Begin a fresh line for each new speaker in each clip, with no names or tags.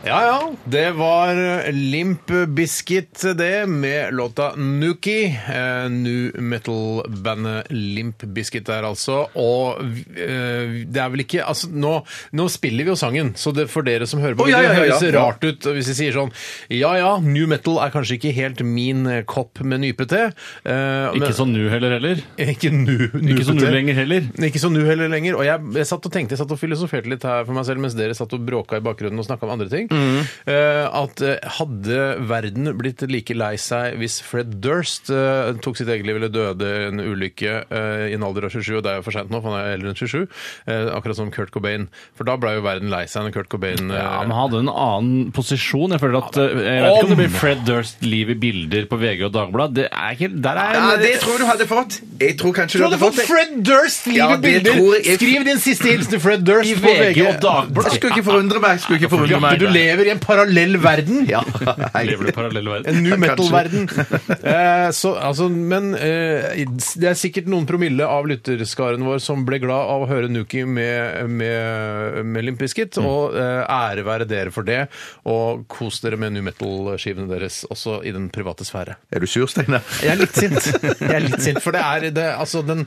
Ja, ja. Det var eh, Limp Biscuit, det, med låta Nuki. Eh, New metal-bandet Limp Biscuit der, altså. Og eh, det er vel ikke Altså, nå, nå spiller vi jo sangen, så det for dere som hører på,
Å, ja, ja, ja,
det
ja.
høres rart ut hvis vi sier sånn Ja ja, new metal er kanskje ikke helt min eh, kopp med nypete. eh, men-
Ikke sånn nu heller heller.
Ikke nu,
Ikke sånn nu
nypete.
lenger heller.
Ikke så nu heller lenger. Og jeg, jeg satt og tenkte, jeg satt og filosoferte litt her for meg selv mens dere satt og bråka i bakgrunnen og snakka om andre ting. Eh, at eh, hadde verden blitt like lei seg hvis Fred Durst eh, tok sitt eget liv eller døde i en ulykke eh, i en alder av 27, og det er jo for seint nå, for han er eldre enn 27, eh, akkurat som Kurt Cobain. For da ble jo verden lei seg når Kurt Cobain eh,
Ja, men hadde en annen posisjon. Jeg føler at eh, Jeg vet ikke om det blir Fred Durst liv i bilder på VG og Dagbladet. Det er ikke Der er
Ja,
eh,
det tror jeg du hadde fått. Jeg tror kanskje du hadde fått det.
Fred Durst liv
Ja, det tror jeg-
Skriv din siste hilsen til Fred Durst
I VG og Dagbladet.
Jeg skulle ikke forundre meg. Skulle ikke forundre meg.
Du lever i en parallell verden!
Ja, hei.
Lever du i parallell verden?
En new
Kanskje.
metal-verden. Eh, så, altså, men eh, det er sikkert noen promille av lytterskaren vår som ble glad av å høre Nuki med, med, med Limp Bizkit,
Mm.
og eh, ære være dere for det. Og kos dere med new metal-skivene deres, også i den private sfære.
Er du sur, Steinar?
Jeg er litt sint, Jeg er litt sint for det er, det, altså, den,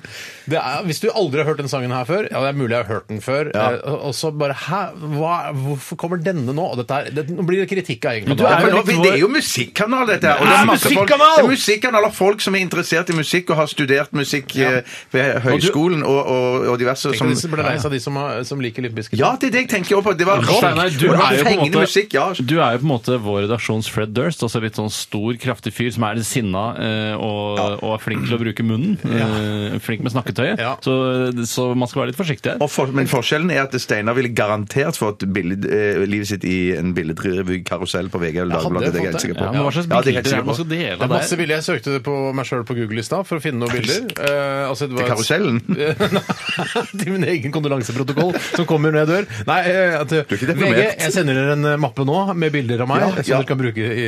det er Hvis du aldri har hørt den sangen her før, ja, det er mulig jeg har hørt den før, eh, og- og så bare Hæ, hva, hvorfor kommer denne nå? Og dette er, det, nå blir det kritikk av egen
Men du
Ja,
er
for
jo
nå-
litt
vi-
vår-
det er jo musikkanal, dette her. og det
Det er
masse folk-
musikkanal!
Det er musikkanal av folk som er interessert i musikk og har studert musikk eh, ved høyskolen og, og, og diverse
Tenk
som
om disse ble lei seg, de som, har- som liker Limp Bizkit.
Ja, det er det jeg tenker også på. Det var rock.
Steinar, du,
og det var
er jo på en
fengende
måte-
musikk, ja. altså.
du er jo på en måte vår redaksjons Fred Durst. altså Litt sånn stor, kraftig fyr som er litt sinna eh, og, og er flink til å bruke munnen. eh, Flink med snakketøyet.
Ja.
Så, så man skal være litt forsiktig her.
Og for, men forskjellen er at Steinar ville garantert fått billed, eh, livet sitt i en billedrevykarusell på VG eller
Jeg hadde
Dagbladet. Det er
fått
jeg helt sikker på.
Ja, men hva slags
Ja, det er
bilder
jeg
er det
helt
man
sikker
skal
på.
dele
Det er masse
der?
bilder. Jeg søkte det på meg sjøl på Google i stad for å finne noen bilder. Eh, altså, det var-
Til karusellen?
Nei, til min egen kondolanseprotokoll som kommer når jeg dør. Nei, eh, at,
er ikke deprimert.
VG, jeg sender dere en eh, mappe nå med bilder av meg
Ja,
som
ja.
dere kan bruke i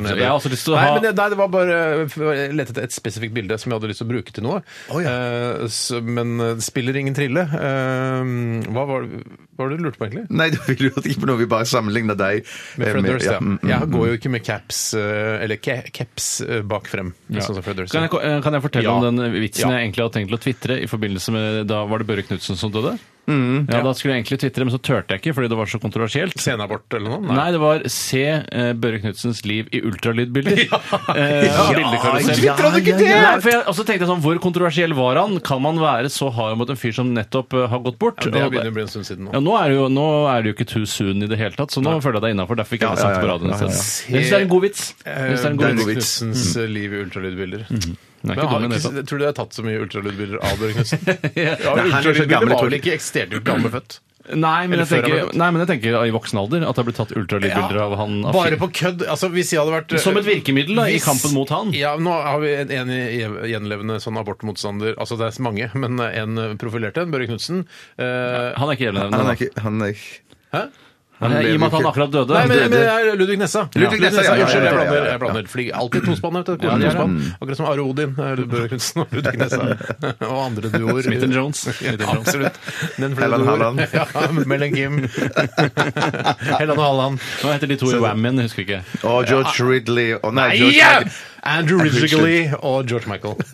Ja, altså, jeg har også lyst til å
nei,
ha-
men det, nei, det var bare eh, Jeg lette etter et spesifikt bilde som jeg hadde lyst til å bruke til noe. Eh, så, men eh, spiller ingen trille. Eh, hva var det hva var det du lurte på, egentlig?
Nei, du lurte ikke på noe. Vi bare sammenligner deg
Med
eh,
Fred Durst, ja.
mm, mm,
Jeg
mm.
går jo ikke med caps, eh, eller ke- caps eh, bak frem, sånn som Fred Durst.
Kan jeg, eh, kan jeg fortelle
Ja.
om den vitsen
Ja.
jeg egentlig hadde tenkt til å tvitre i forbindelse med Da var det Børre Knutsen som døde? ja, Da skulle jeg egentlig tvitre, men så turte jeg ikke fordi det var så kontroversielt.
Senabort eller noe?
Nei. det var Se eh, Børre Knutsens liv i ultralydbilder. Eh, bildekarusell.
Ja, ja, ja, ja.
Nei, for jeg, og så tenkte jeg sånn, Hvor kontroversiell var han? Kan man være så hard mot en fyr som nettopp eh, har gått bort?
Det
Og-
begynner å bli en stund siden nå.
ja, nå er, det jo, nå er det jo ikke too soon i det hele tatt, så nå føler jeg det er innafor. Derfor fikk jeg
Ja,
det sagt
ja,
på
ja.
radioen
Ja, ja, ja.
isteden. Jeg syns det er en god vits. Jeg synes det er en god
det er en
vits.
god vits.
Knutsens eh, liv i ultralydbilder.
Den Mm. er
Men
ikke dum
har
i det hele tatt.
ikke, tror du det er tatt så mye ultralydbilder av Børre Knutsen? ja,
Nei, han er så gammel,
ultralydbilder
tror
var vel
jeg.
ikke eksisterte jo ikke da han ble født?
Nei men,
Eller
jeg
før han ble
tenker,
født.
nei, men jeg tenker i voksen alder at det har blitt tatt ultralydbilder av han. Av
Bare
fyr.
på kødd. Altså, hvis jeg hadde vært
Som et virkemiddel da, i
Hvis-
kampen mot han.
Ja, nå har vi en, en gjenlevende sånn abortmotstander. Altså, det er mange, men eh, en profilert en, Børre Knutsen. Eh,
Han er ikke
Han er
gjenlevende.
ikke Han er ikke
hæ?
da. Nei, I og med at han akkurat døde.
Nei, men,
det-
men det er Ludvig Nessa.
Ludvig Nessa, ja,
Unnskyld, jeg
ja, ja, ja, ja,
blander.
ja.
Jeg blander. Fordi alltid tospann. vet du, koden
det er det.
tospann. Akkurat som Are Odin, eh, Børre Knutsen og Ludvig Nessa. Og andre duoer.
Smith and Jones.
Ja, absolutt. Den flere
Helland
duoer.
Halland.
Ja, Mellom Kim. Helland og Halland.
Hva heter de to i Wham igjen? Husker ikke.
Å, George Ridley Å nei, George
Ja!
Ridley.
Andrew Ridgley og George Michael.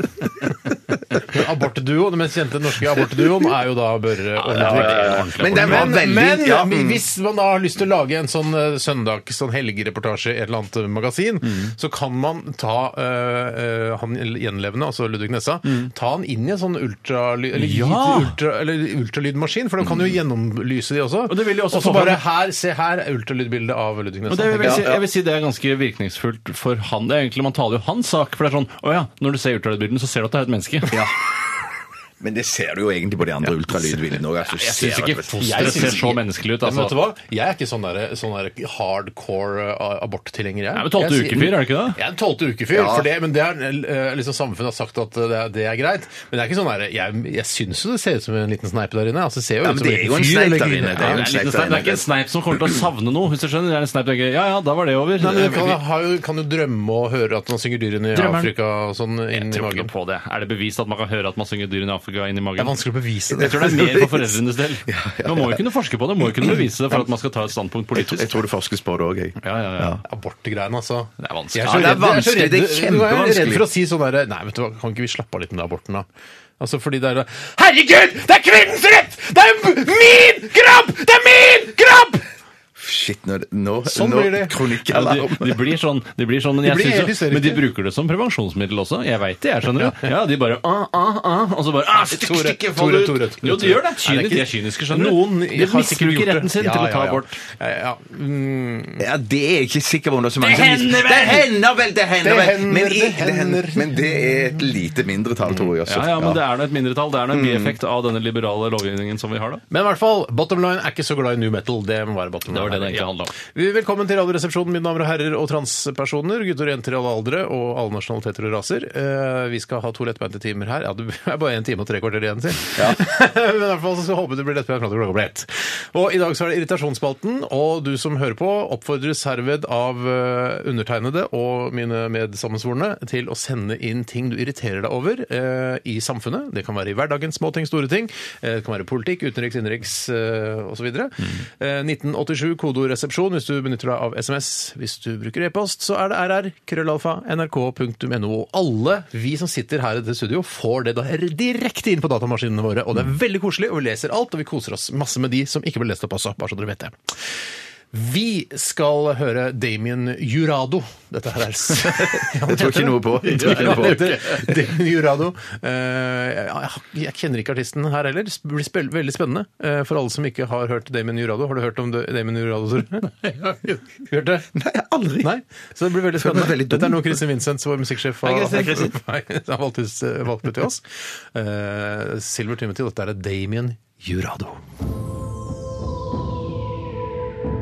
Abortduo, Den mest kjente norske abortduoen er jo da Børre og Ludvig.
Men den var
Men,
veldig
men
ja, mm.
hvis man da har lyst til å lage en sånn eh, søndag, sånn helgereportasje i et eller annet eh, magasin,
Mm.
så kan man ta eh, eh, han gjenlevende, altså Ludvig Nessa, ta han inn i en sånn ultraly eller, gi
Mm. Ja! Mm.
til ultra, eller ultralydmaskin, for den kan jo gjennomlyse de også.
Og det vil jo også
så
få
bare
fram-
her, se her, er ultralydbildet av Ludvig
Men
Nessa.
det, vil jeg, si,
Ja, ja.
jeg vil si det er ganske virkningsfullt for han. Det er egentlig Man taler jo hans sak. For det er sånn Å ja, når du ser ultralydbilden, så ser du at det er et menneske.
Men det ser du jo egentlig på de andre ultralydbildene òg.
Jeg syns ikke
Jeg
fosteret
synes
ser så
ikke-
menneskelig ut.
Men vet du
Altså.
hva? Jeg er ikke sånn, der, sånn der hardcore uh, aborttilhenger. Jeg.
Nei, men tolvte
Jeg sier-
ukefyr, er det ikke det?
Jeg er en tolvte ukefyr, for det, men det er, eh, liksom samfunnet har sagt at det er, det er greit. Men det er ikke sånn der, jeg, jeg syns jo det ser ut som en liten sneip der inne. Altså, det ser jo
Ja,
ut
men
som en
det er jo
liten
en
fyr.
sneip
eller
der
ikke-
inne,
Ja,
det
Det er, en liten sneip. det er ikke en sneip som kommer til å savne noe. hvis du skjønner. Det er en sneip tenker, Ja ja, da var det over.
Nei, men du kan, har jo, kan jo drømme og høre at man synger dyrene i
Drømmer.
Afrika og sånn inn i
Jeg tror ikke
magen.
noe på det. Er det bevist at man kan høre at man synger dyrene i Afrika inn i
Det er
magen?
vanskelig å bevise
Jeg
det.
tror det er mer for foreldrenes del. Man må jo kunne forske på det, man må jo
Mm.
kunne bevise det for at man skal ta et standpunkt
Jeg
politisk.
tror det forskes på det òg, jeg.
Ja, ja, ja.
Abortgreiene, altså.
Det er vanskelig.
Jeg
Ja,
redd-
det er
jeg
vanskelig,
redd- Jeg
det er
er redd
kjempevanskelig.
for å si sånn derre Nei, vet du hva, kan ikke vi slappe av litt med aborten, da? Altså fordi det er Herregud! Det er kvinnens rett! Det er min kropp! Det er min kropp!
Shit, nå, nå,
Sånn
nå
blir det.
Ja, de,
kronikkalarm.
de blir sånn, de blir sånn men, jeg
blir
synes
helt
jo,
hysteriske.
men de bruker det som prevensjonsmiddel også. Jeg veit det, jeg skjønner det. Ja, De bare ah, ah, ah, Og så bare ah, stikk,
Tore,
stikk, få
Tore,
det ut.
Tore, Tore,
Jo, de gjør det.
Nei,
Kynisk,
ikke-
de er kyniske, skjønner du.
Noen
De
har sikkert
misbruker
gjort det.
retten sin
Ja,
til å
ja,
ta
ja.
abort.
Ja, ja, mm,
Ja, det er jeg ikke sikker på om det er så mange som
hender vel!
Det hender vel! Det hender
Det
vel!
hender,
Men,
det
i-
hender.
men det er et lite mindretall, tror jeg også.
Ja, ja, men det er nå et mindretall. Det er nå
Mm.
en bieffekt av denne liberale lovgivningen som vi har, da.
Men i hvert fall, bottom line er ikke så glad i new metal. Det må være
Det
bottom line.
var det det egentlig
Ja.
handlet om.
Vi- Velkommen til Radioresepsjonen, mine damer og herrer, og transpersoner, gutter og jenter i alle aldre, og alle nasjonaliteter og raser. Eh, vi skal ha to lettbeinte timer her. Ja, det er bare en time og tre kvarter igjen, si. Men i hvert fall så skal vi håpe det blir lettbeint fram til klokka blir ett. Og i dag så er det Irritasjonsspalten, og du som hører på, oppfordres herved av eh, undertegnede og mine medsammensvorne til å sende inn ting du irriterer deg over eh, i samfunnet. Det kan være i hverdagen, små ting, store ting. Eh, det kan være politikk, utenriks, innenriks eh, osv. Eh, 1987, kodeord resepsjon hvis du benytter deg av SMS. Hvis du bruker e-post, så er det rr, krøllalfa, nrk.no. Og alle vi som sitter her i det studio, får det da direkte inn på datamaskinene våre. Og det er veldig koselig, og vi leser alt, og vi koser oss masse med de som ikke ble lest opp også, bare så dere vet det. Vi skal høre Damien Jurado. Dette her er Jeg
Jeg tror ikke noe på. Jeg tror ikke noe på.
Damien Jurado. Eh, jeg har- jeg kjenner ikke artisten her heller. Det blir spel- veldig spennende eh, for alle som ikke har hørt Damien Jurado. Har du hørt om det- Damien Jurado, Tore? Hørt det?
Nei, aldri.
Nei, så det blir veldig spennende.
meg veldig dum.
Dette er noe Kristin Vincent, vår musikksjef, har,
Hei,
har
Kristin.
har valgt ut valgt ut til oss. Eh, Silver Timothy, dette er Damien Jurado.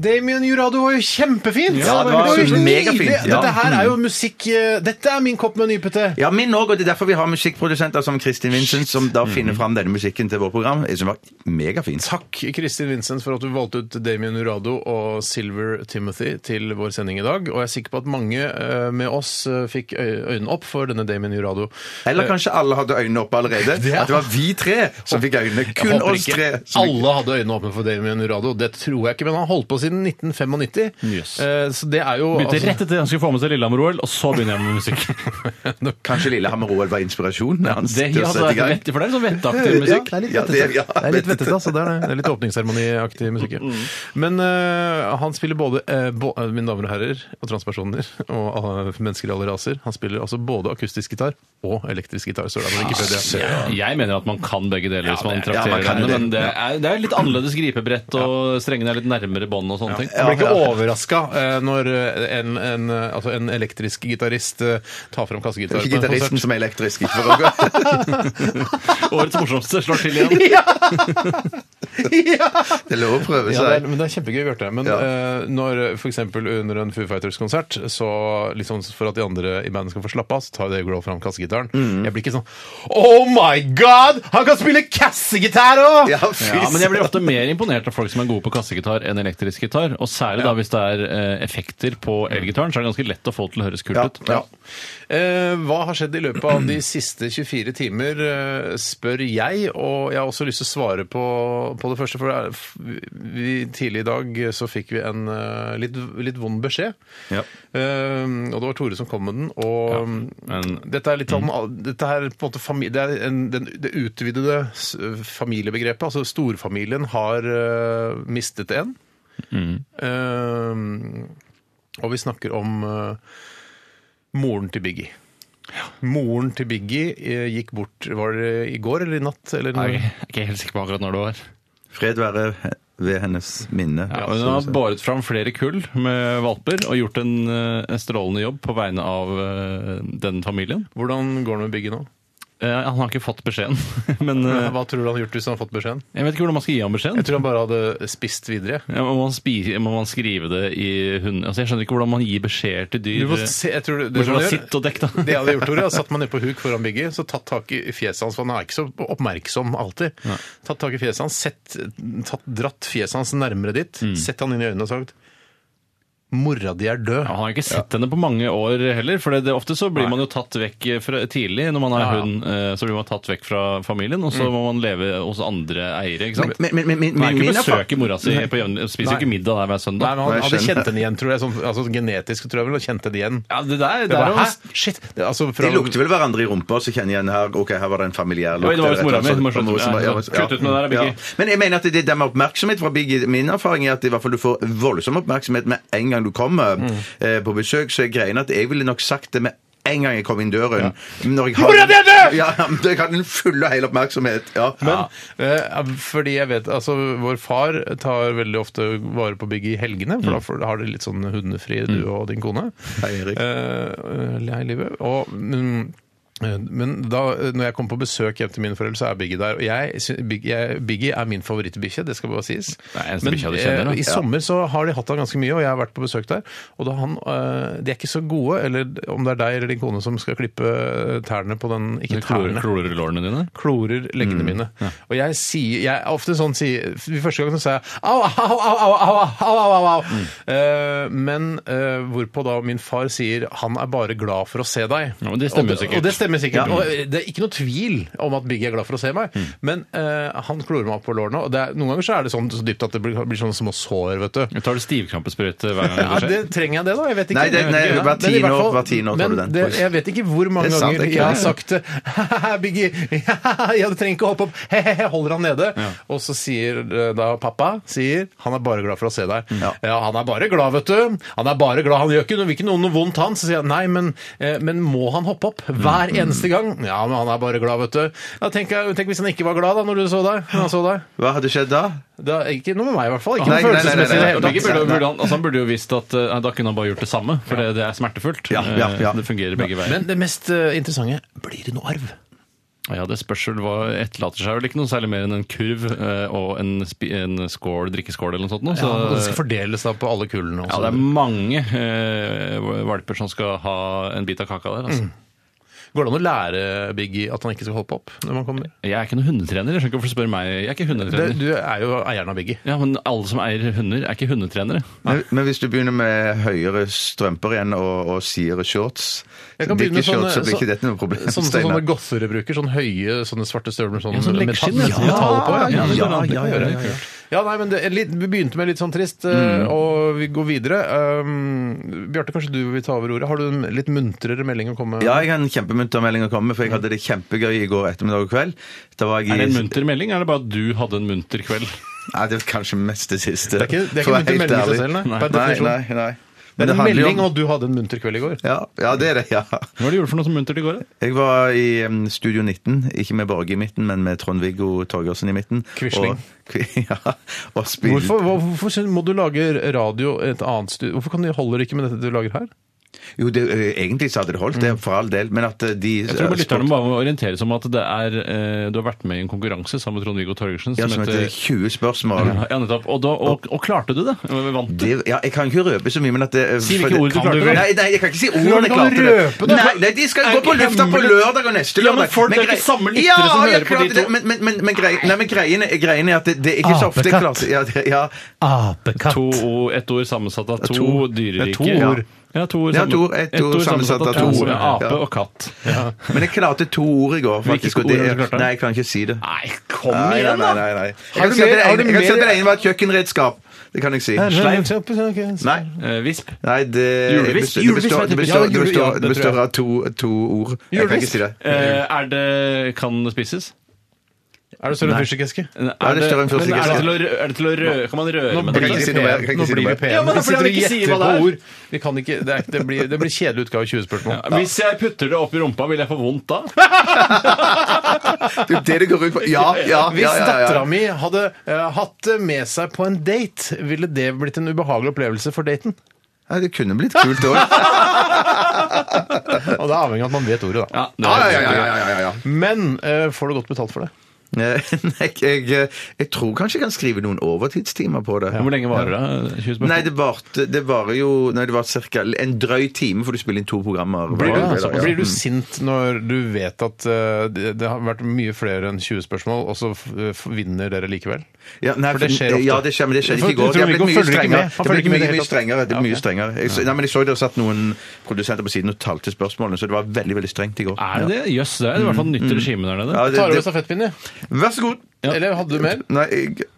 Damien Jurado var jo kjempefint!
Ja, det var
jo
så
nydelig.
megafint, ja.
Dette her er jo musikk eh, Dette er min kopp med nypete!
Ja, min òg, og det er derfor vi har musikkprodusenter som Kristin Vincent, som da finner fram denne musikken til vårt program. Jeg synes det var megafint.
Takk, Kristin Vincent, for at du valgte ut Damien Jurado og Silver Timothy til vår sending i dag. Og jeg er sikker på at mange eh, med oss eh, fikk øy- øynene opp for denne Damien Jurado.
Eller kanskje alle hadde øynene oppe allerede?
Det er-
At det var vi tre som fikk øynene.
Jeg
Kun
håper
oss
ikke
tre. som-
Alle hadde øynene åpne for Damien Jurado. Det tror jeg ikke, men han har holdt på siden 1995.
Yes.
Eh, Så det er jo
Begynte
altså-
rett etter jeg skulle få med seg Lillehammer-OL, og så begynner jeg med musikk.
Kanskje Lillehammer-OL var inspirasjonen hans
Det,
til å
ja, det
sette
er
i gang?
vett, for det er sånn vettaktig musikk.
Ja, det er litt
Ja,
vettete.
det- ja, Mm.
det er litt
vettete.
vettete, altså. Det er, det. det er litt åpningsseremoniaktig musikk. ja. Men eh, han spiller både, eh, bo- eh, mine damer og herrer, og transpersoner, og alle mennesker i alle raser, han spiller altså både akustisk gitar og elektrisk gitar. Søren, han er ikke
Ah,
født, ja.
Jeg mener at man kan begge deler hvis
Ja,
man
det-
ja,
trakterer
man kan
henne,
det.
men det er, det er litt annerledes gripebrett, og strengene er litt nærmere bånd og sånne ting.
Jeg blir ikke overraska når eh, en, en, eh, altså en elektrisk gitarist eh, tar fram
Det
kassegitar
er
på
Ikke
en konsert.
gitaristen som er elektrisk. Ikke for å
Årets morsomste slår til igjen.
Det er lov å prøve
Ja, det er,
seg.
men det er kjempegøy, Bjarte. Men
Ja.
eh, når f.eks. under en Foo Fighters-konsert, så liksom for at de andre i bandet skal få slappe av, så tar Dave Grohl fram kassegitaren.
Mm.
Jeg blir ikke sånn Oh my god! Han kan spille kassegitar òg!
Ja, fy
Ja, men jeg blir ofte mer imponert av folk som er gode på kassegitar enn elektrisk gitar. Og særlig da hvis det er eh, effekter på elgitaren, så er det ganske lett å få til å høres kult ut.
Ja.
Eh, hva har skjedd i løpet av de siste 24 timer, eh, spør jeg. Og jeg har også lyst til å svare på, på det første. For det er, f- vi, tidlig i dag så fikk vi en eh, litt, litt vond beskjed.
Ja.
Eh, og det var Tore som kom med den. Og mm,
men- Mm.
dette er litt sånn dette er på en måte fami- Det er en, den, det utvidede s- familiebegrepet. Altså storfamilien har eh, mistet en.
Mm.
Eh, og vi snakker om eh, moren til Biggie. Moren til Biggie eh, gikk bort Var det i går eller i natt? Eller
Nei,
når?
Jeg er ikke helt sikker på akkurat når det var.
Fred være ved hennes minne.
Ja, og hun har båret fram flere kull med valper og gjort en, eh, en strålende jobb på vegne av eh, den familien.
Hvordan går det med Biggie nå?
Eh, Han har ikke fått beskjeden, men eh,
Hva tror du han har gjort hvis han har fått beskjeden?
jeg vet ikke hvordan man skal gi ham
Jeg
beskjeden.
tror han bare hadde spist videre.
Ja, må, man spi, må man skrive det i hund... Altså, jeg skjønner ikke hvordan man gir beskjeder til
Du
dyr. eh,
må se, jeg tror det, det,
Bortsett
man
fra
gjør-
sitt og dekk, da.
det jeg hadde gjort, Tore, hadde satt meg ned på huk foran Biggie, så tatt tak i fjeset hans, for han er ikke så oppmerksom alltid. Tatt tak i fjeset hans, sett, tatt, dratt fjeset hans nærmere ditt,
Mm.
sett han inn i øynene og sagt Mora di er død.
Ja, han har ikke sett henne på mange år heller, for det, det, ofte så blir
Nei.
man jo tatt vekk eh, fra, tidlig når man er
Ja, Mm. ja.
hund, eh, så blir man tatt vekk fra familien, og så må man leve hos andre eiere, ikke
Men,
sant?
men, men, men,
Man er
min
ikke
erfaring-
besøker mora si på jevn... Spiser jo
Nei.
ikke middag der hver
Nei,
søndag.
men Han
Nei, jeg
hadde
skjønner.
kjent henne igjen, tror jeg. Sånn, altså, genetisk så tror jeg vel han kjente det igjen.
Ja, det der,
Det
der er
var,
jo-
Hæ? Shit! Det, altså, fra,
De lukter vel hverandre i rumpa, så kjenner jeg igjen her Ok, her var det en familiær
Oi,
lukt.
det var visst mora
eller et
mi,
eller annet
du må
sånt.
slutte med- ja,
Ja, ja.
kutt ut med det der, Biggie.
Men jeg mener at det det med oppmerksomhet fra Biggie Min erfaring er at i hvert fall du får voldsom oppmerksomhet med en gang du kommer
Mm.
eh, på besøk, så er greien at jeg ville nok sagt det med en gang jeg kom inn døren. Når jeg
Mora di er død!
Ja, men jeg hadde den fulle og hele oppmerksomhet. Ja.
Men, eh, fordi jeg vet, altså Vår far tar veldig ofte vare på Biggie i helgene, for
Mm.
da får- har de litt sånn hundefri, du og din kone.
Hei, Erik.
Eh, eller hei, livet. Og, mm, eh, men da, eh, når jeg kommer på besøk hjem til mine foreldre, så er Biggie der. Og jeg, sy- Big- jeg, Biggie er min favorittbikkje, det skal bare sies.
Det er eneste
Men
bikkja du kjenner, da.
eh, i sommer så har de hatt han ganske mye, og jeg har vært på besøk der. Og da han, eh, de er ikke så gode, eller om det er deg eller din kone som skal klippe eh, tærne på den Ikke
Du klorer,
tærne
klorer lårene dine?
klorer
Mm,
leggene mine. Og jeg sier jeg er ofte sånn sier, de Første gangen så sa jeg au, au, au, au, au, au, au, au, au.
Mm.
Eh, men eh, hvorpå da min far sier han er bare glad for å se deg.
Ja, men det stemmer
og,
sikkert.
Og det stemmer sikkert. Og eh, det er ikke noe tvil om at Biggie er glad for å se meg,
Mm.
men eh, han klorer meg opp på lårene. Og det er, noen ganger så er det sånn så dypt at det blir, blir sånne små sår, vet du.
Tar du stivkrampesprøyte hver gang
Ja,
det skjer?
det Trenger jeg det, da? Jeg vet ikke.
Nei, det- nei,
Ja,
hver
men i
tiende
hvert
år-
fall-
hver tiende år tar du
men
den.
det- Jeg vet ikke hvor mange
Det er sant,
ganger
det er
jeg har
ikke
sagt det. «Haha, Biggie, ja, du trenger ikke å hoppe opp. He-he-he, holder han nede. Og så sier eh, da pappa sier, han er bare glad for å se deg. Ja. han er bare glad, vet du. Han er bare glad. Han gjør ikke noe, vil ikke noe, noe vondt, han. Så sier jeg nei, men, eh, men må han hoppe opp
Mm,
hver eneste gang? Ja, men han er bare glad, vet du. Ja, tenk, tenk hvis han ikke var glad da når du så deg. Når han så deg.
Hva hadde skjedd da?
Da, ikke noe med meg, i hvert fall. Ikke
Nei,
noe
nei, nei, nei,
følelsesmessig i det
nei,
hele
nei,
tatt.
Begge burde,
nei.
burde han, altså han burde jo visst at eh, da kunne han bare gjort det samme, for det, det er smertefullt.
Ja, ja, ja.
Eh, Det fungerer begge veier.
Men det mest eh, interessante blir det noe arv?
Ja, det spørs vel hva etterlater seg vel ikke noe særlig mer enn en kurv eh, og en, spi, en skål, drikkeskål eller noe sånt. Nå,
Ja, og det
så,
skal fordeles da på alle kullene.
ja,
Også.
det er mange eh, valper som skal ha en bit av kaka der. Altså.
Mm. Går det an å lære Biggie at han ikke skal hoppe opp når man kommer?
Jeg er ikke noen hundetrener. Jeg skjønner ikke hvorfor du spør meg. Jeg er ikke
Det,
hundetrener.
du er jo eieren av Biggie.
Ja, Men alle som eier hunder, er ikke hundetrenere.
Men, men hvis du begynner med høyere strømper igjen og, og sidere shorts, så blir ikke shorts, så blir ikke dette noe problem.
sånne, sånne,
Steinar.
sånne gossere bruker. Sånn høye, sånne svarte støvler med sånn,
Ja, sånn leggskinn, ja.
metall, metall på.
Ja,
det
ja,
går an, det kan
ja, ja,
gjøre.
ja, ja.
Ja, nei, men det, er litt, Vi begynte med litt sånn trist,
Mm.
eh, og vi går videre. Um, Bjarte, kanskje du vil ta over ordet? Har du en litt muntrere melding å komme med?
Ja, jeg har en kjempemunter melding å komme med, for jeg hadde det kjempegøy i går ettermiddag og kveld. Da var jeg i...
Er det en munter melding, eller er det bare at du hadde en munter kveld?
Nei, det er kanskje mest det siste.
Det er ikke, det er ikke
for å være
munter
helt
melding i seg
ærlig.
selv, nei.
Nei,
per
Nei,
definisjon.
nei, nei.
Det er en
handler jo
melding, og du hadde en munter kveld i går.
Ja, ja, det er det, ja.
Hva var det du gjorde for noe som muntert i går? da?
Jeg var i em, Studio 19, ikke med Borge i midten, men med Trond-Viggo Torgersen i midten.
Quisling.
Og, Qui- ja, og spilte...
Hvorfor, hva- hvorfor syn- må du lage radio et annet studio? Hvorfor kan du, holder det ikke med dette du lager her?
Jo, det, ø, egentlig så hadde det
Mm.
holdt, det for all del, men at ø, de
Jeg tror bare lytterne bare må orientere seg om at det er, eh, du har vært med i en konkurranse sammen med Trond-Viggo Torgersen.
Ja, som
eh,
heter 20 spørsmål.
Ja, nettopp. Og, da, og, og klarte du det? Vant du?
Det, ja, jeg kan ikke røpe så mye, men at det, eh,
Si hvilke
for det-
ord du
Kan
klarte, da.
Nei, nei, jeg kan ikke si
Hvordan
ordene jeg
kan du
klarte. det.
røpe det?
Nei, nei, de skal
Er
gå
det
på
ikke
lufta på
hemmelig?
lørdag og neste
Ja, men
lørdag.
folk, det er
grei-
ikke samme lyttere
ja,
som
jeg
hører på de
klarte det,
to.
Men, men, men, men, grei, nei, men greien, er- greien er at det, det er ikke så ofte jeg
Apekatt.
klarte ja, det- ja,
Apekatt.
To ord, ett ord sammensatt av to,
to.
dyrerike.
Det er to ord.
Ja, to ord,
Ja,
sammen-
to ord, ett ord sammensatt av to.
Ja,
Ja.
ape og katt.
Men jeg klarte to ord i går, faktisk.
Hvilke
og det
ord har du
er-
klart da?
Nei, jeg kan ikke si det.
Nei, kom
Nei, nei,
igjen, da!
nei, nei, nei. Jeg
Har
kan
du
si at
mer-
det
har du
ene- jeg kan si at
mer-
det ene var et kjøkkenredskap. Det kan jeg si. Nei.
Eh, visp.
Nei, det
Julevisp.
består- det
Julevisp
består-
var typisk.
det består- det
Ja, jule- ja,
består-
det
det
tror jeg.
består av to, to ord. Jeg kan ikke si det.
Eh, er det Kan det spises?
Er det større enn fyrstikkeske?
Er det
men er
større enn
det til å,
fyrstikkeske?
rø- er det til å røre Kan man røre
Nå
med
kan
det?
ikke si noe mer, jeg kan ikke
Nå
si noe
blir vi
mer.
pene.
Ja, men det er
Vi sitter
fordi
og
han ikke sier
gjetter
hva
på
det er.
ord. Vi kan ikke, det, er, ikke- det, blir, det blir kjedelig utgave av 20 spørsmål.
Hvis jeg putter det opp i rumpa, vil jeg få vondt da?
Det er det det går ut på. Ja, ja,
Hvis
ja. ja,
dattera
ja.
mi hadde eh, hatt det med seg på en date, ville det blitt en ubehagelig opplevelse for daten?
ja det kunne blitt kult òg.
Og det er avhengig av at man vet ordet, da.
Ah, Ja, det
Ja,
er-
ja, ja, ja, ja, ja, ja.
Men eh, får du godt betalt for det?
Eh, Nei, jeg, eh, jeg tror kanskje jeg kan skrive noen overtidstimer på det.
Hvor lenge varer det? 20 spørsmål?
Nei, det varte det varer jo Nei, det var cirka en drøy time, for du spiller inn to programmer.
Blir du,
hver
altså,
dag, ja. Mm.
blir du sint når du vet at eh, det, det har vært mye flere enn 20 spørsmål, og så f- f- vinner dere likevel?
Ja, nei,
For det skjer ofte.
Ja, det skjer, men det skjer
For
ikke i går.
Trond
Det er blitt
Viggo
mye
følger ikke
strengere.
med. Han
Det er
følger
blitt
ikke med i
mye,
det hele
mye
tatt.
strengere. Det
Ja,
er mye
ok.
strengere. Jeg, så- nei, men jeg så det satt noen produsenter på siden og talte spørsmålene, så det var veldig, veldig strengt i går.
Er det det? Jøss, det er i hvert fall nytt regime der nede.
Ja, det,
Tar over
det,
stafettpinnen, jeg.
vær så god.
Eller hadde du mer?
Nei, jeg,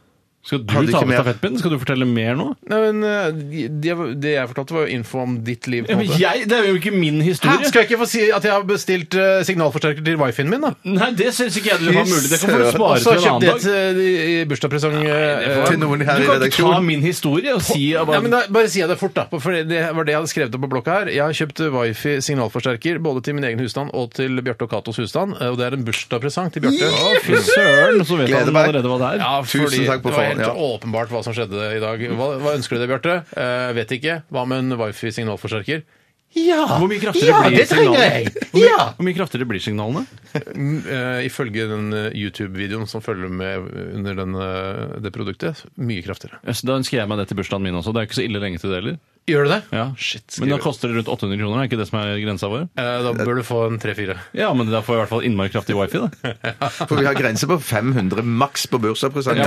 Skal du
Hadde
ta med
ikke mer.
stafettpinnen? Skal du fortelle mer nå?
Nei, men eh, de- de- Det jeg fortalte, var jo info om ditt liv. på en måte.
Jeg, det er jo ikke min
Hæ?
historie.
Skal jeg ikke få si at jeg har bestilt eh, signalforsterker til wifien min, da?
Nei, det syns ikke jeg du har
Fy
mulig. Det kan du
søren.
spare
Og
til
så
en
kjøpte jeg
annen
et
dag.
eh, i bursdagspresang eh,
til noen her
Du kan ikke
i
ta
redaksjonen.
min historie og si at
Ja, men
bare,
da, bare si det fort, da. For det var det jeg hadde skrevet opp på blokka her. Jeg har kjøpt eh, wifi signalforsterker både til min egen husstand og til Bjarte og Katos husstand. eh, Og det er en bursdagspresang til Bjarte.
Å, Fy søren, så vet
Gleder
han
meg.
allerede hva det er.
Ja,
Tusen
fordi
takk på
det var
forhånd,
helt
ja.
åpenbart hva som skjedde i dag. Hva, hva ønsker du deg, Bjarte? Eh, vet ikke. Hva med en wifi signalforsterker? Ja!
Hvor mye kraftigere blir signalene? Hvor mye- Hvor mye kraftigere blir signalene?
Eh, ifølge den eh, YouTube-videoen som følger med under den, eh, det produktet, mye kraftigere.
Jøss, Da ønsker jeg meg det til bursdagen min også. Det er jo ikke så ille lenge til det heller.
Gjør du det?
Ja.
Shit, skal
Men da
jeg-
koster det rundt 800 kroner, er ikke det som er grensa vår?
Eh, da bør du få en tre-fire.
Ja, men da får jeg i hvert fall innmari kraftig wifi, da.
for vi har grense på 500 maks på bursdagspresanger.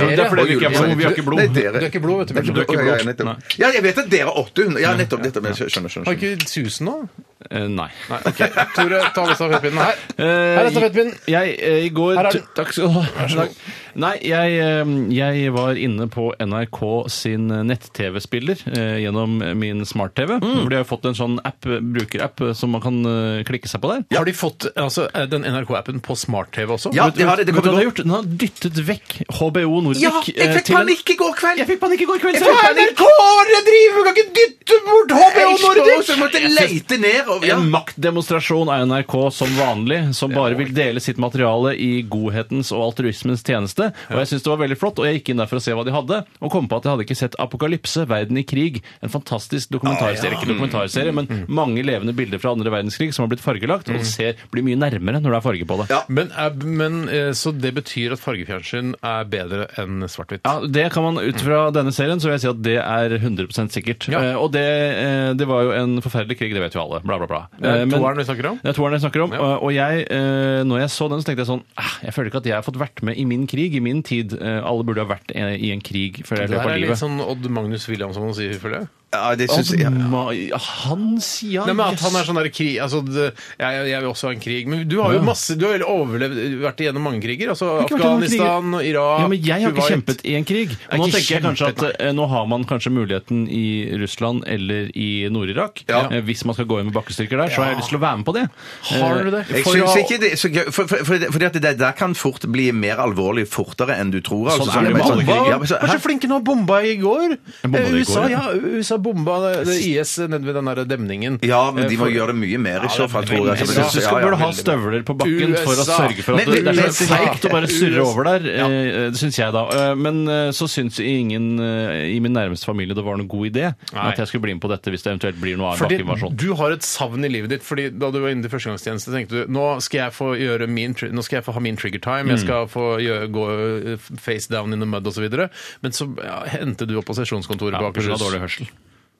Ja, men det er fordi vi ikke har blod. Vi har ikke blod.
Nei, dere.
Du er ikke blod, vet du.
Nei,
Bjarte.
er ikke
Å, ja,
blod.
ja, nettopp.
Nei.
Ja, jeg vet at dere er 800. Ja, nettopp. nettopp. Jeg Skjønner, skjønner.
Har
skjønner.
ikke vi 1000 nå?
Eh, Nei.
Nei, ok. Tore, ta med stafettpinnen her.
Eh,
Her er stafettpinnen.
Jeg, eh, i går,
Her er den.
Takk skal du ha. Takk. Nei, jeg, eh, jeg var inne på NRK sin nett-TV-spiller eh, gjennom min smart-TV.
Mm.
Hvor de har fått en sånn app, eh, brukerapp eh, som man kan eh, klikke seg på der.
Har de fått altså, eh, den NRK-appen på smart-TV også?
Ja,
Vet du-
de har det. Det
Vet du
kommer
hva de har gjort?
godt.
Den har dyttet vekk HBO Nordic.
Ja, jeg
eh,
fikk
til en-
panikk i går kveld!
Jeg fikk panikk i går kveld.
Jeg fikk
selv.
panikk.
Hva er det dere driver med? Du kan ikke dytte bort
Jeg så
Nordic!
så jeg måtte leite ned. Og, ja.
En maktdemonstrasjon er NRK som vanlig, som bare vil dele sitt materiale i godhetens og altruismens tjeneste. Og jeg syns det var veldig flott, og jeg gikk inn der for å se hva de hadde, og kom på at jeg hadde ikke sett 'Apokalypse verden i krig', en fantastisk dokumentarserie. Ikke dokumentarserie, men
Mm,
mange levende bilder fra andre verdenskrig som har blitt fargelagt, og du ser blir mye nærmere når det er farge på det.
Ja.
Men, eh, men, eh, så det betyr at fargefjernsyn er bedre enn svart-hvitt?
Ja, det kan man Ut fra denne serien så vil jeg si at det er 100 sikkert.
Ja.
Eh, og det, eh, det var jo en forferdelig krig, det vet jo alle. Bla, bla, bla.
Det er
Eh, men-
toeren vi snakker om?
Det er toeren jeg snakker om. Og, og jeg, eh, når jeg så den, så tenkte jeg sånn "Ah, Jeg føler ikke at jeg har fått vært med i min krig, i min tid. Eh, alle burde ha vært eh, i en krig før jeg
Det
løp
her
av
er litt
livet.
sånn Odd Magnus Williamson å si, føler jeg.
ja, det syns jeg.
Odd Ma- ja, han sier
Nei, men at han er sånn der krig altså, det, jeg, jeg vil også ha en krig. Men du har jo masse Du har jo overlevd, vært igjennom mange kriger. Altså
ikke vært igjennom
Afghanistan, og Irak
Ja, men jeg har ikke
Kuwait.
kjempet i en krig. Og nå
ikke
tenker jeg kanskje at
kjempet,
eh, nå har man kanskje muligheten i Russland eller i Nord-Irak.
Ja.
Eh, Hvis man skal gå inn med bakkestyrker der, så har jeg lyst til å være med på det.
Har du det?
Eh,
Jeg
for
synes
å-
ikke det er så gøy, for, for, for, fordi at det der- der kan fort bli mer alvorlig fortere enn du tror. altså,
Sånn er det
med
med alle
sånn-
kriger.
Ja, men så-
Vær så
hæ?
flinke nå, bomba i går.
Bomba det i
Eh, USA,
går, ja.
ja. USA bomba det, det IS nede ved den der demningen.
ja, men de må gjøre det mye mer i så fall, tror jeg.
Jeg synes du skal burde ha støvler på bakken for å
USA.
sørge for at
Men-
det, det er så
USA.
feigt å bare surre
USA.
over der. eh, Det syns jeg, da. Eh, Men eh, så syns ingen eh, i min nærmeste familie det var noen god idé
Nei.
at jeg skulle bli med på dette hvis det eventuelt blir noe av en
Fordi
bakkeinvasjon.
du har et savn i livet ditt. Fordi Da du var inne til førstegangstjeneste, tenkte du nå skal jeg få, gjøre min, tri- nå skal jeg få ha min trigger time,
Mm.
jeg skal få gjøre, gå eh, face down in the mud osv. Men så ja, endte du opp på sesjonskontoret
Ja,
på
på grunn av dårlig
Akershus.
hørsel.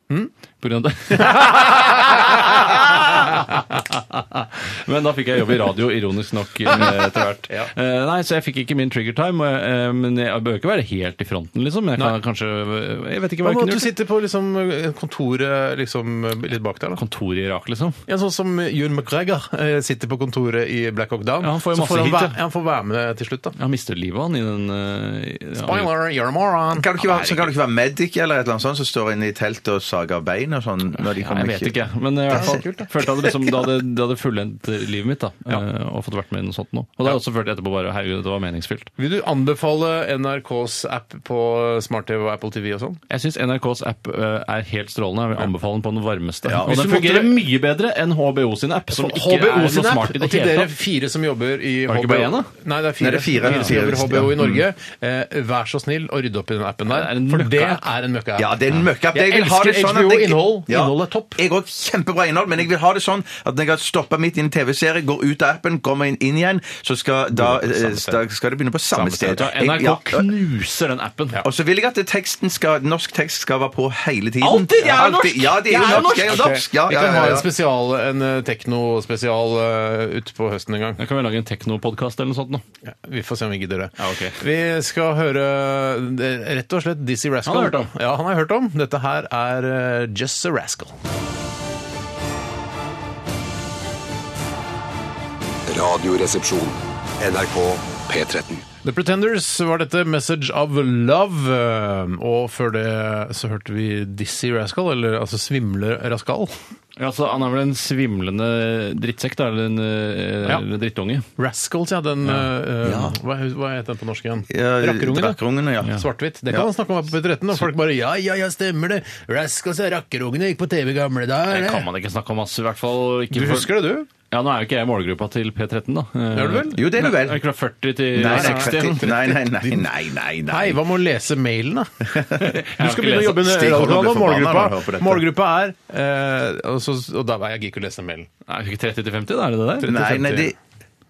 På grunn av det. Men da fikk jeg jobb i radio, ironisk nok, eh, etter hvert.
Ja.
Eh, Nei, Så jeg fikk ikke min trigger time, og jeg- eh, men jeg behøver ikke være helt i fronten, liksom. Men jeg kan
Nei.
kanskje eh, Jeg vet ikke hva jeg
Hva med at
kunne
du
gjort.
sitter på liksom, eh, kontoret liksom, eh, litt bak der? da?
Kontoret i Irak, liksom.
Ja, sånn som Ewan McGregor eh, sitter på kontoret i Black Hawk Down.
Ja, han får jo
så
masse
får han,
hit,
væ-
ja.
han får være med til slutt, da.
Han mister livet, han, i den eh, i-
Spoiler, you're a moron.
Kan du ikke være, så kan du ikke være medic eller et eller annet sånt som står inne i teltet og sager av bein og sånn? Når de
Ja, jeg
kommer
vet ikke, men eh, i hvert fall
Det er så kult, da.
følte jeg hadde det som det hadde, det hadde fullendt livet mitt, da. eh, Og fått vært med i noe sånt nå. Og da har jeg også følt etterpå bare herregud, det var meningsfylt.
Vil du anbefale NRKs app på smart-TV og Apple TV og sånn?
Jeg syns NRKs app eh, er helt strålende. Jeg vil anbefale den på den varmeste.
Ja,
og
hvis
den
du
fungerer
måtte-
mye bedre enn HBO sin app, som ikke er så smart i
Og
det
til
hele
dere
tatt.
fire som jobber i
Var det ikke bare én, da?
Nei, det er fire.
Nei, det er fire.
som
Fire,
jobber i
visst,
HBO i
ja.
Norge. Eh, vær så snill å rydde opp i den appen der,
Det er en
for det
møkka-app.
er en møkka-app.
Ja, det er en møkkapp.
Jeg
vil ha
elsker
det sånn at
HBO
jeg-
innhold. Innholdet er topp.
Jeg har kjempebra innhold, men jeg vil ha det sånn at når jeg har stoppa midt i en TV-serie, går ut av appen, kommer inn, inn igjen, så skal, da, eh, da skal det begynne på samme, sted.
Ja,
Jeg-
NRK
ja.
knuser den appen.
Og så vil jeg at det teksten skal, norsk tekst skal være på hele tiden.
Alltid! Jeg er jo norsk!
Alltid. Ja, det er
Jeg er jo
jo norsk! Jeg er jo
norsk!
norsk! Ja,
Vi
ja,
kan
ja,
ha en
ja.
spesial, en eh, tekno-spesial eh, ut på høsten en gang.
Da kan vi lage en teknopodkast eller noe sånt nå.
Ja, vi får se om vi gidder det.
Ja, ok.
Vi skal høre eh, rett og slett Dizzie Rascal.
Han har hørt om.
Ja, han har hørt om. Dette her er eh, Just a Rascal.
Radioresepsjon.
NRK P13.
The Pretenders var dette Message of Love. eh, Og før det så hørte vi Dizzie Rascal, eller altså Svimle Rascal.
Ja, så Han er vel en svimlende drittsekk, da, eller en eh,
Ja.
eller drittunge.
Rascals, ja. Den, eh, Hva, hva heter den på norsk igjen?
Ja,
Rakkerungen, da.
Rakkerungen, ja.
Svart-hvitt. Det kan han snakke om her på P13, og folk bare ja, ja, ja, stemmer det. Rascals og Rakkerungene gikk på TV i gamle dager.
Det kan man ikke snakke om, ass. I hvert fall ikke
Du
for-
husker det, du?
Ja, Nå er jo ikke jeg i målgruppa til P13, da.
Er du vel?
Jo, det er du vel.
Er det ikke fra 40 til
Nei, nei,
60?
nei, nei, nei, nei, nei, nei.
Hei, hva med å lese mailen, da? Du
har ikke
skal begynne å
lest-
jobbe med
Stig Holm blir
radioen, og
forbanna når han hører på
målgruppa,
dette.
målgruppa er eh, og, så, og da jeg ikke å lese mailen.
Er det ikke 30 til 50, da? Er det det der?
Nei, nei, det...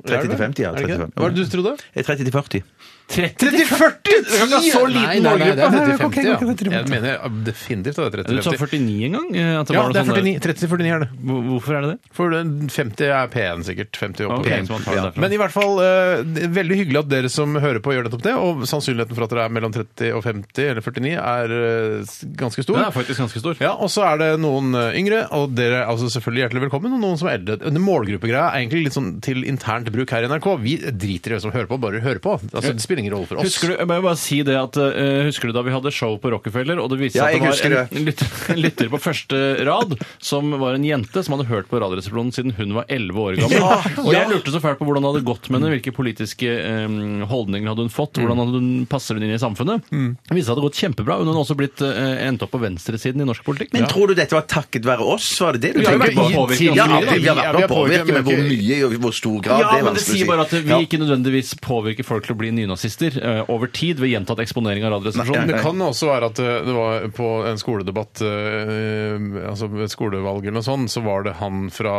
30 til 50, ja.
Er det ikke det?
30
Hva var det du trodde?
Eh, 30 til 40.
30 til 40?! Du kan ikke ha så liten
Nei, nei, nei, det
målgruppe!
er 30
Ok, ok, ok,
50, ja.
30.
Jeg mener ja, definitivt at det er
Du
30
sa
50.
49 en gang? eh, at det
Ja,
var noe
det er
sånn der-
49. 30-49 er det.
Hvor- Hvorfor er det det?
For den 50 er P1 sikkert. 50 opp.
Ok, sånn. så man
Sånn
tar det
ja.
derfra.
Men i hvert fall, eh, det er veldig hyggelig at dere som hører på gjør nettopp det, og sannsynligheten for at dere er mellom 30 og 50 eller 49 er eh, s- ganske stor.
Den er faktisk ganske stor.
Ja, og så er det noen eh, yngre, og dere er altså selvfølgelig hjertelig velkommen, og noen som er eldre. Den målgruppegreia er egentlig litt sånn til internt bruk her i NRK. Vi driter i hvem som hører på, bare hører på. Altså, det spiller ingen rolle for oss.
Husker du, jeg må jo bare si det at, eh, husker du da vi hadde show på Rockefeller, og det viste
Ja,
seg at
jeg
det var
husker
en, en lytter, en lytter på første rad som var en jente som hadde hørt på Radioresepsjonen siden hun var 11 år gammel.
Ja,
og jeg lurte så fælt på hvordan det hadde gått med henne, hvilke politiske eh, holdninger hadde hun fått, hvordan hadde hun passer hun inn i samfunnet. Det viste seg at det hadde gått kjempebra. Hun hadde også blitt eh, endt opp på venstresiden i norsk politikk.
Men tror du dette var takket være oss? Var det det du
Vi har vært
tenkte på?
påvirket
Ja,
ganske mye, da.
vi har
Vi
vært med
er
å
påvirket,
påvirke,
men
men hvor
ikke-
mye og i hvor stor grad,
ja,
det er
men det
vanskelig å si.
sier bare at vi
Ja.
ikke nødvendigvis påvirker folk til å bli nynazister eh, over tid ved gjentatt eksponering av
Men
Radioresepsjonen.
Det kan også være at eh, det var på en skoledebatt, eh, altså et skolevalg eller noe sånt, så var det han fra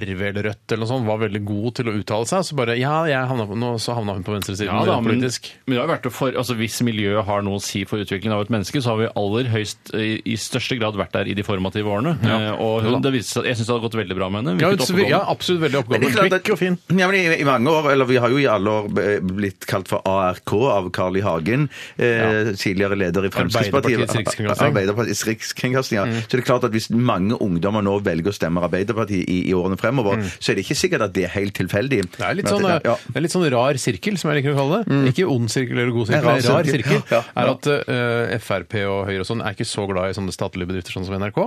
RV eller Rødt eller noe sånt, var veldig god til å uttale seg, så bare, ja, jeg havna på, nå så havna hun på venstresiden
Ja, da,
eh,
men,
politisk.
men det har jo vært å for, altså, Hvis miljøet har noe å si for utviklingen av et menneske, så har vi aller høyst i, i største grad vært der i de formative årene. Eh, og hun, det viste seg, Jeg syns det hadde gått veldig bra med henne.
Ja,
Virket
så vi- ja,
oppegående.
absolutt veldig
Men det
oppgående.
er klart at-
Kvikk og fin.
Ja, men i, I mange år, eller vi har jo i alle år b- blitt kalt for ARK av Carl I. Hagen, eh, tidligere leder i Fremskrittspartiet.
Arbeiderpartiets Rikskringkasting.
Arbeiderpartiets Rikskringkasting, ja. Så det er klart at hvis mange ungdommer nå velger å stemme Arbeiderpartiet i, i årene fremover, så er det ikke sikkert at det er helt tilfeldig.
Det er, litt
Men at
sånn, eh,
ja.
det er litt sånn rar sirkel, som jeg liker å kalle det. Ikke ond sirkel eller god sirkel,
Nei,
men rar sirkel.
Ja, ja.
Er at eh, Frp og Høyre og sånn er ikke så glad i sånne statlige bedrifter sånn som NRK.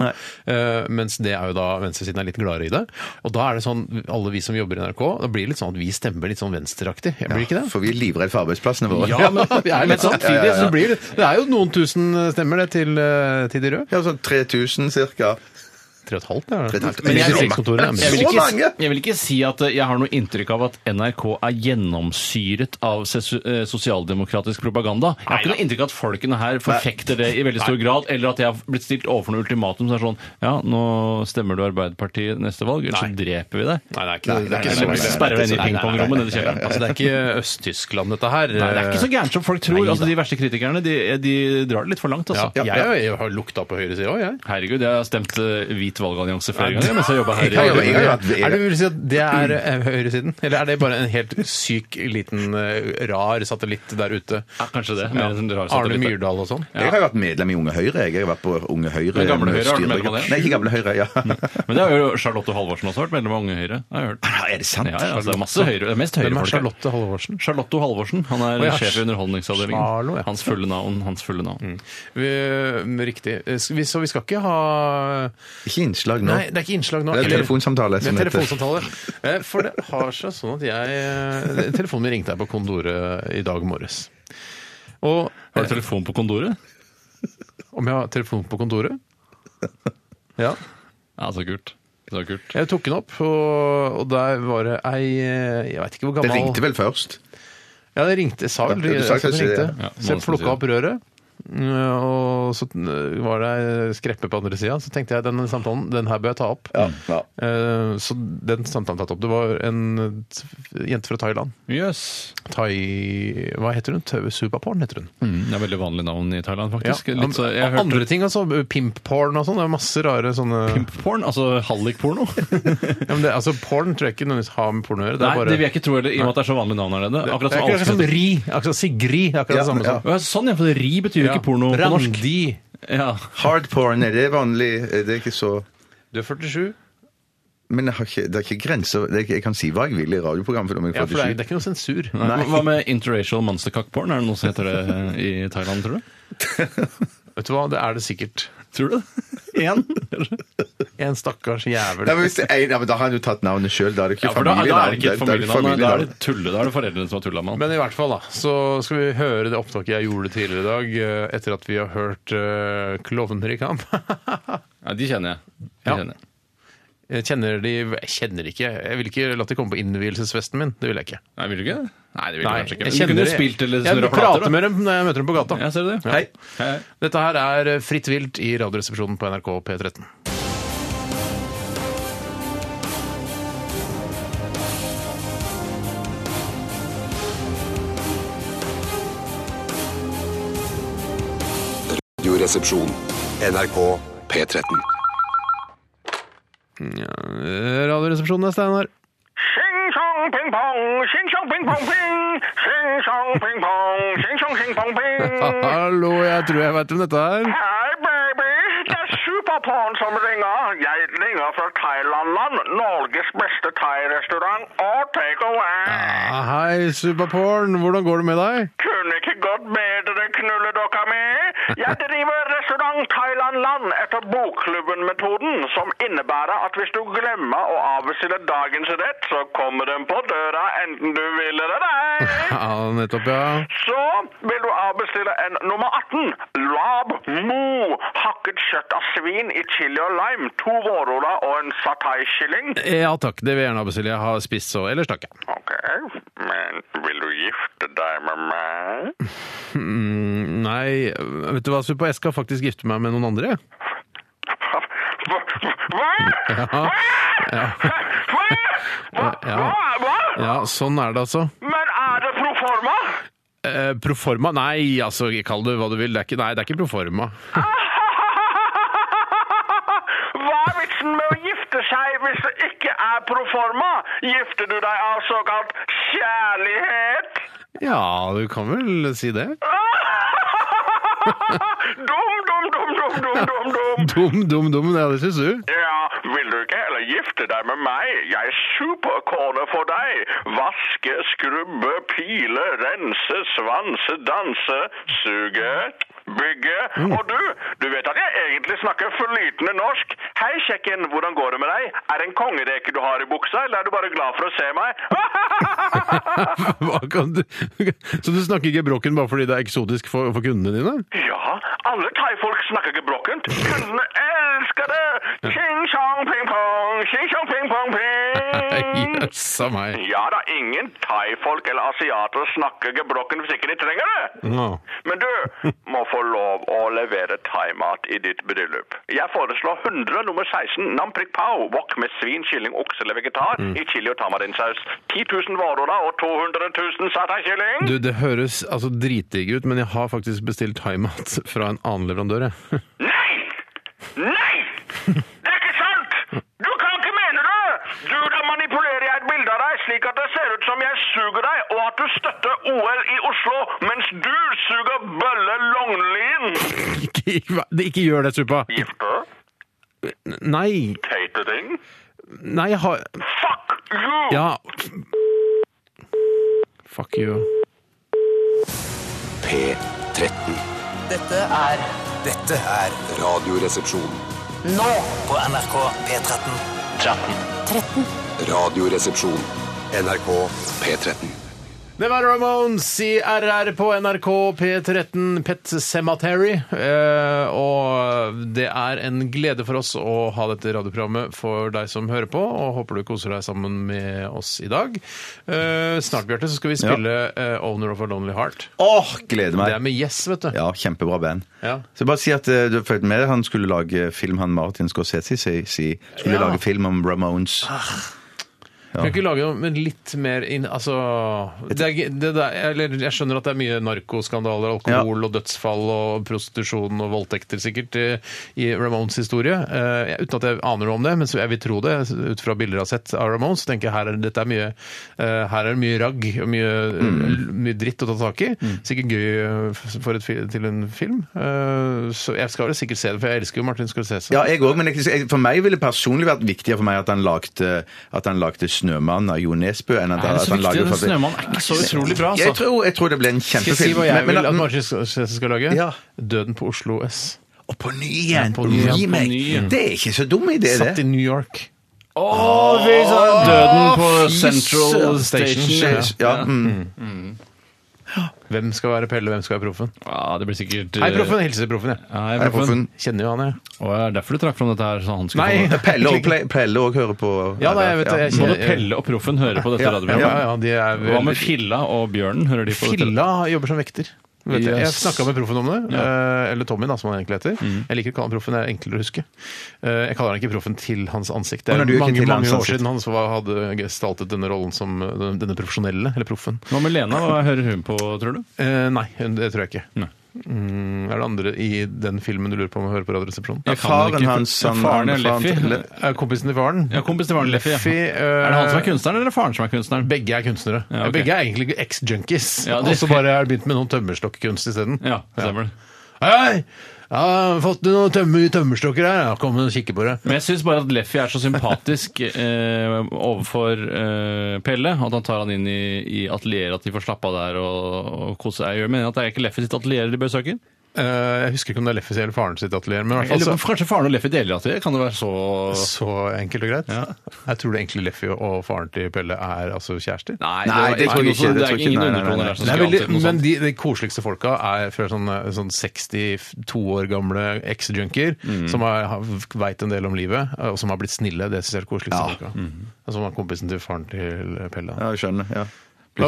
eh, mens det er jo da venstresiden er litt gladere i det. Og da er det sånn, alle vi som jobber i NRK, da blir det litt sånn at vi stemmer litt sånn venstreaktig. Blir det ikke det?
For vi er livredde for arbeidsplassene våre.
Ja, men, vi er litt samtidig,
Ja, ja, ja.
så blir det Det er jo noen tusen stemmer det til, eh, til de røde.
Ja, sånn 3000 cirka.
Tre og et halvt, det er det.
3,5. Men jeg-
Distriktskontoret er
jeg
med.
vil,
Så
ikke,
mange!
jeg vil ikke si at eh, jeg har noe inntrykk av at NRK er gjennomsyret av sesu- eh, sosialdemokratisk propaganda. Jeg har ikke noe inntrykk av at folkene her forfekter det i veldig stor grad, eller at jeg har blitt stilt overfor noe ultimatum som er sånn Ja, nå stemmer du Arbeiderpartiet neste valg, eller så dreper vi deg.
Nei, det er ikke, det er
nei,
ikke
nei,
så
Eller
nei,
ille.
sperrer deg inn i
Nei, nei, nei, nei.
pingpongrommet nede i kjelleren.
Altså, det er ikke Øst-Tyskland, dette her.
Nei, det er ikke så gærent som folk tror. Altså, de verste kritikerne de, de drar det litt for langt.
Ja,
Altså.
jeg, jeg har lukta på høyre side òg, jeg.
Herregud, jeg har stemt eh, hvit valgallianse flere ganger mens jeg jobba her.
Jeg
i
har jo- jeg har jo hatt-
Er det vil si at det er eh, høyresiden? Eller er det bare en helt syk, liten, eh, rar satellitt der ute?
Ja, kanskje det. Mer enn rare
Arne
satellitter.
Myrdal og sånn?
Jeg har jo vært medlem i Unge Høyre. Jeg, jeg har vært på Unge Høyre.
Men Gamle Høyre, har du
styre-
medlem av det?
Nei, ikke Gamle Høyre, ja.
Men det har jo Charlotte Halvorsen også vært medlem av Unge Høyre. har jeg hørt.
Ja, er det sant?
Ja, ja, altså, det er masse høyre, det er mest
Hvem
høyre
er
folk her.
Charlotte Halvorsen?
Charlotto Halvorsen. Han er
Å, ja.
sjef i Underholdningsavdelingen.
Charlo, ja. Mm.
Hans fulle navn. hans fulle navn.
Vi, riktig. Eh, vi- Så vi skal ikke ha
Ikke ikke innslag nå.
Nei, det er ikke innslag nå.
Det er
eller-
telefonsamtale
Det er
som heter.
telefonsamtale. Eh, For det har seg sånn at jeg eh, Telefonen min ringte her på kondoret i dag morges. Og
Har du telefon på kondoret?
om jeg har telefon på kontoret? Ja.
Ja, så kult. Så kult.
Jeg tok den opp, og, og der var det ei eh, Jeg veit ikke hvor
Det
gammel
ringte vel først?
Ja, det ringte. Jeg sa vel
Ja, du
jeg
sa
sa det
kanskje det,
ringte.
ja. Ja,
så jeg
Monsen sier
plukka opp røret. eh, Og så eh, var det ei skreppe på andre sida. Så tenkte jeg denne samtalen den her bør jeg ta opp. Eh, Så den samtalen tatt opp. Det var en t- jente fra Thailand.
Jøss.
Thai... Hva heter hun? Tø- Supaporn heter hun.
Mm, Det er veldig vanlig navn i Thailand,
Ja.
faktisk. Litt så, jeg
Og
hørte
Andre ting altså. Pimpporn og sånn. Det er masse rare sånne
Pimpporn, altså hallikporno.
ja, men det, altså, Porn tror jeg ikke nødvendigvis har med porno å gjøre. Det
Nei,
er bare
det vil jeg ikke tro heller, i og med at det er så vanlig navn her nede.
Det
Akkurat
er
som
akkurat som
Alfred.
Ri. Akkurat som Sigrid. Akkurat det samme
ja.
som
Ja, Sånn, ja, for det ri betyr jo ikke porno på norsk.
Randi.
Ja.
Hardporn, er det vanlig?
eh,
Det er ikke så
Du er 47.
Men jeg har ikke, det er ikke grenser det er ikke, Jeg kan si hva jeg vil i radioprogram, for om jeg
Ja, for det er,
får
det er ikke noe sensur.
Nei. Hva med interracial monstercock-porn? Er det noe som heter det eh, i Thailand, tror du?
Vet du hva, det er det sikkert.
Tror du det? Én?
En stakkars
ja,
jævel.
men, hvis det er, ja, men Da har han jo tatt navnet sjøl. Da er det ikke
Ja, for da, da er det ikke et
familienavn. det
familienavn. nei, Da er
familienavn.
det tulle, da er det foreldrene som har tulla med han.
Men i hvert fall, da, så skal vi høre det opptaket jeg gjorde tidligere i dag, eh, etter at vi har hørt eh, Klovner i kamp.
Nei, de kjenner jeg. De
Ja.
kjenner jeg.
Jeg kjenner de Jeg kjenner ikke. Jeg vil ikke la de komme på innvielsesfesten min. Det vil jeg ikke.
Nei, vil du ikke? Nei, det vil
Nei,
du kanskje ikke. Men
jeg
Du
kjenner
kunne
de.
spilt eller
Jeg
snurra
prater
plater. da.
med dem når jeg møter dem på gata.
Ja, ser du det?
Hei.
Hei.
Dette her er Fritt vilt i Radioresepsjonen på NRK P13.
Radioresepsjon.
NRK P13.
Eh, Radioresepsjonen er Steinar.
神上乒乓，神上乒乓乒，神上乒乓，神上乒乓乒。
Hallo, jeg tror jeg veit om dette her.
Hei, baby. Det er Superporn som ringer. Jeg ringer fra Thailand, Norges beste thai-restaurant og takeaway.
Ah, Hei, Superporn. Hvordan går det med deg?
Kunne ikke gått bedre, knulledokka mi. Jeg driver restaurant Thailand-land etter Bokklubben-metoden, som innebærer at hvis du glemmer å avbestille dagens rett, så kommer den på døra enten du vil eller ei.
Ja, nettopp, ja.
Så vil du avbestille en nummer 18. Lab mo. Hakket kjøtt av svin i chili og lime. To vårruller og en satai-kylling.
Ja takk, det vil jeg gjerne ha bestilt. Jeg har spist så Ellers takk, jeg.
Ok, men vil du gifte deg med meg?
Mm, nei, vet du hva, Supa, jeg skal faktisk gifte meg med noen andre. jeg.
Hva? Hva? Hva? Hva? Hva? Hva? Hva?
Ja, sånn er det altså.
Men er det proforma?
Eh, proforma? Nei, altså, kall det hva du vil. Det er ikke, nei, det er ikke proforma.
Hva er vitsen med å gifte seg hvis det ikke er proforma? Gifter du deg av såkalt kjærlighet?
Ja, du kan vel si det.
Dum, dum, dum, dum, dum, dum, dum.
Dum, dum, dum. Ja, det syns du.
Ja, vil du ikke heller gifte deg med meg? Jeg er superkone for deg. Vaske, skrubbe, pile, rense, svanse, danse, suge, bygge. Og du, du vet at jeg egentlig snakker flytende norsk. Hei, kjekken, hvordan går det med deg? Er det en kongereke du har i buksa, eller er du bare glad for å se meg?
Hva kan du? Så du snakker ikke brokken bare fordi det er eksotisk for, for kundene dine?
Ja, alle thaifolk snakker gebrokkent. Kundene elsker det! Ching chong ping pong, ching chong ping pong ping.
Jøssa meg.
Ja da, ingen thaifolk eller asiater snakker gebrokkent hvis ikke de trenger det.
Ja.
Men du må få lov å levere thaimat i ditt bryllup. Jeg foreslår 100 nummer 16 nam prik pao, wok med svin, kylling, okse eller vegetar i chili og tamarinsaus. 10 000 varer og 200 000 satai-kylling.
Du, det høres altså dritdigg ut, men jeg har faktisk bestilt thaimat fra en annen leverandør, jeg.
Nei! Nei! Det er ikke sant! Du kan ikke mene det! Du, da manipulerer jeg et bilde av deg slik at det ser ut som jeg suger deg, og at du støtter OL i Oslo, mens du suger Bølle Longlien.
Ikke, hva- det- ikke gjør det, Supa!
Gifte?
Nei,
Teite ting?
nei, jeg har
Fuck you!
Ja. Fuck you.
Radioresepsjon.
Nå på NRK P13. 13.
Radioresepsjon.
NRK P13.
Det var Ramones i RR på NRK P13 Pet Cemetery. Eh, og det er en glede for oss å ha dette radioprogrammet for deg som hører på, og håper du koser deg sammen med oss i dag. Eh, snart, Bjarte, så skal vi spille eh, Owner of a Lonely Heart.
Åh, gleder
Det
meg!
er med Yes, vet du.
Ja, kjempebra band.
Ja.
Så bare si at eh, du har fulgt med. Han skulle lage film, han Martin Scorsese, si, si. skulle
Ja.
lage film om Ramones.
Kan ikke lage noe men litt mer inn Altså det er, ikke- det der, eller Jeg skjønner at det er mye narkoskandaler, alkohol og dødsfall og prostitusjon og voldtekter sikkert eh, i Ramones historie. Eh, jeg- uten at jeg aner noe om det, men så jeg vil tro det ut fra bilder jeg har sett av Ramones. så tenker jeg her er, dette er mye, eh, her er det mye ragg og mye,
Mm.
mye dritt å ta tak i. Sikkert gøy eh, for et, fi- til en film. Eh, så jeg skal vel sikkert se det, for jeg elsker jo Martin Scorsese.
Ja, jeg òg, men jeg, for meg ville det personlig vært viktigere for meg at han lagde, at han lagde 'Snømann' av Jo Nesbø enn at,
Er sånn det
at
så
han
viktig?
lager
Den snømannen er ikke så utrolig bra,
Jeg
altså.
tror, jeg tror det ble en
Skal
kjempefilm.
jeg si hva jeg
Men- men
vil
at-
at Martin Scorsese skal lage?
Ja.
Døden på Oslo S.
Og på ny igjen!
på ny igjen, på
remake.
ny igjen.
Det er ikke så dum idé,
Satt i
det.
New York.
Åh, fy søren! Døden på
Fy
Central
søren.
Station.
Ja, ja, mm.
Hvem skal være Pelle, hvem skal være Proffen?
Ja, det blir sikkert
Hei, Proffen. Hilser Proffen, jeg.
Hei,
Jeg får
proffen.
funn-
Kjenner jo han, jeg.
Å, ja, derfor du trakk fram dette her, så han skulle
Nei.
få det.
Pelle og- Ple- Pelle òg hører på.
Ja, nei, jeg vet det, jeg
Både
Ja.
Pelle og Proffen hører på dette
Ja,
Ja,
radioprogrammet.
ja, de er
Hva med
veldig-
Filla og Bjørnen? Hører de på dette?
Filla jobber som vekter. Vet jeg. jeg
Yes.
snakka med Proffen om det. eh, Eller Tommy, da, som han egentlig heter.
Mm.
Jeg liker å kalle han Proffen, det er enklere å huske. Eh, Jeg kaller han ikke Proffen til hans ansikt. Det
Å,
er
nei, du gjør ikke
mange,
til hans
mange år
ansikt.
siden han så var- hadde gestaltet denne rollen som eh, den- denne profesjonelle, eller Proffen.
Hva med Lena? Hva hører hun på, tror du?
Eh, Nei, det tror jeg ikke.
Nei.
Mm, Er det andre i den filmen du lurer på om å høre på Radioresepsjonen?
Ja,
Jeg kan
faren
ikke-
hans,
Ja,
han-
faren er
han-
Leffy.
Le-
Er Kompisen til faren?
Ja, kompis til faren Leffy. ja.
Fy,
Er
øh,
det han som er
eh,
kunstneren, eller er det faren som er kunstneren?
Begge er kunstnere.
Ja, ok.
Begge er egentlig eks-junkies.
Ja, det-
Og så bare har de begynt med noen tømmerstokkunst isteden.
Ja, stemmer det.
Hei! Jeg har fått noen tømmer, tømmerstokker her. Ja, Kom og kikke på det.
Men jeg syns bare at Leffy er så sympatisk eh, overfor eh, Pelle at han tar han inn i, i atelieret, at de får slappe av der og, og kose seg. Jeg mener at det er ikke Leffy sitt atelier de bør søke?
Eh, jeg husker ikke om det er Leffes eller faren sitt atelier, men i hvert
Eller
fall så,
kanskje faren og Leffy deler atelier? Kan det være så
så enkelt og greit.
Ja.
Jeg tror det egentlig Leffy og faren til Pelle er altså kjærester.
Nei,
Nei, det tror jeg
noe
ikke,
sånt-
det
Det
tror
er
jeg ikke.
ingen
Nei, nei, nei,
undertoner
nei.
der som
Det er
skal
veldig,
antyde noe
men
sånt.
de, de koseligste folka er fra sånn, sånn 62 år gamle eks-junkier
Mm.
som har, har veit en del om livet, eh, og som har blitt snille. Det syns jeg er det koseligste folka.
Mm.
Og Som var kompisen til faren til Pelle.
Ja, jeg skjønner. Ja. Blir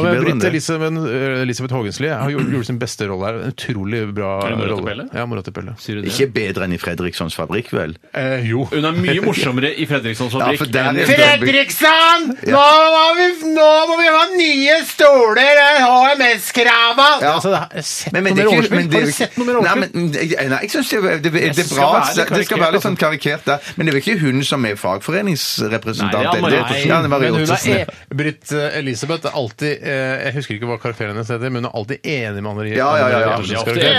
Ja,
ikke
men
bedre
Britt
enn det.
Elisabeth, eh, Elisabeth Haagensli har gjort, gjort sin beste rolle her. En utrolig bra
Er det mora til
rolle.
Pelle?
Ja, mora til Pelle.
Sier du det?
Ikke bedre enn i Fredrikssons fabrikk, vel?
Eh, jo.
Hun er mye morsommere i Fredrikssons
Ja, for
fabrikk.
der er
enn i-
det-
Fredriksson! Nå, må vi, nå må vi ha nye stoler! HMS-krava!
Ja.
Altså, det er- sett
Men, men,
noe
det
mer
er ikke-
overspill.
men det er
Har du
jo ikke-
sett noe mer
Nei,
overspill?
men jeg- nei, jeg synes det, er-
Jeg
det, det, det
synes
er
det skal
bra.
være litt
Det, det skal
karikert,
være litt sånn
altså.
karikert der. Men det er vel ikke hun som er fagforeningsrepresentant?
Nei, det er
eller?
Marie Ottesen.
Ja, det er Marie
Men hun
Ottesen, ja.
er e Britt eh, Elisabeth er alltid eh, Jeg husker ikke hva karakteren hennes heter, men hun er alltid enig med Anne Marie.
Ja, ja, ja, ja.
Anne Marie Ottersens
De er ofte
karakter.
enige.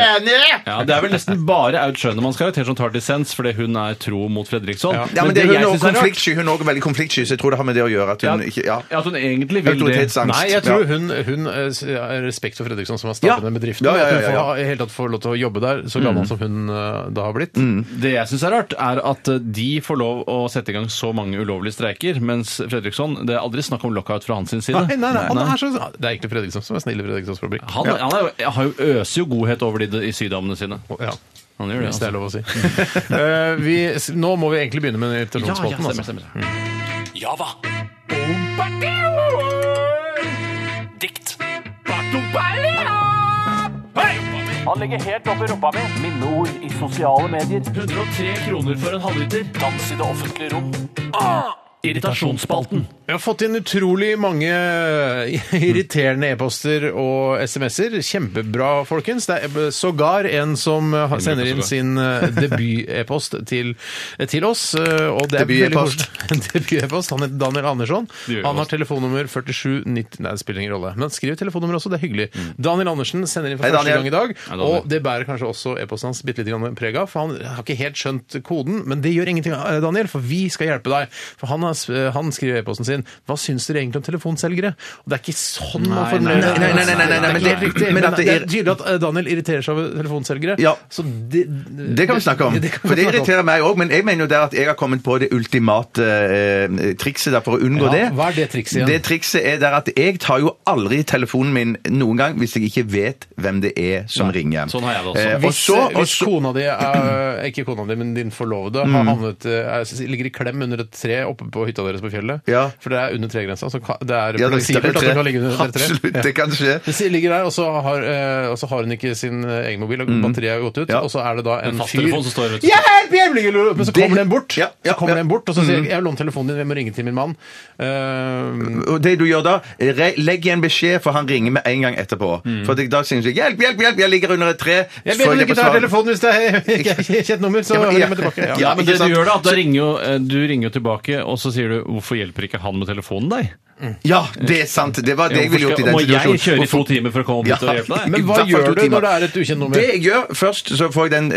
Ja, Det er vel nesten bare Aud Schønemanns karakter som tar dissens, fordi hun er tro mot Fredriksson.
Ja.
Ja, men det,
jeg
hun er
synes
også
er rart,
konfliktsky. Hun er også veldig konfliktsky, så jeg tror det har med det å gjøre at hun
Ja.
ikke ja.
er at hun egentlig vil det.
Autoritetsangst.
Nei, jeg tror
Ja.
hun, hun eh, s- har respekt for Fredriksson, som har startet
Ja.
den bedriften.
Ja, ja, ja,
At hun
ja.
får, ha- i hele tatt får lov til å jobbe der, så gammel som hun eh, da har blitt.
Det jeg syns er rart, er at eh, de får lov å sette i gang så mange ulovlige streiker, mens Fredriksson Det er aldri snakk om lockout fra hans sin side.
Nei, nei, nei, han er så, det er egentlig Fredriksson som er snill i Fredrikssons fabrikk.
Han, han er, jo- har jo øser jo godhet over de i sydamene sine.
Ja,
Han gjør det,
hvis det er
altså.
lov å si. Eh, vi, s- nå må vi egentlig begynne med den
Ja, ja,
irritasjonsspalten.
stemmer,
altså.
stemmer.
Java. Dikt. Han ligger helt oppi rumpa mi. Minneord i sosiale medier.
103 kroner for en halvliter. Ah!
Dans i det offentlige rom.
Irritasjonsspalten.
Vi har fått inn utrolig mange irriterende e-poster og SMS-er. Kjempebra, folkens. Det er sågar en som har- sender inn sin eh, debut-e-post til, til oss. eh, og det er veldig
Debut-e-post.
koselig. Debut-e-post. Han heter Daniel Andersson.
Debut-e-post.
Han har telefonnummer 4790 Nei, det spiller ingen rolle. Men skriv telefonnummer også, det er hyggelig. Daniel Andersen sender inn for
Mm. Hei,
første gang
Daniel.
i dag.
Hei, Daniel.
Og det bærer kanskje også e-posten hans bitte lite preg av, for han har ikke helt skjønt koden. Men det gjør ingenting, eh, Daniel, for vi skal hjelpe deg. For han har s- han skriver i e-posten sin Hva syns dere egentlig om telefonselgere? Og det er ikke sånn man
Nei,
formulerer
nei, nei, nei, nei, nei, nei,
Det er
men
ikke helt
det-
riktig,
men
men det
at det
er
er-
tydelig at eh, Daniel irriterer seg over telefonselgere.
Ja.
Så det,
Det kan vi snakke om.
Det kan vi
For det
snakke om.
irriterer meg òg, men jeg mener jo der at jeg har kommet på det ultimate eh, trikset der for å unngå
Ja,
det.
hva er det trikset igjen?
Det trikset er der at jeg tar jo aldri telefonen min noen gang hvis jeg ikke vet hvem det er som ringer.
sånn har jeg det også.
Eh, og
Hvis,
så, og
hvis
så Mm.
kona di, er, ikke kona di, men din forlovede, har havnet, eh, er, ligger i klem under et tre oppe på hytta deres på fjellet
Ja.
For det er under tregrensa, så ka- det er
Ja, det er
fleksibelt at
tre.
det kan ligge under et tre.
Absolutt, det kan skje.
Hvis de ligger der, og så har, eh, og så har hun ikke sin eh, egen mobil, og batteriet har gått ut,
Mm. Ja.
og så er det da en fyr
Fasttelefon som står vet du.
ja, hjelp, hjelp, ligger du- Men så
Det-
kommer den bort,
Ja, ja,
så kommer
ja. Mm.
den bort og så sier jeg, jeg har lånt telefonen din, jeg må ringe til min mann. Eh,
Og det du gjør da, re, legg igjen beskjed, for han ringer med en gang etterpå. For det- da synes jeg 'hjelp, hjelp, hjelp, jeg ligger under et tre'.
jeg
Får
ber om du
det på
ikke tar
svar.
telefonen hvis det er ikke er kjent nummer, så
Ja, men-
ringer
ja.
jeg tilbake.
Ja,
Ja, men det
ikke
du
sant?
gjør da, at da ringer jo, eh, du ringer jo tilbake, og så sier du 'hvorfor hjelper ikke han med telefonen deg'?
Ja, det er sant. Det var det jeg ville gjort i den
Må jeg
situasjonen.
kjøre i to timer for å komme opp
Ja.
dit og hjelpe deg?
Men
I
hva
hvert fall
gjør
to
du
timer.
når det er et ukjent nummer?
Det jeg gjør først, så får jeg den,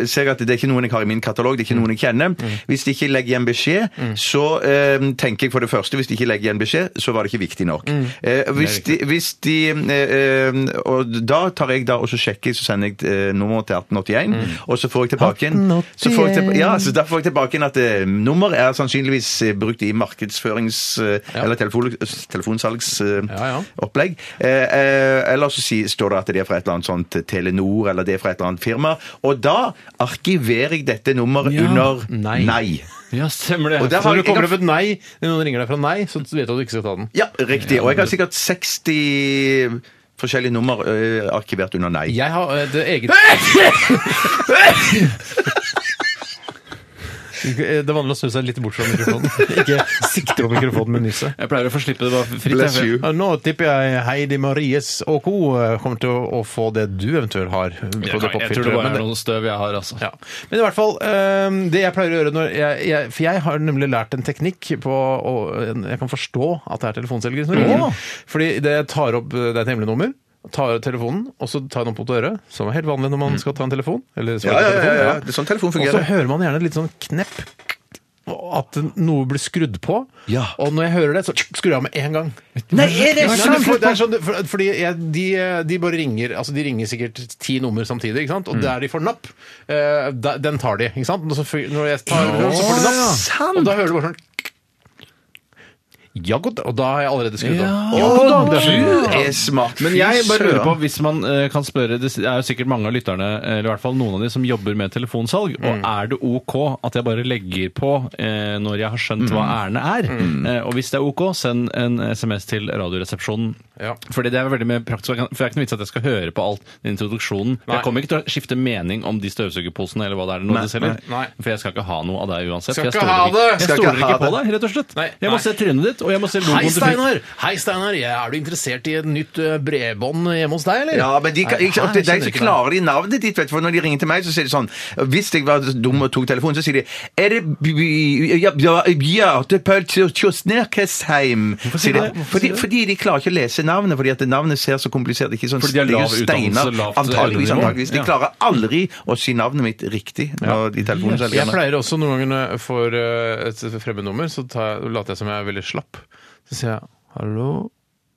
eh, ser jeg at det er ikke noen jeg har i min katalog, det er ikke noen jeg kjenner. Hvis de ikke legger igjen beskjed, så eh, tenker jeg for det første, hvis de ikke legger igjen beskjed, så var det ikke viktig nok. Eh, hvis, de, hvis de eh, eh, Og da tar jeg da, og så sjekker jeg, så sender jeg eh, nummeret til 1881, og så får jeg tilbake en så får jeg tilba- Ja, så da får jeg tilbake en at eh, nummer er sannsynligvis eh, brukt i markedsførings... Eh, Eller telefon,
Ja, ja.
telefonsalgsopplegg opplegg. Eh, eh, eller så si, står det at det er fra et eller annet sånt Telenor, eller det er fra et eller annet firma. Og da arkiverer jeg dette nummeret
Ja.
under
Nei.
Ja, stemmer det.
Og der
Så
har
når du
jeg-
kommer opp et nei, når noen ringer deg fra nei, så vet du at du ikke skal ta den.
Ja, riktig. Og jeg har sikkert 60 forskjellige nummer eh, arkivert under nei.
Jeg har eh, det eget Eh, Det er vanlig å snu seg litt bort fra mikrofonen. Ikke sikte på mikrofonen med nyset.
Jeg pleier å få slippe det bare fritt.
Bless
jeg.
you.
Ja, Nå tipper jeg Heidi Maries og co. kommer til å- å få det du eventuelt har. på
Jeg,
det
kan, jeg tror
popfilteret,
det bare
men
er noe støv jeg har, altså.
Ja. Men i hvert fall, ehm, det jeg pleier å gjøre når jeg, jeg For jeg har nemlig lært en teknikk på og Jeg kan forstå at det er telefonselgere som ringer.
Mm.
Fordi det jeg tar opp Det er et hemmelig nummer. Tar opp telefonen, og så tar jeg den opp mot øret, som er helt vanlig når man skal ta en telefon. Eller svare
Mm. Ja, ja,
på
ja,
telefon,
ja, ja. Det er sånn telefon
Og så
fungerer.
hører man gjerne litt sånn knepp. og At noe blir skrudd på.
Ja.
Og når jeg hører det, så skrur jeg av med en gang.
Nei, er det
Nei,
sant?
men for- det er sånn, for, fordi jeg, de, de bare ringer altså De ringer sikkert ti nummer samtidig, ikke
Mm.
sant? og der de får napp, eh, da- den tar de. Ikke sant? Og så, fyr- når jeg tar, så får de napp, og da hører du bare sånn ja, godt, Og da har jeg allerede skrudd av. Ja,
Å,
godt, da.
du er smart.
Men
Fy
jeg bare lurer på,
søren.
hvis man eh, kan spørre Det er jo sikkert mange av lytterne, eller i hvert fall noen av de, som jobber med telefonsalg.
Mm.
Og er det OK at jeg bare legger på eh, når jeg har skjønt
Mm.
hva ærendet er? Eh, og hvis det er OK, send en SMS til Radioresepsjonen.
Ja.
Fordi det er veldig mer praktisk, for det er ikke noe vits at jeg skal høre på alt i introduksjonen.
Nei.
Jeg kommer ikke til å skifte mening om de støvsugerposene eller hva det er nå de selger.
nei, nei.
For jeg skal ikke ha noe av deg uansett. for jeg
Skal
stoler
ikke ha
ikke-
det.
Jeg
Skal ikke
stoler ikke
ha
på deg, rett og slett.
Nei,
Jeg
nei.
må se trynet ditt, og jeg må se logoen
Hei,
du fikk.
Steinar! Hei, Steinar! Ja, er du interessert i et nytt eh, bredbånd hjemme hos deg, eller?
Ja, men de, kan,
Nei,
ikke, sant, det er
jeg
de som
skjønner ikke
klarer de navnet ditt, vet du. For når de ringer til meg, så sier de sånn Hvis jeg var dum og tok telefonen, så sier de Er det b- ja, ja, Bjartepøl Kjosnerkesheim?
sier
Sier de.
de det?
Fordi, fordi de klarer ikke å lese navnet, fordi at navnet ser så komplisert Ikke sånn
Fordi de har lav
det er jo steiner.
utdannelse, lavt
Antageligvis,
evnenivå.
antageligvis. De
Ja.
klarer aldri å si navnet mitt riktig når de
Jeg
telefonselgerne
pleier også noen ganger når jeg får eh, et fremmednummer, så tar, jeg- later jeg som jeg er veldig slapp. Så sier jeg 'hallo'.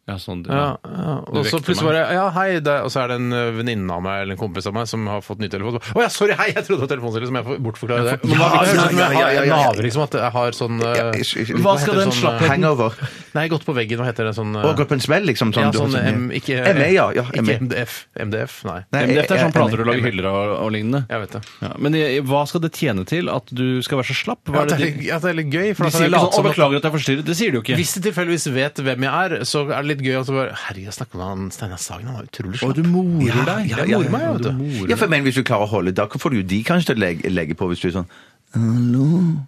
Ja, sånn,
Ja, ja. Og så
vekte
plutselig bare Ja, hei. Det, er- og så er det en eh, venninne av meg eller en kompis av meg som har fått ny telefon. Å ja, sorry, hei! Jeg trodde det var telefonselger, så må jeg få bortforklare det. Men
ja,
hva- jeg
ja,
hører som jeg
ja,
har-
ja,
jeg
ja, ja.
naver liksom at jeg har sånn eh,
Ja, ish, ish.
Hva skal
heter
den
sånn, eh,
slappheten
Hangover.
Nei, gått på veggen. Hva heter det? Sånn eh,
Og gå på en smell, liksom. Sånn,
ja, eh,
du har
sånn
sånn-
em, ikke,
ME, ja. ja ME.
Ikke MDF. MDF, nei.
Nei,
Men dette er sånn
jeg- jeg-
plater du lager hyller av og lignende.
Jeg vet det.
Ja, men i- i- hva skal det tjene til at du skal være så slapp? Hva
Ja,
er
det
det
er
de,
litt, ja, det er litt gøy. For
de
da kan
sier ikke sånn
jeg late
'Å,
som at-
beklager at jeg forstyrret'. Det sier du jo ikke.
Hvis de tilfeldigvis vet hvem jeg er, så er det litt gøy. Og så bare, Herregud, jeg snakket med han Steinar Sagen, han var utrolig slapp.
du morer
deg.
Ja,
Jeg
ja,
morer meg,
ja,
vet du.
morer
Ja,
deg.
for, men hvis du klarer å holde, da får du jo de kanskje til å legge, legge på hvis du er sånn Hallo?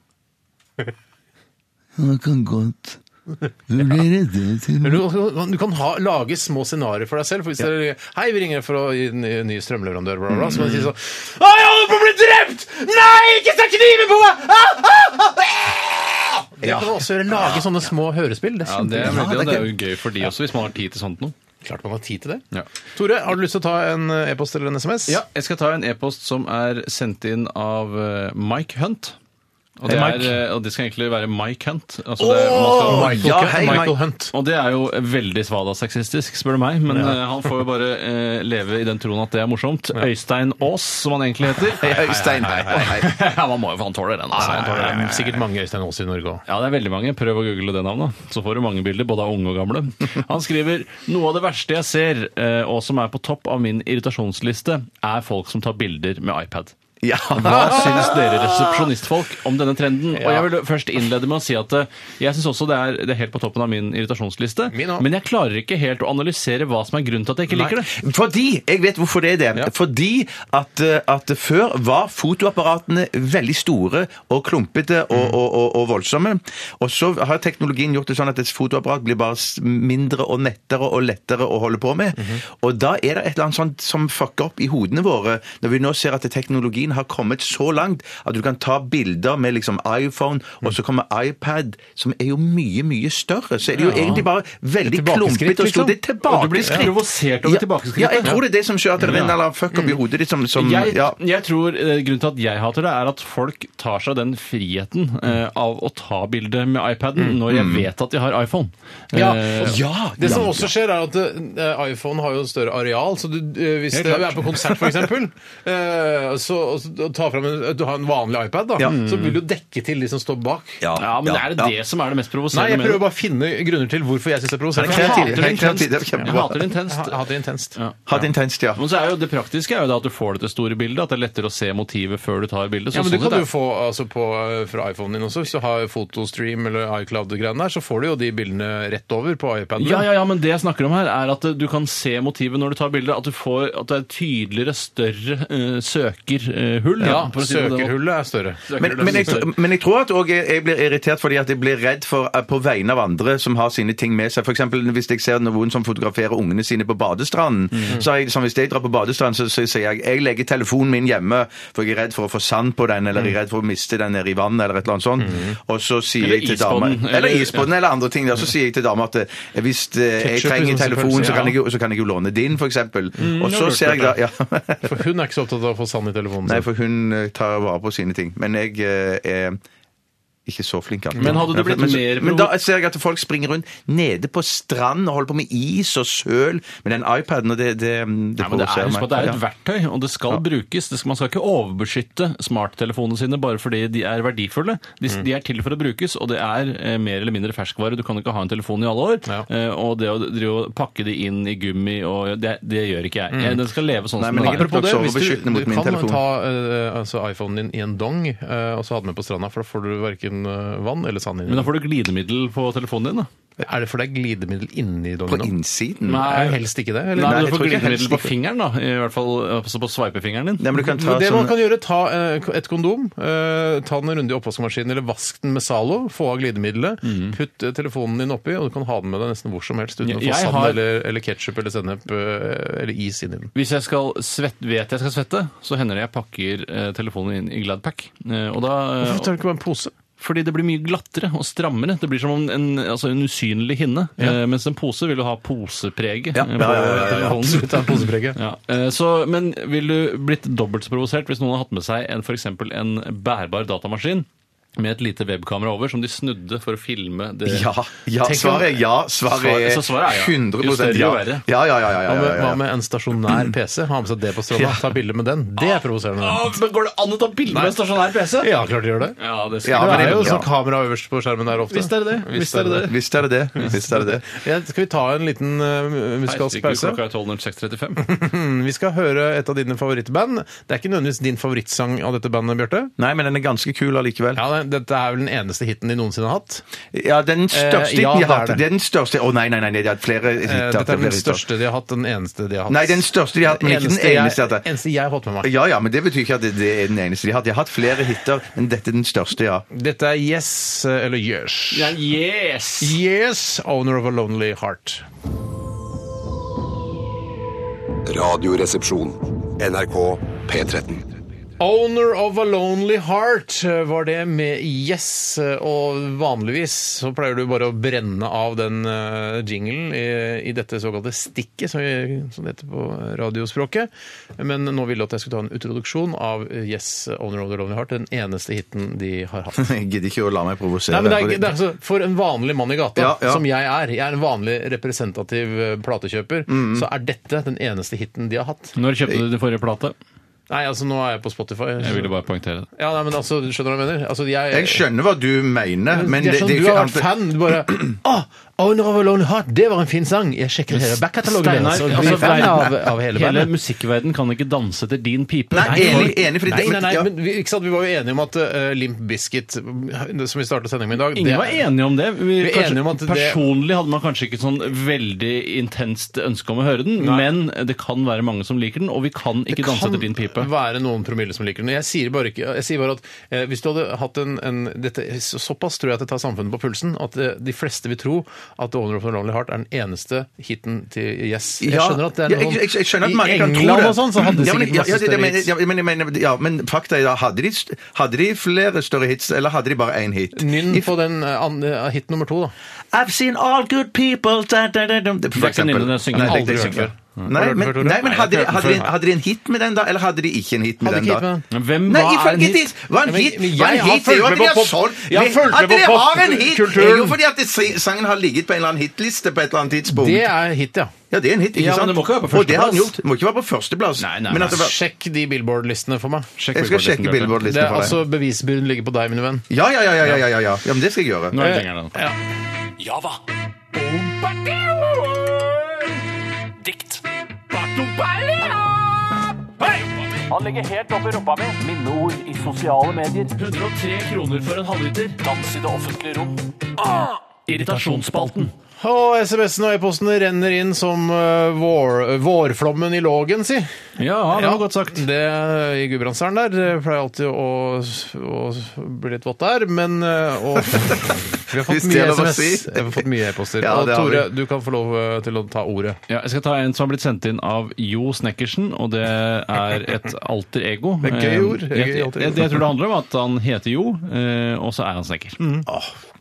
Det kan godt Du blir reddet til
Men Du, du kan ha, lage små scenarioer for deg selv. For hvis det er, Hei, vi ringer for å gi en ny- ny strømleverandør, bla, bla, bla. Så kan du si sånn Å, jeg holder på å bli drept! Nei, ikke sett kniven på meg! Ah, ah, ah! Det kan du også gjøre. Lage sånne små hørespill. Det er
Ja, det er,
kjempegøy.
veldig, og det er jo gøy for de også, hvis man har tid til sånt noe.
Klart man har tid til det.
Ja.
Tore, har du lyst til å ta en eh, e-post eller en SMS?
Jeg skal ta en e-post som er sendt inn av eh, Mike Hunt. Og det,
Mike.
er, eh, og det skal egentlig være Mike Hunt. Altså det er, man skal,
Åh,
Michael,
ja,
Hunt.
hei,
Michael
Mike.
Hunt.
Og det er jo veldig svada-sexistisk, spør du meg. Men eh, han får jo bare eh, leve i den troen at det er morsomt. Øystein Aas, som han egentlig heter.
Øystein.
ja, man må jo faen tåle den. Altså.
Nei, Sånn, det er sikkert mange Øystein Aas i Norge òg.
Ja, det er veldig mange. Prøv å google det navnet. Så får du mange bilder, både av unge og gamle. Han skriver noe av det verste jeg ser, eh, og som er på topp av min irritasjonsliste, er folk som tar bilder med iPad.
Ja.
Hva syns dere resepsjonistfolk om denne trenden? Og jeg vil først innlede med å si at eh, jeg syns også det er, det er helt på toppen av min irritasjonsliste,
Min også.
men jeg klarer ikke helt å analysere hva som er grunnen til at jeg ikke liker det.
Fordi, Jeg vet hvorfor det er det. Fordi at, eh, at før var fotoapparatene veldig store og klumpete og,
Mm.
og, og, og voldsomme. Og så har teknologien gjort det sånn at et fotoapparat blir bare s- mindre og nettere og lettere å holde på med.
Mhm.
Og da er det et eller annet sånt som fucker opp i hodene våre, når vi nå ser at teknologien har kommet så langt at du kan ta bilder med liksom iPhone,
Mm.
og så kommer iPad, som er jo mye, mye større. Så er det jo egentlig bare veldig
tilbakeskritt,
klumpete og stort. Det er
liksom.
Og du blir
tilbakeskritt.
provosert over tilbakeskrittet.
Ja, jeg tror det er det som skjer at det er en
Ja. Mm.
eller annen fuck opp i hodet ditt som, som
jeg,
Mm, ja.
jeg tror eh, Grunnen til at jeg hater det, er at folk tar seg den friheten eh, av å ta bilde med iPaden når jeg vet at de har iPhone. Eh,
ja,
Det som også skjer, er at eh, iPhone har jo større areal. Så du, eh, hvis
Helt
du
klart.
er på konsert, f.eks., så, og så og tar frem en, eh, du har en vanlig iPad, da,
Ja.
så vil du dekke til de som står bak.
ja, men er det
ja.
det som er det mest
Nei,
provoserende
jeg
med
prøver
det?
bare å finne grunner til hvorfor jeg syns det er
Det
provoserende.
er
Jeg
kreativt.
hater det
Helt kreativt, det er
intenst.
kjempebra.
Jeg hater det
Jeg
intenst.
ha- jeg hater det intenst.
Ja.
Hatt intenst, ja.
Men så er jo det praktiske er jo da at du får dette store bildet, at det er lettere å se motivet før du tar bildet. Så
Ja, men Det
sånn sett
kan du
er-
jo få altså, på, eh, fra iPhonen din også. Hvis du har Fotostream eller iCloud-greiene der, så får du jo de bildene rett over på iPaden.
ja, ja, ja, men det jeg snakker om her, er at eh, du kan se motivet når du tar bildet. At, du får, at det er tydeligere, større eh, søkerhull. da,
ja
for å si det på den måten.
søkerhullet er større.
Men, men, jeg, men jeg tror at også jeg, jeg blir irritert fordi at jeg blir redd for, eh, på vegne av andre som har sine ting med seg. For eksempel hvis jeg ser noen som fotograferer ungene sine på badestranden. Så har jeg, som hvis jeg drar på badestranden, så, så sier jeg jeg legger telefonen min hjemme, for jeg er redd for å få sand på den, eller jeg er redd for å miste den nede i vannet, eller et eller annet sånt. Og så sier
Eller
jeg til
isbåten,
dama
eller-
Eller isbåten, eller andre ting. Der. Så sier jeg til dama at eh, hvis eh, jeg
Ketchup,
trenger
liksom,
telefon, så
selvfølgelig,
kan jeg, jo- så kan jeg jo låne din, for eksempel. Og så ser jeg da ja.
For hun er ikke så opptatt av å få sand i telefonen.
Nei,
sin.
for hun eh, tar vare på sine ting. Men jeg eh, er ikke så flink. alltid.
Men hadde du blitt
Men så-
mer
Men da ser jeg at folk springer rundt nede på stranden og holder på med is og søl med den iPaden, og det,
Nei,
det, det
men det er,
provoserer
husk på
meg.
at det er et
Ja.
verktøy, og det skal brukes. Det skal, man skal ikke overbeskytte smarttelefonene sine bare fordi de er verdifulle. De,
Mm.
de er til for å brukes, og det er eh, mer eller mindre ferskvare. Du kan ikke ha en telefon i alle år.
Ja.
Eh, og det å drive og pakke de inn i gummi, og det, det gjør ikke jeg. jeg. Den skal leve sånn
Mm. Nei,
som
men
den er.
jeg-
Apropos
nok
det,
så
hvis du,
overbeskyttende mot
du
min
kan
telefon.
ta eh, altså iPhonen din i en dong eh, og så ha den med på stranda, for da får du verken eh, vann eller sand inni
Men da
den.
får du glidemiddel på telefonen din, da.
Er det for deg glidemiddel inni
På
liksom.
dongen?
innsiden?
Nei.
Er det helst ikke det? Eller?
Nei,
Nei, jeg
du
tror
får
ikke
glidemiddel
helst
på
ikke.
fingeren, da. I hvert fall altså på sveipefingeren din.
Nei, men du kan ta
Men det man
sånn
kan gjøre, ta eh, et kondom, eh, ta den runde i oppvaskmaskinen eller vask den med Zalo, få av glidemiddelet, putt eh, telefonen din oppi, og du kan ha den med deg nesten hvor som helst uten
Jeg-
å få
jeg
sand
har-
eller, eller ketsjup eller sennep eh, eller is inni den.
Hvis jeg skal svette, vet jeg skal svette, så hender det jeg pakker eh, telefonen inn i Gladpack. Eh, og da, eh,
Hvorfor tar du ikke bare en pose?
Fordi det blir mye glattere og strammere. Det blir som om en, altså en usynlig hinne. Eh, mens en pose vil jo ha posepreget.
Ja,
eh, på
ja, ja, ja, ja.
telefonen.
Absolutt, en posepreget.
Ja, eh, så, men vil du blitt dobbelt så provosert hvis noen har hatt med seg en, for eksempel en bærbar datamaskin med et lite webkamera over som de snudde for å filme det?
Ja, ja,
Tenk om-
svaret er ja. Svaret er,
Svar- så svaret er ja.
100
Jo større, jo
ja.
verre.
Ja, ja, ja, ja, ja,
Hva med,
ja,
hva
ja.
med en stasjonær PC? Ha med seg det på stranda,
Ja.
ta bilde med den. Det er provoserende.
Å, Ah, men går det an å ta bilde med en stasjonær PC?
Ja, klart de gjør det.
Ja, det
Ja,
skal
men
det
det-
er jo
ja.
sånn kamera øverst på skjermen der ofte.
Visst er det det. Visst er det det.
Visst er det det. Visst er det det.
Ja, skal vi ta en liten eh, musikalsk pause? Mm,
Klokka er 12.06.35.
Vi skal høre et av dine favorittband. Det er ikke nødvendigvis din favorittsang av dette bandet, Bjarte.
Nei, men den er ganske kul allikevel.
Ja, det- Dette er vel den eneste hiten de noensinne har hatt.
Ja,
Eh,
den største
ja, det
hiten jeg
er
har hatt.
det.
Det er den største Å nei, nei, nei, det er flere
Eh,
hiter.
Dette er
flere altså.
den
hiter.
største de har hatt. Den eneste de har hatt.
Nei, den største de har hatt, men ikke den
Eneste jeg-
eneste de har hatt.
Eneste jeg har fått med meg.
Ja, ja, men det betyr ikke at det, det er den eneste de har hatt. De har hatt flere hiter, men dette er den største, ja.
Dette er Yes, eh, eller Yes.
Ja, yes!
Yes, Owner of a Lonely Heart.
Radioresepsjon.
NRK P13.
Owner of a Lonely Heart eh, var det med Yes. eh, Og vanligvis så pleier du bare å brenne av den eh, jinglen i, i dette såkalte stikket, som, vi, som det heter på radiospråket. Men nå ville jeg at jeg skulle ta en introduksjon av eh, Yes, Owner of the Lonely Heart. Den eneste hiten de har hatt.
Jeg gidder ikke å la meg provosere.
Nei, men det er, det er altså For en vanlig mann i gata,
Ja, ja.
som jeg er, jeg er en vanlig representativ eh, platekjøper, så er dette den eneste hiten de har hatt.
Når kjøpte du din forrige plate?
Nei, altså nå er jeg på Spotify.
Jeg ville bare poengtere det.
Ja, nei, men altså, du skjønner hva jeg mener? Altså, jeg,
Jeg skjønner hva du mener, men
det er
det,
sånn,
det er
du
ikke
har vært fan, du bare «Åh, Owner of a Lone Heart, det var en fin sang! Jeg sjekker hele back-katalogen deres
Altså,
og blir fan av, av altså, hele
altså, hele
bandet.
musikkverden kan ikke danse til din pipe.
Nei, enig, enig fordi
Nei, nei, nei,
ja.
men vi, ikke sant, vi var jo enige om at eh, Limp Biscuit, som vi startet sendingen med i dag
Ingen var enige om det. Vi,
er
kanskje,
enige om at det-
personlig hadde man kanskje ikke sånn veldig intenst ønske om å høre den, men det kan være mange som liker den, og vi kan ikke danse til din pipe.
være noen promille som liker den. Jeg sier bare, ikke, jeg sier bare at eh, hvis du hadde hatt en, en dette, så- Såpass tror jeg at det tar samfunnet på pulsen at eh, de fleste vil tro at Owner of the Lonely Heart er den eneste hiten til Yes. Jeg
Ja,
skjønner at det er
ja,
noen
jeg, jeg, jeg skjønner at
I
mange kan tro
England
det.
og sånn, så hadde de
ja, men,
sikkert
ja,
masse
ja, det,
større
men,
hits.
ja, men, jeg mener- ja, men fakta er da, hadde de, st- hadde de flere større hits, eller hadde de bare én hit?
Nynn
I-
på den eh, an, eh, hit nummer to, da.
I've seen all good people da, da, da, da,
ikke Nynne, det synger
Nei,
aldri
det er
hørt
ikke-
før.
Nei,
Har du
men,
hørt ordet?
nei, men
Nei,
hadde,
jeg
de,
har ikke hørt den
hadde, de,
før.
hadde de en hit med den da, eller hadde de ikke en hit med
Hadde
den
ikke
da?
hit med den.
Men Hvem
Nei,
var
ifølge
en hit?
ditt var en
Nei, men-
hit.
men
var
jeg
en
har
hit er jo
fulgt
at
med
de har
på pop-
solgt
jeg har
Men
fulgt med
At dere
på
har en hit, er jo
popkulturen.
fordi at det- sangen har ligget på en eller annen hitliste på et eller annet tidspunkt.
Det er hit, ja.
Ja, det er en hit, ikke
Ja, men
sant?
det må ikke være på
Og det har
førsteplass.
den gjort. Det må ikke være på førsteplass.
Nei, nei,
Men at det var-
Sjekk de Billboard-listene for meg.
Jeg skal
Billboard-listen, Bjarte.
Det
sjekke Billboard-listen
er,
for deg.
altså Bevisbyrden ligger på deg, min venn. Eh,
Ja, ja, ja, ja, ja, ja, ja. ja men det skal jeg gjøre.
Nå er det lenger den.
Java. Dikt. Han legger helt opp i rumpa mi. Minneord i sosiale medier.
103 kroner for en halvliter.
Dans i det offentlige rom.
Irritasjonsspalten.
Og SMS-en og e-postene renner inn som eh, vår, vårflommen i Lågen, si.
Ja, det var godt sagt.
Det I Gudbrandsdalen der eh, pleier alltid å, å bli litt vått der, men eh, og, Vi har fått
Hvis det
mye
er lov å
SMS.
si.
Vi har fått mye e-poster.
Ja,
og
det har vi.
Tore, du kan få lov eh, til å ta ordet.
Ja, jeg skal ta en som har blitt sendt inn av Jo Snekkersen, og det er et alter ego.
Det er gøy ord.
Eh,
Det er gøy
Jeg,
alter ego.
jeg, det jeg tror det handler om at han heter Jo, eh, og så er han snekker.
Mm.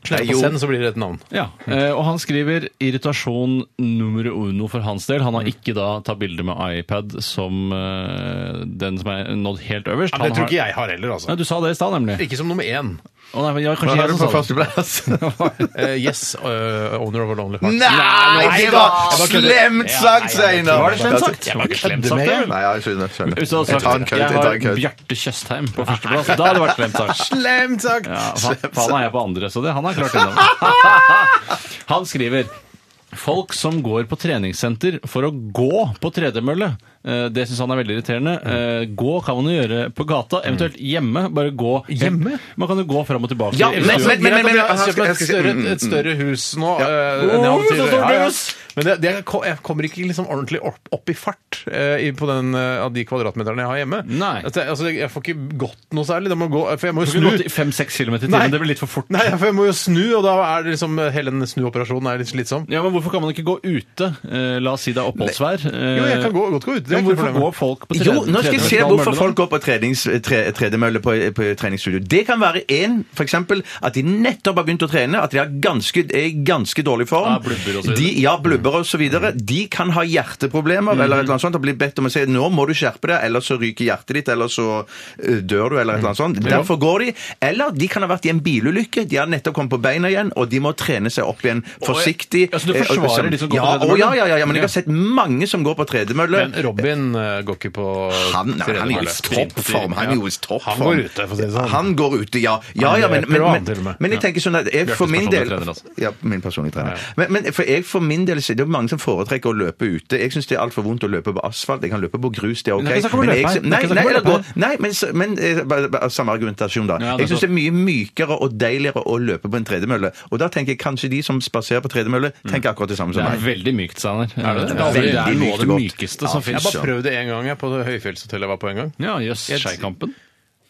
Nei,
På
jo.
send så blir det et navn.
Ja, eh, og han skriver irritasjon nummer uno for hans del. Han har ikke da tatt bilde med iPad som eh, den som er nådd helt øverst.
Det
Han
tror
har-
ikke jeg har heller, altså.
Nei, du sa det i stad, nemlig.
Ikke som nummer én.
Å, nei, men ja,
Da
kanskje jeg
har du
som sa
på
det.
førsteplass.
Eh, yes, eh, owner of a lonely heart.
Nei, det var slemt sagt, Steinar!
Var det slemt sagt? Det var ikke slemt sagt, det.
Nei, jeg skjønner. skjønner.
Hvis du hadde
Jeg tar en
sagt
kødd,
jeg
jeg tar
har
en kødd.
Bjarte Tjøstheim på førsteplass, da hadde det vært slemt sagt.
Slemt sagt!
Ja, fa- faen er jeg på andre, så det han har klart ennå. Han skriver Folk som går på treningssenter for å gå på tredemølle, eh, det syns han er veldig irriterende.
Mm.
Eh, Gå kan man jo gjøre på gata, eventuelt hjemme. Bare gå.
Hjemme?
Man kan jo gå fram og tilbake.
Ja,
i
men,
men-
stua.
men, men, men,
men-
jeg har
jeg skal-
kjøpt
jeg
et
skal-
større,
mm, mm,
et større hus nå. eh,
Oh,
enn jeg hadde
så
tidligere.
stort
Ja, ja.
hus!
Men det, det, ko- jeg kommer ikke liksom ordentlig opp, opp i fart eh, i- på den, eh, av de kvadratmeterne jeg har hjemme.
Nei.
At jeg, altså, jeg får ikke gått noe særlig. Det må gå, for jeg må jo
Du kunne gått
snu.
i 5-6 km i
Nei.
timen. Det blir litt for fort.
Nei, for jeg må jo snu, og da er det liksom hele den snuoperasjonen er litt slitsom.
Ja, men Hvorfor kan man ikke gå ute? Eh, La oss si det er oppholdsvær. eh,
Jo, jeg kan gå, godt gå ut. Det
Men
er ikke
hvorfor
noe problem.
går folk på
Jo, nå skal jeg se hvorfor
tredemølle, da?
folk går på trenings- tre- tredemølle på, på treningsstudio. Det kan være én, f.eks. at de nettopp har begynt å trene, at de er ganske, er i ganske dårlig form.
Ja, blubber og så videre. Mm. Mhm.
De, ja, blubber og så videre. De kan ha hjerteproblemer eller et eller annet sånt og bli bedt om å si nå må du skjerpe deg, ellers så ryker hjertet ditt, eller så ø, dør du, eller et eller
Mm.
annet sånt. Derfor går de. Eller de kan ha vært i en bilulykke, de har nettopp kommet på beina igjen, og de må trene seg opp igjen forsiktig.
Ja, så du
Eh, og-
forsvarer de som går på
ja,
tredemølle?
å, Ja, ja, ja, ja, men jeg har sett mange som går på tredemølle.
Men Robin eh, går ikke på
Han, nei, han er jo
tredemølle.
i toppform. Han er jo i toppform.
Han går ute, for å si det sånn.
Han går ute, ja. Ja,
Han
ja, men,
løper
men,
jo an, til og
men,
med.
men jeg tenker sånn at jeg for min del
personlige trener, altså.
Ja, min personlige trener. Men, men for jeg for min del så er det jo mange som foretrekker å løpe ute. Jeg syns det er altfor vondt å løpe på asfalt. Jeg kan løpe på grus, det er OK.
Men det er ikke snakk om å løpe
jeg,
her. Det er ikke snakk om å løpe
nei, nei, eller gå- nei, men, så- men eh, bare- bare samme argumentasjon, da.
Ja, det er
Jeg syns
sant.
det er mye mykere og deiligere å løpe på en tredemølle. Og da tenker jeg kanskje de som spaserer på tredemølle, tenker akkurat det samme som
Det er
meg.
veldig mykt, Steinar.
Er det det?
Ja, det
Veldig
er noe
mykt
av det
og godt.
mykeste som
Jeg
fins.
bare prøvde det en gang jeg, på det høyfjellshotellet jeg var på en gang.
Ja, jøss. Skeikampen.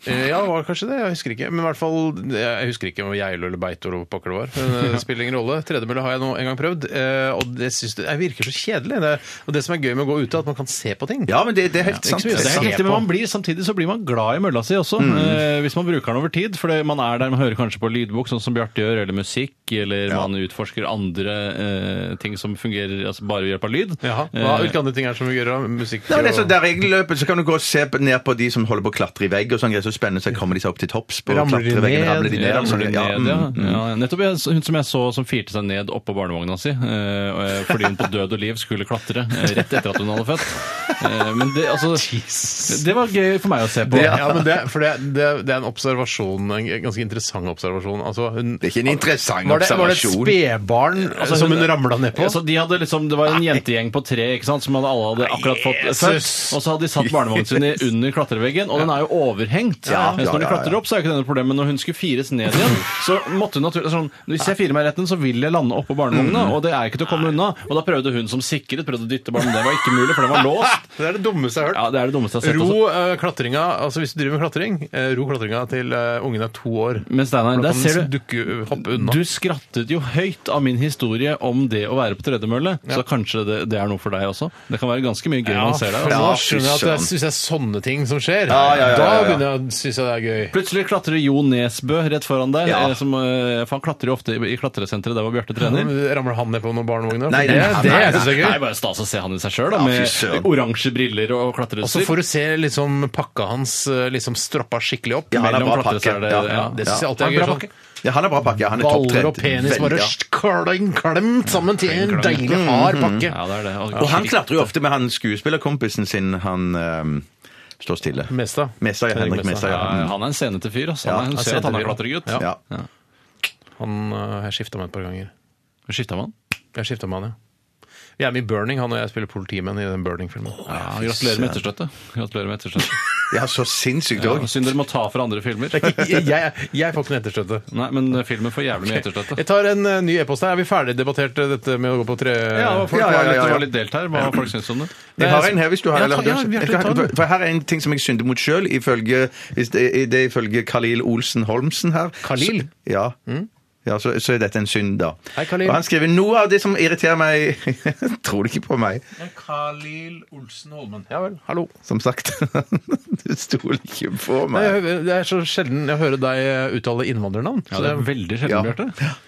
Eh, Ja, det var kanskje det. Jeg husker ikke. Men i hvert fall, jeg husker ikke om Geilo eller Beitolo eller pokker det var. Men eh, det spiller ingen rolle. Tredemølle har jeg nå en gang prøvd, eh, og det synes jeg virker så kjedelig. Det, og det som er gøy med å gå ute, er at man kan se på ting.
Ja, men det, det er helt
Ja,
sant.
ikke så mye å
Det er
se
helt riktig, men
på.
man blir, Samtidig så blir man glad i mølla si også, eh, hvis man bruker den over tid. For det- man er der, man hører kanskje på lydbok, sånn som Bjarte gjør, eller musikk, eller man utforsker andre eh, ting som fungerer altså bare ved hjelp av lyd.
Jaha. Hva,
Eh,
hvilke andre ting er det som gjør av musikk?
Nei, men det
og-
er så der jeg løper, så kan du gå og se på- ned på de som holder på å klatre i vegg og sånn greier. Så spennende, så kommer de seg opp til topps på
Ramler de
klatreveggen.
ned?
Ramler de ned?
Ramler
altså,
ned,
ja,
ja.
mm.
ja. Nettopp jeg, hun som jeg så som firte seg ned oppå barnevogna si eh, eh, fordi hun på død og liv skulle klatre eh, rett etter at hun hadde født. Eh, Men det, altså, det var gøy for meg å se på.
Det, ja, men det, for det, det, det er en observasjon, en ganske interessant observasjon. Altså, hun,
Det er ikke en interessant
var, det, var det et
observasjon.
spedbarn eh,
Altså,
som
hun-
hun ramla ned på?
Ja, så de hadde liksom, det var en jentegjeng på tre ikke sant, som hadde alle hadde akkurat fått født.
Jesus!
Og så hadde de satt barnevognen sin i- under klatreveggen, og den er jo overhengt.
Ja,
Mens når
ja, ja,
du
ja.
klatrer opp, så er jo ikke det noe problem. Men når hun skulle fires ned igjen, så måtte hun naturlig sånn, Hvis jeg firer meg retten, så vil jeg lande oppå barnevogna,
Mm.
og det er ikke til å komme unna. Og da prøvde hun som sikret, prøvde å dytte barnet, men det var ikke mulig, for den var låst.
Det er det dummeste jeg har hørt.
Ja, det er det dummeste jeg har sett.
Ro
altså.
eh, klatringa, altså hvis du driver med klatring, eh, ro klatringa til eh, ungen er to år.
Men Steinar, der
Da kan den
liksom
ser du
dukke- hoppe unna.
Du skrattet jo høyt av min historie om det å være på tredemølle, så kanskje det, det er noe for deg også. Det kan være ganske mye gøy man ser deg. altså.
for nå
Ja,
skjønner jeg at
fy
det
søren.
er, synes jeg er sånne ting som skjer.
altså. Ja, ja, ja, ja, ja.
Da begynner jeg å synes jeg det er gøy.
Plutselig klatrer Jo Nesbø rett foran deg.
Ja.
eh, Som, eh, for han klatrer jo ofte i, i klatresenteret der hvor Bjarte
Men
trener.
Ramler han ned på noen barnevogner?
Nei,
det,
nei,
det
nei,
synes jeg
Nei,
er gøy.
bare stas å se han i seg sjøl,
Ja, fy søren.
med oransje briller og
Og så
klatreutstyr.
får du se liksom pakka hans eh, liksom stroppa skikkelig opp.
Ja, han er
mellom
bra
klatre,
pakke.
så er det-
Ja,
ja,
Det synes jeg
Han
alltid
er
er
bra
gøy.
pakke.
Sånn.
Ja, han er bra pakke. Han er
Baller og
topptrent.
penis
Veldig,
bare
ja. Mhm.
st- klemt, klemt sammen til en deilig, hard pakke.
Ja, det er det.
Og han klatrer jo ofte med han skuespillerkompisen sin, han ehm, står stille.
Mesta.
Mesta, ja. Henrik Mesta, ja.
Ja,
Mm.
han er en senete fyr. ass.
Ja,
Han, er- hun
han er
ser at han er
senete fyr.
klatregutt.
Ja.
Ja.
Han uh, jeg skifta meg et par ganger.
Skifta man?
Jeg skifta meg, ja. Jeg er med i Burning, han og jeg spiller politimenn i den Burning-filmen.
Ja, gratulerer med etterstøtte. Gratulerer med etterstøtte.
ja, så sinnssykt
Ja,
òg.
synd dere må ta fra andre filmer.
jeg, jeg, jeg får ikke noe etterstøtte.
Nei, men eh, filmen får jævlig mye etterstøtte.
Jeg tar en eh, ny e-post her. Er vi ferdig debattert eh, dette med å gå på tre...
Ja, folk
Ja, ja, ja,
var litt-
ja.
det var litt delt her, hva folk syns om Eh, det.
Jeg har en her, hvis du har
Eh, Ja,
eller-
ta- ja, Bjarte,
Jeg kan-
ta den.
For her er en ting som jeg synder mot sjøl, ifølge hvis det, det er ifølge Khalil Olsen Holmsen her.
Khalil? Mm.
Så, ja. Ja, så, så er dette en synd, da.
Hei, Khalil.
Og han skriver noe av det som irriterer meg Tror du ikke på meg,
Khalil Olsen Holmen. Ja vel, hallo.
som sagt. du stoler ikke på
Nei,
meg.
jeg hø- det er så sjelden jeg hører deg eh, uttale innvandrernavn.
Ja,
så
det
det
er veldig
Ja.
sjelden, Bjarte.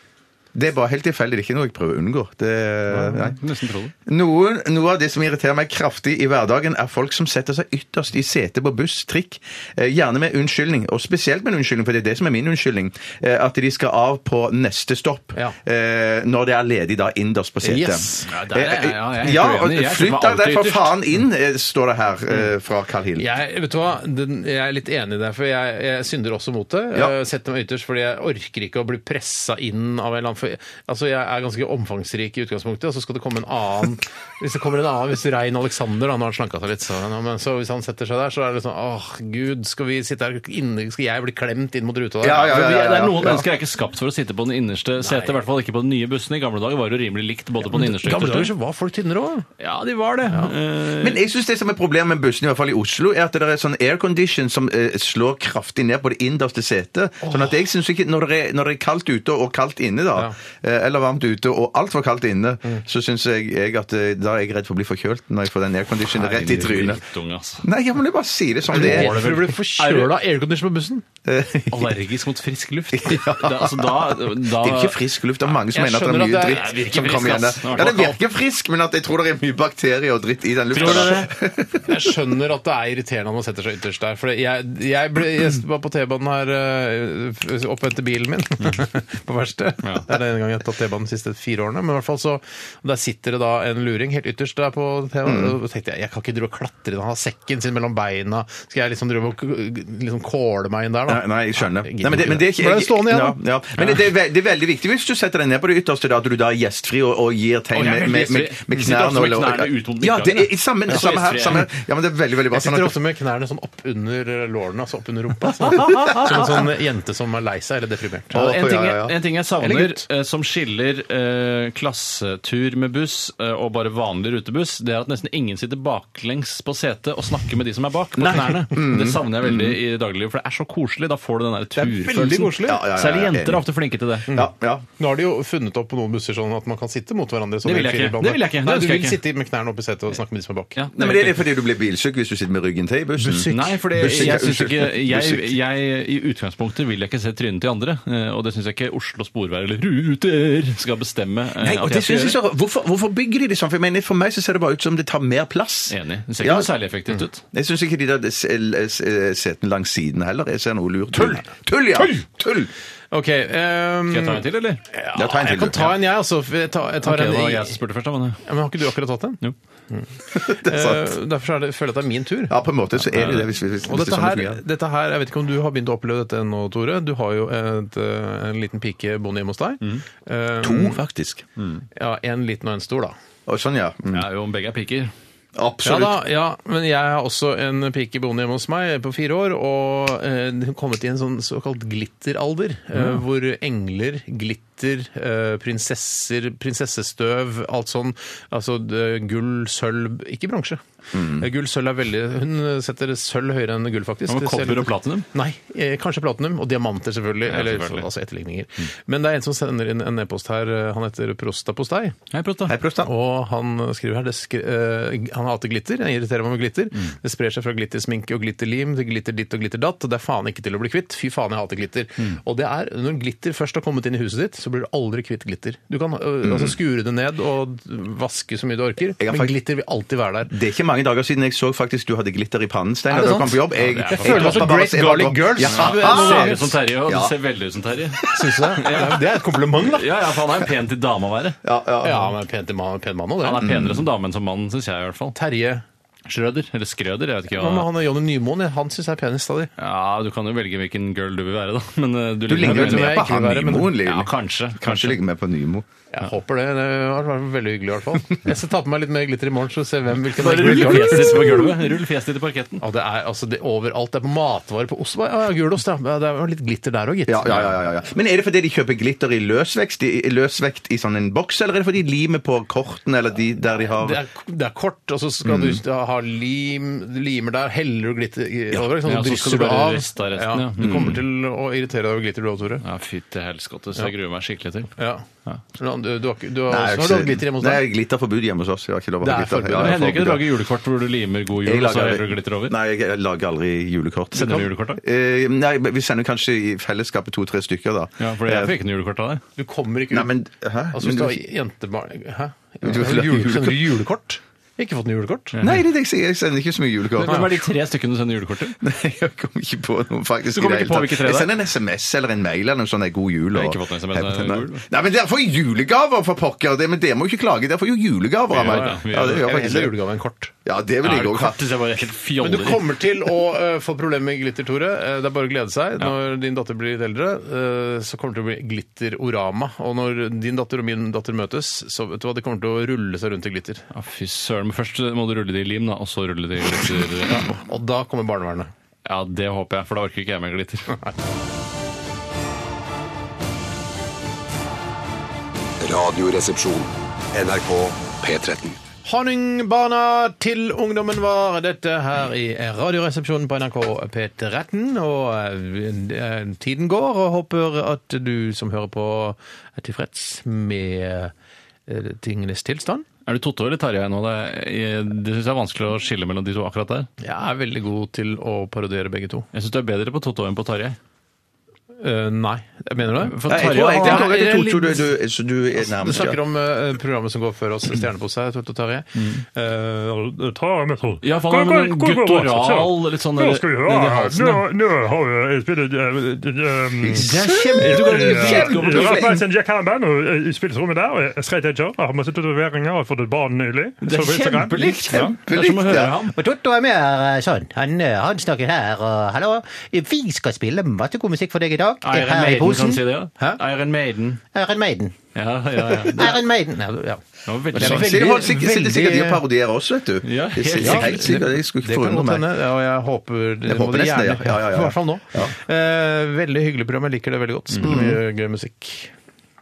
Det er bare helt tilfeldig. Det er ikke noe jeg prøver å unngå. Det, nei.
Nesten tro det.
Noe, noe av det som irriterer meg kraftig i hverdagen, er folk som setter seg ytterst i setet på buss, trikk, eh, gjerne med unnskyldning, og spesielt med en unnskyldning, for det er det som er min unnskyldning, eh, at de skal av på neste stopp,
Ja.
eh, når det er ledig da innerst på setet.
Yes.
Ja, der er jeg- ja, jeg er helt
ja,
uenig.
og
Jeg setter
flytt
meg
deg
alltid
der
ytterst.
for
Mm.
faen inn, eh, står det her eh, fra Carl Hill.
Jeg, vet du hva? Den, jeg er litt enig i det, for jeg, jeg synder også mot det.
Ja.
Jeg setter meg ytterst fordi jeg orker ikke å bli pressa inn av en eller annen for, Altså, Jeg er ganske omfangsrik i utgangspunktet, og så skal det komme en annen Hvis det kommer en annen, hvis Rein Alexander da, nå har han slanka seg litt, så, nå, men, så hvis han setter seg der, så er det sånn åh, gud, skal vi sitte her inne, skal jeg bli klemt inn mot ruta der?
Ja, ja, ja,
Vi-
ja,
Det er
ja.
Noen mennesker er ikke skapt for å sitte på den innerste setet, i hvert fall ikke på den nye bussen. I gamle dager var det jo rimelig likt både på den innerste
I gamle
og
dager
ytterste.
så var folk tynnere òg.
Ja, de var det. Eh,
Men jeg synes det som er problemet med bussen, i hvert fall i Oslo, er at det er sånn aircondition som eh, slår kraftig ned på det innerste setet. Sånn at jeg synes ikke, når det, er, når det er kaldt ute og kaldt inne da, eh, eller varmt ute og alt for kaldt inne, så synes jeg, jeg at eh, da er jeg redd for å bli forkjølt når jeg får den airconditionen rett i trynet.
Drittunge, altså.
Nei, jeg må bare si det som det
Er du
er.
redd for å bli forkjøla av aircondition på bussen?
Allergisk mot frisk luft. Da, altså, da, da,
Det er jo ikke frisk luft. Det er mange som
Jeg
mener at
skjønner
det er mye
at det er-
det virker
dritt som
frisk,
kommer igjen.
ass.
Ja, det virker frisk, men at jeg tror det er mye bakterier og dritt i den lufta.
Tror du
da.
det?
Jeg skjønner at det er irriterende når man setter seg ytterst der. For jeg, jeg ble jeg var på T-banen her øh, opp etter bilen min på verkstedet.
Ja.
Det er den gangen jeg har tatt T-banen de siste fire årene. Men i hvert fall så Der sitter det da en luring helt ytterst der på T-banen.
Mm.
Og da tenkte jeg jeg kan ikke drive og klatre inn. Han har sekken sin mellom beina. Skal jeg liksom drive og k- liksom kåle meg inn der, da? da.
Nei, nei, jeg skjønner.
jeg gidder
Nei, men det, men det er ikke,
ikke. Ble det stående igjen,
ja,
da?
ja. Men det, det, er ve- det er veldig viktig hvis du setter deg ned på det ytterste, da, at du da er gjestfri og, og gir tegn
Å, jeg er
med,
veldig
med,
gjestfri.
med, med
Jeg sitter ofte
knærne.
med
og-
knærne utom
ja, det er,
midtgangen,
samme,
ja.
samme her.
Gjestfri.
Samme, her. ja, men det er veldig, veldig bra.
Jeg sitter
at-
ofte med knærne sånn oppunder lårene, altså oppunder rumpa. Sånn. Som en sånn jente som er lei seg eller deprimert.
Ja,
en, ting,
ja, ja.
jeg- en ting jeg
Eller
savner
gutt.
eh, som skiller eh, klassetur med buss eh, og bare vanlig rutebuss, det er at nesten ingen sitter baklengs på setet og snakker med de som er bak, på knærne.
Mm.
Det savner jeg veldig i dagliglivet, for det er så koselig. Da får du den der
veldig
turfølelsen.
koselig.
Ja, ja, ja,
Særlig
ja,
jenter
enig. Mm.
er ofte flinke til det.
Ja, ja.
Nå har de jo funnet opp på noen busser sånn at man kan sitte mot hverandre. som
Det vil jeg
en
ikke.
fireblande.
Det vil jeg ikke. Nei,
Nei,
det
du
skal jeg
vil
ikke.
sitte med knærne opp i setet og snakke med de som er bak.
Ja,
Nei, men det er fordi du blir bilsyk hvis du sitter med ryggen til i bussen.
Nei, for jeg
Bussik,
syns
unnskyld.
ikke jeg,
Bussik.
jeg, I utgangspunktet vil jeg ikke se trynet til andre, eh, og det syns jeg ikke Oslo Sporveier eller Ruter skal bestemme. eh,
Nei,
at
og det
jeg skal
synes jeg
gjøre.
så, hvorfor, hvorfor bygger de det sånn? For, jeg mener, for meg så ser det bare ut som det tar mer plass.
Enig. Det ser
Ja.
ikke noe særlig effektivt ut.
Jeg syns ikke de der s- l- s- eh, setene langs siden heller. Jeg ser noe lurt. Tull! Tull, ja! Tull!
Ok, ehm,
Skal jeg ta en til, eller?
Ja, ta en
jeg
til,
kan
du.
ta en, jeg. Altså, jeg tar, jeg tar
Ok, det
en
var jeg som spurte først. da, men-
Ja, men Har ikke du akkurat tatt en?
Jo.
Det er sånn. sant.
Eh, Derfor så er det, føler jeg at det er min tur.
Ja, på en måte så er det det. Hvis, hvis, hvis
Og
det
dette
er sånn det
her,
fungerer.
dette her, Jeg vet ikke om du har begynt å oppleve dette ennå, Tore. Du har jo et, eh, en liten pike boende hjemme hos deg.
Mm.
Eh,
To, faktisk.
Ja, En liten og en stor, da.
Mm. Og sånn, ja. Mm.
Ja, jo, om begge er piker.
Ja,
Absolutt.
da, ja, Men jeg har også en pike boende hjemme hos meg på fire år. Og eh, hun har kommet i en sånn såkalt glitteralder, eh, hvor engler, glitter, eh, prinsesser, prinsessestøv, alt sånn. Altså eh, gull, sølv Ikke bransje. Eh, Gull, sølv er veldig Hun setter sølv høyere enn gull, faktisk.
Mm. Ja, men
Det ser
kobber
litt-
og platinum?
Nei, eh, kanskje platinum. Og diamanter, selvfølgelig.
Ja,
eller
selvfølgelig. Mm.
altså etterligninger. Men det er en som sender inn en e-post her. eh, Han heter Prostapostei.
Hei, Prost, da.
Hei, prost, da.
Og han skriver her det skri eh, Han hater glitter. Jeg irriterer meg med glitter.
Mm.
Det sprer seg fra glittersminke og glitterlim til glitter ditt og glitter datt. Og det er faen ikke til å bli kvitt. Fy faen, jeg hater glitter.
Mm.
Og det er, når glitter først har kommet inn i huset ditt, så blir du aldri kvitt glitter. Du kan
Mm.
eh, altså, skure det ned og vaske så mye du orker,
har
men
fakt-
glitter vil alltid være der.
Det er ikke mange dager siden jeg så faktisk du hadde glitter i pannen, Stein.
Er det
da du kom
sant?
på jobb. Jeg,
det er faktisk-
droppet
Føler meg som
bare-
Great
jeg bare-
Garlic Girls.
Ja.
Ja,
Du ser
Ah!
ut som Terje, og
Ja.
du ser veldig ut som Terje.
Syns du det? Det er- Det er et kompliment, da.
Ja, ja, for han er en pen til dame å være.
Ja, ja.
Ja, han er pen til mann, pen mann også,
Han
det.
Mm.
er penere som dame enn som mann, syns jeg i hvert fall.
Terje.
Schrøder, eller Skrøder, jeg vet ikke
Hva med
hva.
han er Johnny Nymoen? Han syns jeg er penest av de.
Ja, du kan jo velge hvilken girl du vil være, da. Men eh, du,
Du ligner
vet
vel
veldig-
du hva
mer
jeg
på
ikke
han
vil være, men-
Nymoen,
Ja, kanskje.
Lill. Kanskje
Kanskje.
ligger mer på Nymo.
Jeg håper det. Det har vært veldig hyggelig i hvert fall. Jeg skal ta på meg litt mer glitter i morgen, så ser vi hvem hvilken
Bare rull fjeset ditt på gulvet. Rull fjeset ditt i parketten.
Ja, det er altså det, er overalt. Det er på matvarer på ost. Ja, ja, gulost, ja. Ja, Det er jo litt glitter der òg, gitt.
Ja, ja, ja, ja, ja. Men er det fordi de kjøper glitter i løsvekt i, i løsvekt i sånn en boks, eller er det fordi de limer på kortene eller de der de har
Det er, det er kort, og så skal
Mm.
du ha lim, limer der, heller du glitter i- over, sånn,
Ja, så skal du
så drysser du
bare
av.
riste av resten, ja. Mm.
Du kommer til å irritere deg over glitter, du òg, Tore.
Ja, fytti helskotte, så jeg gruer meg skikkelig til.
Ja. Du, du, har ikke- du har,
Nei, jeg
har du hatt glitter hjemme hos
Nei,
deg?
glitterforbud hjemme hos oss. Jeg har ikke lov å ha
Det er
glitter.
forbud.
Ja,
Men
jeg har
hender ikke du
forbud,
lager julekort hvor du limer god
ja.
jul, og så
Jeg
heller du glitter over?
Nei, jeg jeg lager aldri julekort.
Sender du julekort, da?
Eh, nei, men vi sender kanskje i fellesskapet to-tre stykker, da.
Ja, for jeg
Eh,
fikk ikke noe julekort av deg.
Du kommer ikke ut.
Nei, men Hæ?
altså, hvis
Men
du
du-
har jentebarn Hæ?
Men du-
Har du jule- Sender du julekort? Jeg har ikke fått noe julekort.
Nei, det er det jeg sier. Jeg sender ikke så mye julekort.
Hvem er de tre stykkene du sender julekort til?
Nei, jeg kom ikke på noe faktisk.
Du kom
i det
ikke på
hele tatt.
hvilke tre det
Jeg
er?
sender en SMS eller en mail eller noe sånt. nei, God jul.
Jeg har ikke fått noen SMS, nei,
Nei,
god jul.
Nei, men dere får julegaver, for pokker! Det, men dere må ikke klage. Dere får jo julegaver av meg.
Ja, ja, vi gjør
Ja, det gjør
Jeg vil heller
faktisk
ha
det.
julegave enn kort.
Ja, det vil
Er
jeg
det
òg ha.
kort? Det ser bare helt
Men du
fjoller.
kommer til å eh, få problemer med glitter, Tore. Eh, det er bare å glede seg. Når din datter blir litt eldre, eh, så kommer det til å bli glitterorama. Og når din datter og min datter møtes, så vet du hva, det kommer til å rulle seg rundt i glitter.
Ja, fy søren. Men først må du rulle det i lim, da, og så rulle det i glitter.
Og da kommer barnevernet.
Ja, det håper jeg, for da orker ikke jeg mer glitter.
Radioresepsjon.
NRK P13.
Honningbarna til ungdommen var dette her i Radioresepsjonen på NRK P13. Og eh, tiden går, og håper at du som hører på, er tilfreds med eh, tingenes tilstand.
Er du Totto eller Tarjei nå? Det, er- det syns jeg er vanskelig å skille mellom de to akkurat der.
Jeg er veldig god til å parodiere begge to.
Jeg syns du er bedre på Totto enn på Tarjei.
Eh, nei. Mener du det?
For
Nei, jeg
Tarjei
tror
og-
egentlig at dere to
litt-
tror du, du, så du er
Du
nærmest
snakker
ja.
om eh, programmet som går før oss, Stjernepose, Torte og Tarjei.
Mm.
Eh,
Ja, for han har en guttoral litt sånn
Nå skal vi høre
nedi
her.
halsen,
Nå,
ja.
nå har jeg spilt um,
Det er kjempe-
Du kan ikke dritgod på
Jeg har
tusen.
vært en Jack Hanneman og eh, spilt rommet der. og Jeg skrev Edger. Jeg har masse tatoveringer og fått et barn nylig.
Det
Så på
er
Instagram.
kjempelikt! Ja. Det er som å
Kjempelikt,
høre
ja.
ham.
Og Totto er med eh, sånn. Han, eh, han snakker her, og hallo. Vi skal spille masse god musikk for deg i dag.
Iron
her i
Maiden kan
posen.
si det, ja.
Hæ?
Iron Maiden.
Iron Maiden.
Ja, ja, ja. Det
Iron Maiden. Ja, ja.
var veldig
Sånn
sånn.
sier de folk sikkert- sitter sikkert de og
veldig-
parodierer oss, vet du.
Ja,
Det sier
helt
de
sikkert.
helt sikkert. Jeg skulle
Det
ikke
kan
forundre
godt hende,
meg.
ja, og jeg håper det
Jeg håper
må dere
nesten det,
gjerne-
ja. Ja, ja, ja.
I hvert fall nå.
Ja.
Eh, veldig hyggelig program. Jeg liker det veldig godt.
Mm.
Spiller mye gøy musikk.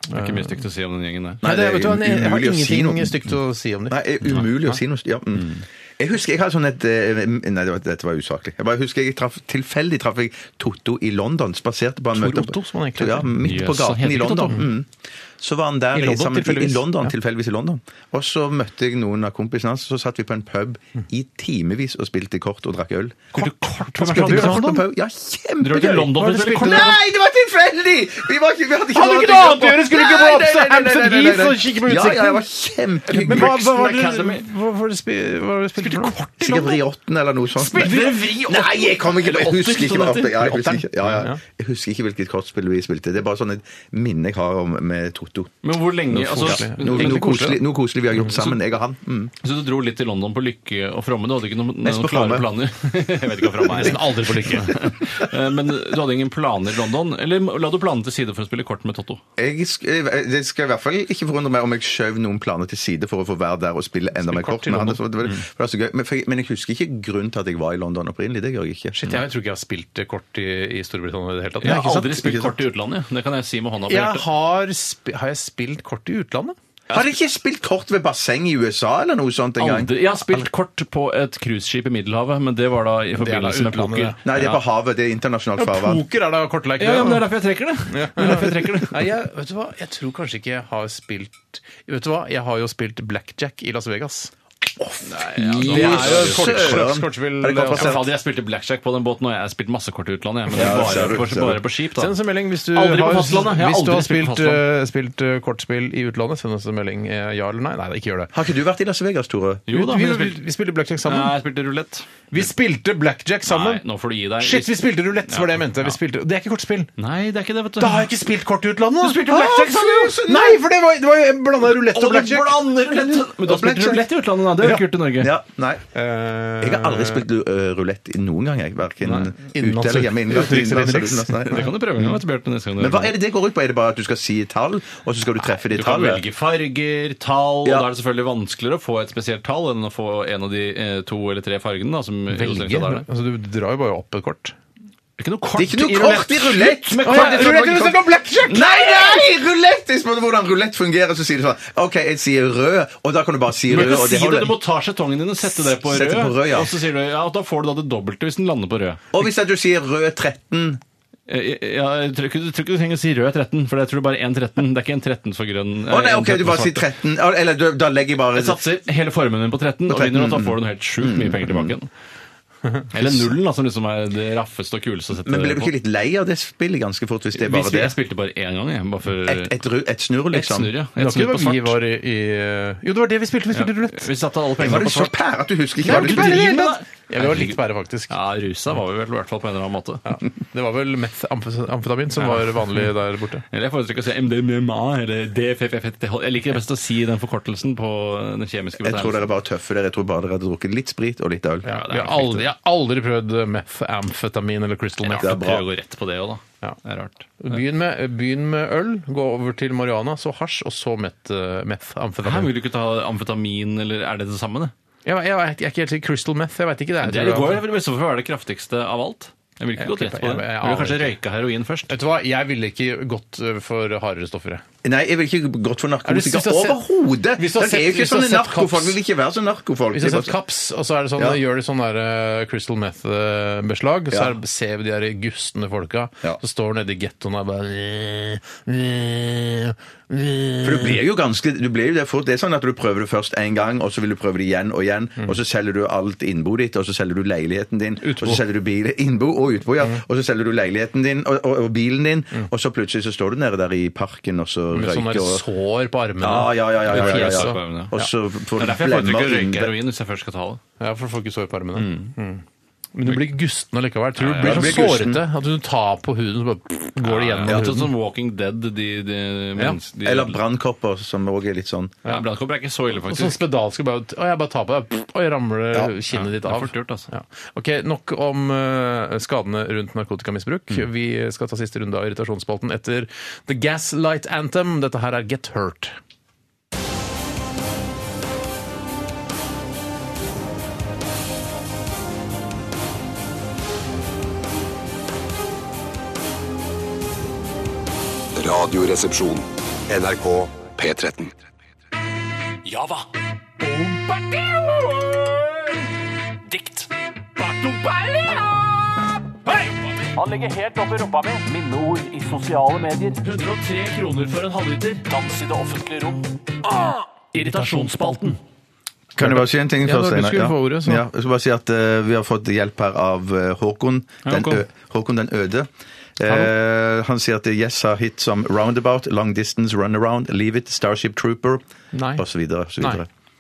Det er ikke mye stygt å si om den gjengen der.
Nei,
Nei,
det er
det, vet du, hva, jeg, jeg har
umulig å si
ingenting
noe.
stygt å si om dem.
Nei, det er umulig å si noe. Ja. mm. Jeg husker jeg hadde sånn et eh, Nei, det var, dette var usaklig. Jeg bare husker jeg traff, tilfeldig traff jeg Totto i London. Spaserte på han
Tor
møtte-
Otto, som han egentlig
Ja,
heter.
midt på
Jøss, han
gaten
heter
i
ikke Totto.
London. Mm. Så var han der
I
i
London,
sammen, i
tilfeldigvis.
London,
Ja.
tilfeldigvis i London. Og så møtte jeg noen av kompisene hans, så satt vi på en pub i timevis og spilte kort og drakk øl.
Spilte kort på
Spilte
London?
kort på pub. Ja,
Drar du
kjempegøy!
til London for å spille kort?
Nei, det var tilfeldig! Vi var ikke, vi hadde ikke
Hadde ikke
noe å
noe
gjøre
annet å gjøre, skulle ikke
Nei,
gå opp
nei,
til
nei, nei,
Hams and
nei, nei,
Beefs
nei.
og kikke på
Ja, ja,
utsikten?
det var kjempehyggelig.
Men hva, hva var det
Academy.
hva var det spi- hva var det spilte du kort?
Sikkert vriotten eller noe sånt.
Spilte dere Vri åtte?
Nei, jeg kommer ikke på Jeg
Eller
husker ikke,
åtter,
hva- ja, jeg husker
åtteren?
ikke, ja, ja. jeg husker ikke hvilket kortspill vi spilte. Det er bare sånn et minne jeg har om med Totto.
Men hvor lenge altså,
koselig.
Noe, noe,
egentlig
koselig, noe koselig vi har gjort sammen, jeg og han. Mm.
Så du dro litt til London på lykke og fromme? Du hadde ikke noen,
Mest
noen
på
klare planer?
Fromme.
Jeg vet ikke hva fromme er. Nesten aldri på lykke. Men du hadde ingen planer i London? Eller la du planene til side for å spille kort med Totto?
Jeg, sk- eh, det skal i hvert fall ikke forundre meg om jeg skjøv noen planer til side for å få være der og spille enda mer kort.
til
med han. Det
Mm.
var- det var så gøy. Men, for, jeg- men jeg husker ikke grunnen til at jeg var i London opprinnelig. Det gjør jeg ikke.
Shit, jeg tror ikke jeg har spilt kort i, i Storbritannia i det hele tatt.
Jeg har
Ikke sant?
aldri spilt
Ikke sant?
kort i utlandet. Det kan jeg si med hånda på
Jeg
hjertet.
har, sp har jeg spilt kort i utlandet?
Har dere ikke spilt kort ved basseng i USA eller noe sånt en gang?
Aldri. Jeg har spilt kort på et cruiseskip i Middelhavet, men det var da i
da
forbindelse med
utlandet,
poker.
det.
Nei, det er på havet. Det er internasjonalt farvann.
Poker er da kortleik?
Ja, ja, men det er derfor jeg trekker det. Det er derfor jeg trekker det.
Nei, jeg, vet du hva? jeg tror kanskje ikke jeg har spilt Vet du hva? Jeg har jo spilt blackjack i Las Vegas.
Det er jo
Fy
kort-
søren.
kortspill-
Er det kort
Ja,
basert?
fader, jeg spilte blackjack på den båten, og jeg har spilt masse kort i utlandet. jeg, Men det
Ja,
er
ser
bare,
du,
bare,
ser du.
bare på skip, da.
Send oss en melding hvis du
Aldri på
har,
fastlandet. Jeg har
hvis du
aldri
har
spilt på
spilt, eh, spilt eh, kortspill i utlandet. Send oss en melding eh, ja eller nei. Nei, da, ikke gjør det.
Har ikke du vært i Las Vegas, Tore?
Jo da,
vi,
men jeg
vi,
spilte-
vi spilte blackjack
Nei,
sammen.
jeg spilte rulett.
Vi spilte blackjack
Nei,
sammen!
nå får du gi deg.
Shit, vi spilte rulett, var det jeg mente.
Ja.
Vi spilte, det er ikke kortspill.
Nei, det er ikke det, vet du.
Da har jeg ikke spilt kort i utlandet!
Du spilte jo blackjack, sa du!
fy, Nei, for det var, det var jo blanda rulett og blackjack.
Men du har spilt
Blackjack.
rulett i utlandet, da. Det har du ikke gjort i Norge.
Ja, nei.
Eh,
Jeg har aldri spilt uh, rulett noen gang, jeg. Verken
Innenlands-
ute eller hjemme. Innenlands,
Utenriks eller
innenlands,
innenriks.
utenlands, nei.
Det kan du prøve en gang, vet du, Bjarte, neste gang du
Men hva er det det går ut på? Er det bare at du skal si tall, og så skal du treffe det
Mm. Du kan
tallet?
velge farger, tall
Ja.
og Da er det selvfølgelig vanskeligere å få et spesielt tall enn å få en av de eh, to eller tre fargene. Da, som illustrerer
Velge?
hva det er.
Altså, du drar jo bare opp et kort.
Det er ikke noe
Det
kort,
er ikke noe kort i rulett!
Slutt med
Å,
kort
ja,
i
rulett,
rulett!
du snakker om blackjack! Nei, nei! Rulett! Jeg spurte hvordan rulett fungerer, så sier du sånn OK, jeg sier rød, og da kan du bare si
Du må
rød,
ikke
og det
si det,
holder.
du må ta skjetongen din og sette det på
Sette
rød.
på rød, ja.
Og så sier du, ja, da får du da det dobbelte hvis den lander på rød.
Og hvis at du sier rød 13
Eh, Ja, jeg tror ikke, jeg tror ikke du trenger å si rød 13, for jeg tror det er bare én 13. Det er ikke en 13 for grønn. eh,
Å nei, OK, du bare sier 13 Eller, Eller du- da legger jeg bare
Jeg satser hele formuen din på Mm. 13, og
13,
vinner, og da får du noe helt sjukt mye penger tilbake. igjen. Eller nullen, da, som liksom er det raffeste og kuleste å sette
Men blir du
på.
ikke litt lei av det spillet ganske fort, hvis det er
Vi
bare
spil-
det?
Jeg spilte bare én gang, jeg. Bare for
Et, et, ru- et snurr,
Et
liksom?
snurr, ja. Et
Det var ikke
snurr på
det vi
svart.
var i, i Jo, det var det vi spilte. Vi spilte rulett.
Vi satte alle
Var
pengene på
du så
svart.
pære at du husker ikke hva du
du driver
spilte?
med, da?
Ja, vi var litt bære, faktisk.
Ja, rusa var vi vel i hvert fall på en eller annen måte.
Det var vel metamfetamin som var vanlig der borte.
Eller jeg foretrekker å si MDMA eller DFFFTH. Jeg liker det best å si den forkortelsen på den kjemiske
Jeg
betegnelsen.
tror dere bare tøffer dere. Jeg tror bare dere hadde drukket litt sprit og litt øl.
Vi har aldri, jeg har aldri prøvd methamfetamin eller crystal meth.
Det
Det er
er
bra.
å gå rett på det òg, da.
Ja.
Det er rart.
Begynn med, begynn med øl, gå over til marihuana, så hasj, og så eh, met,
Her
methamfetamin.
vil du ikke ta amfetamin, eller er det det samme? Det,
Jeg, jeg, vet- jeg er ikke helt sikker. Crystal meth, jeg veit ikke. Det, er-
det, det går vel i så fall være det kraftigste av alt. Jeg vil ikke
Jeg
gå rett på
jeg-
det.
jeg
Vil du kanskje
aner
røyka heroin først?
Vet du hva, jeg ville ikke gått eh, for hardere stoffer, jeg.
Nei, jeg vil ikke gått for
Hvis- hvis
narkotika
du har sett-
overhodet!
Hvis du har
Dere er
sett-
jo ikke
hvis du har
sånne
sett
narkofolk.
Kaps-
Vi vil ikke være sånne narkofolk.
Hvis du har sett
Det er bare-
Kaps, og så er det sånn,
Ja.
gjør de sånn der, eh, Crystal Meth-beslag, så
Ja.
er, ser vi de der gustne folka
Ja.
som står nede i gettoen og bare eh,
For du blir jo ganske du blir jo det fort. Det er sånn at du prøver det først én gang, og så vil du prøve det igjen og igjen,
Mm.
og så selger du alt innboet ditt, og så selger du leiligheten din,
Utbo.
og så selger du bilen Innbo og utbo,
Mm.
ja. Og så selger du leiligheten din og, og, og bilen din, og så plutselig så står du nede der i parken og så
Med sånne sånn
røyker
der
og
sår på armene.
Ja, ja, ja. ja, ja, ja,
Fjes
ja,
og-
Og så får
Det
du
er derfor jeg foretrekker å
innbe-
røyke heroin hvis jeg først skal ta det.
Ja, for du får ikke sår på armene. Mm. Men du blir gusten allikevel. Tror du blir
ja,
sånn
du blir gusten.
sårete at du tar på huden, så bare går det gjennom
Ja, sånn
huden.
som Walking Dead, de, de, mens- de
Eller brannkopper, som òg er litt sånn.
Ja, Brannkopper er ikke så ille,
Og sånn
faktisk.
spedalsk og bare, å, jeg bare tar på deg, og jeg ramler kinnet ditt
det er
av.
fort gjort, altså.
Ja. Ok, nok om eh, skadene rundt narkotikamisbruk. Vi skal ta siste runde av irritasjonsspalten etter The Gaslight Anthem. Dette her er Get Hurt.
Radioresepsjon.
NRK P13.
Java. Dikt. Han legger helt opp i rumpa mi. Minneord i sosiale medier.
103 kroner for en halvliter.
Dans i det offentlige rom.
Irritasjonsspalten.
Kan jeg bare si en ting
Ja,
først?
du
Einar?
skulle få ordet, så.
Ja, jeg skal bare si at eh, vi har fått hjelp her av eh, Håkon, den,
Håkon.
ø, Håkon den øde. Eh, han sier at Yes har hit som Roundabout, Long Distance, Runaround, Leave It, Starship Trooper
Nei.
osv.
Nei.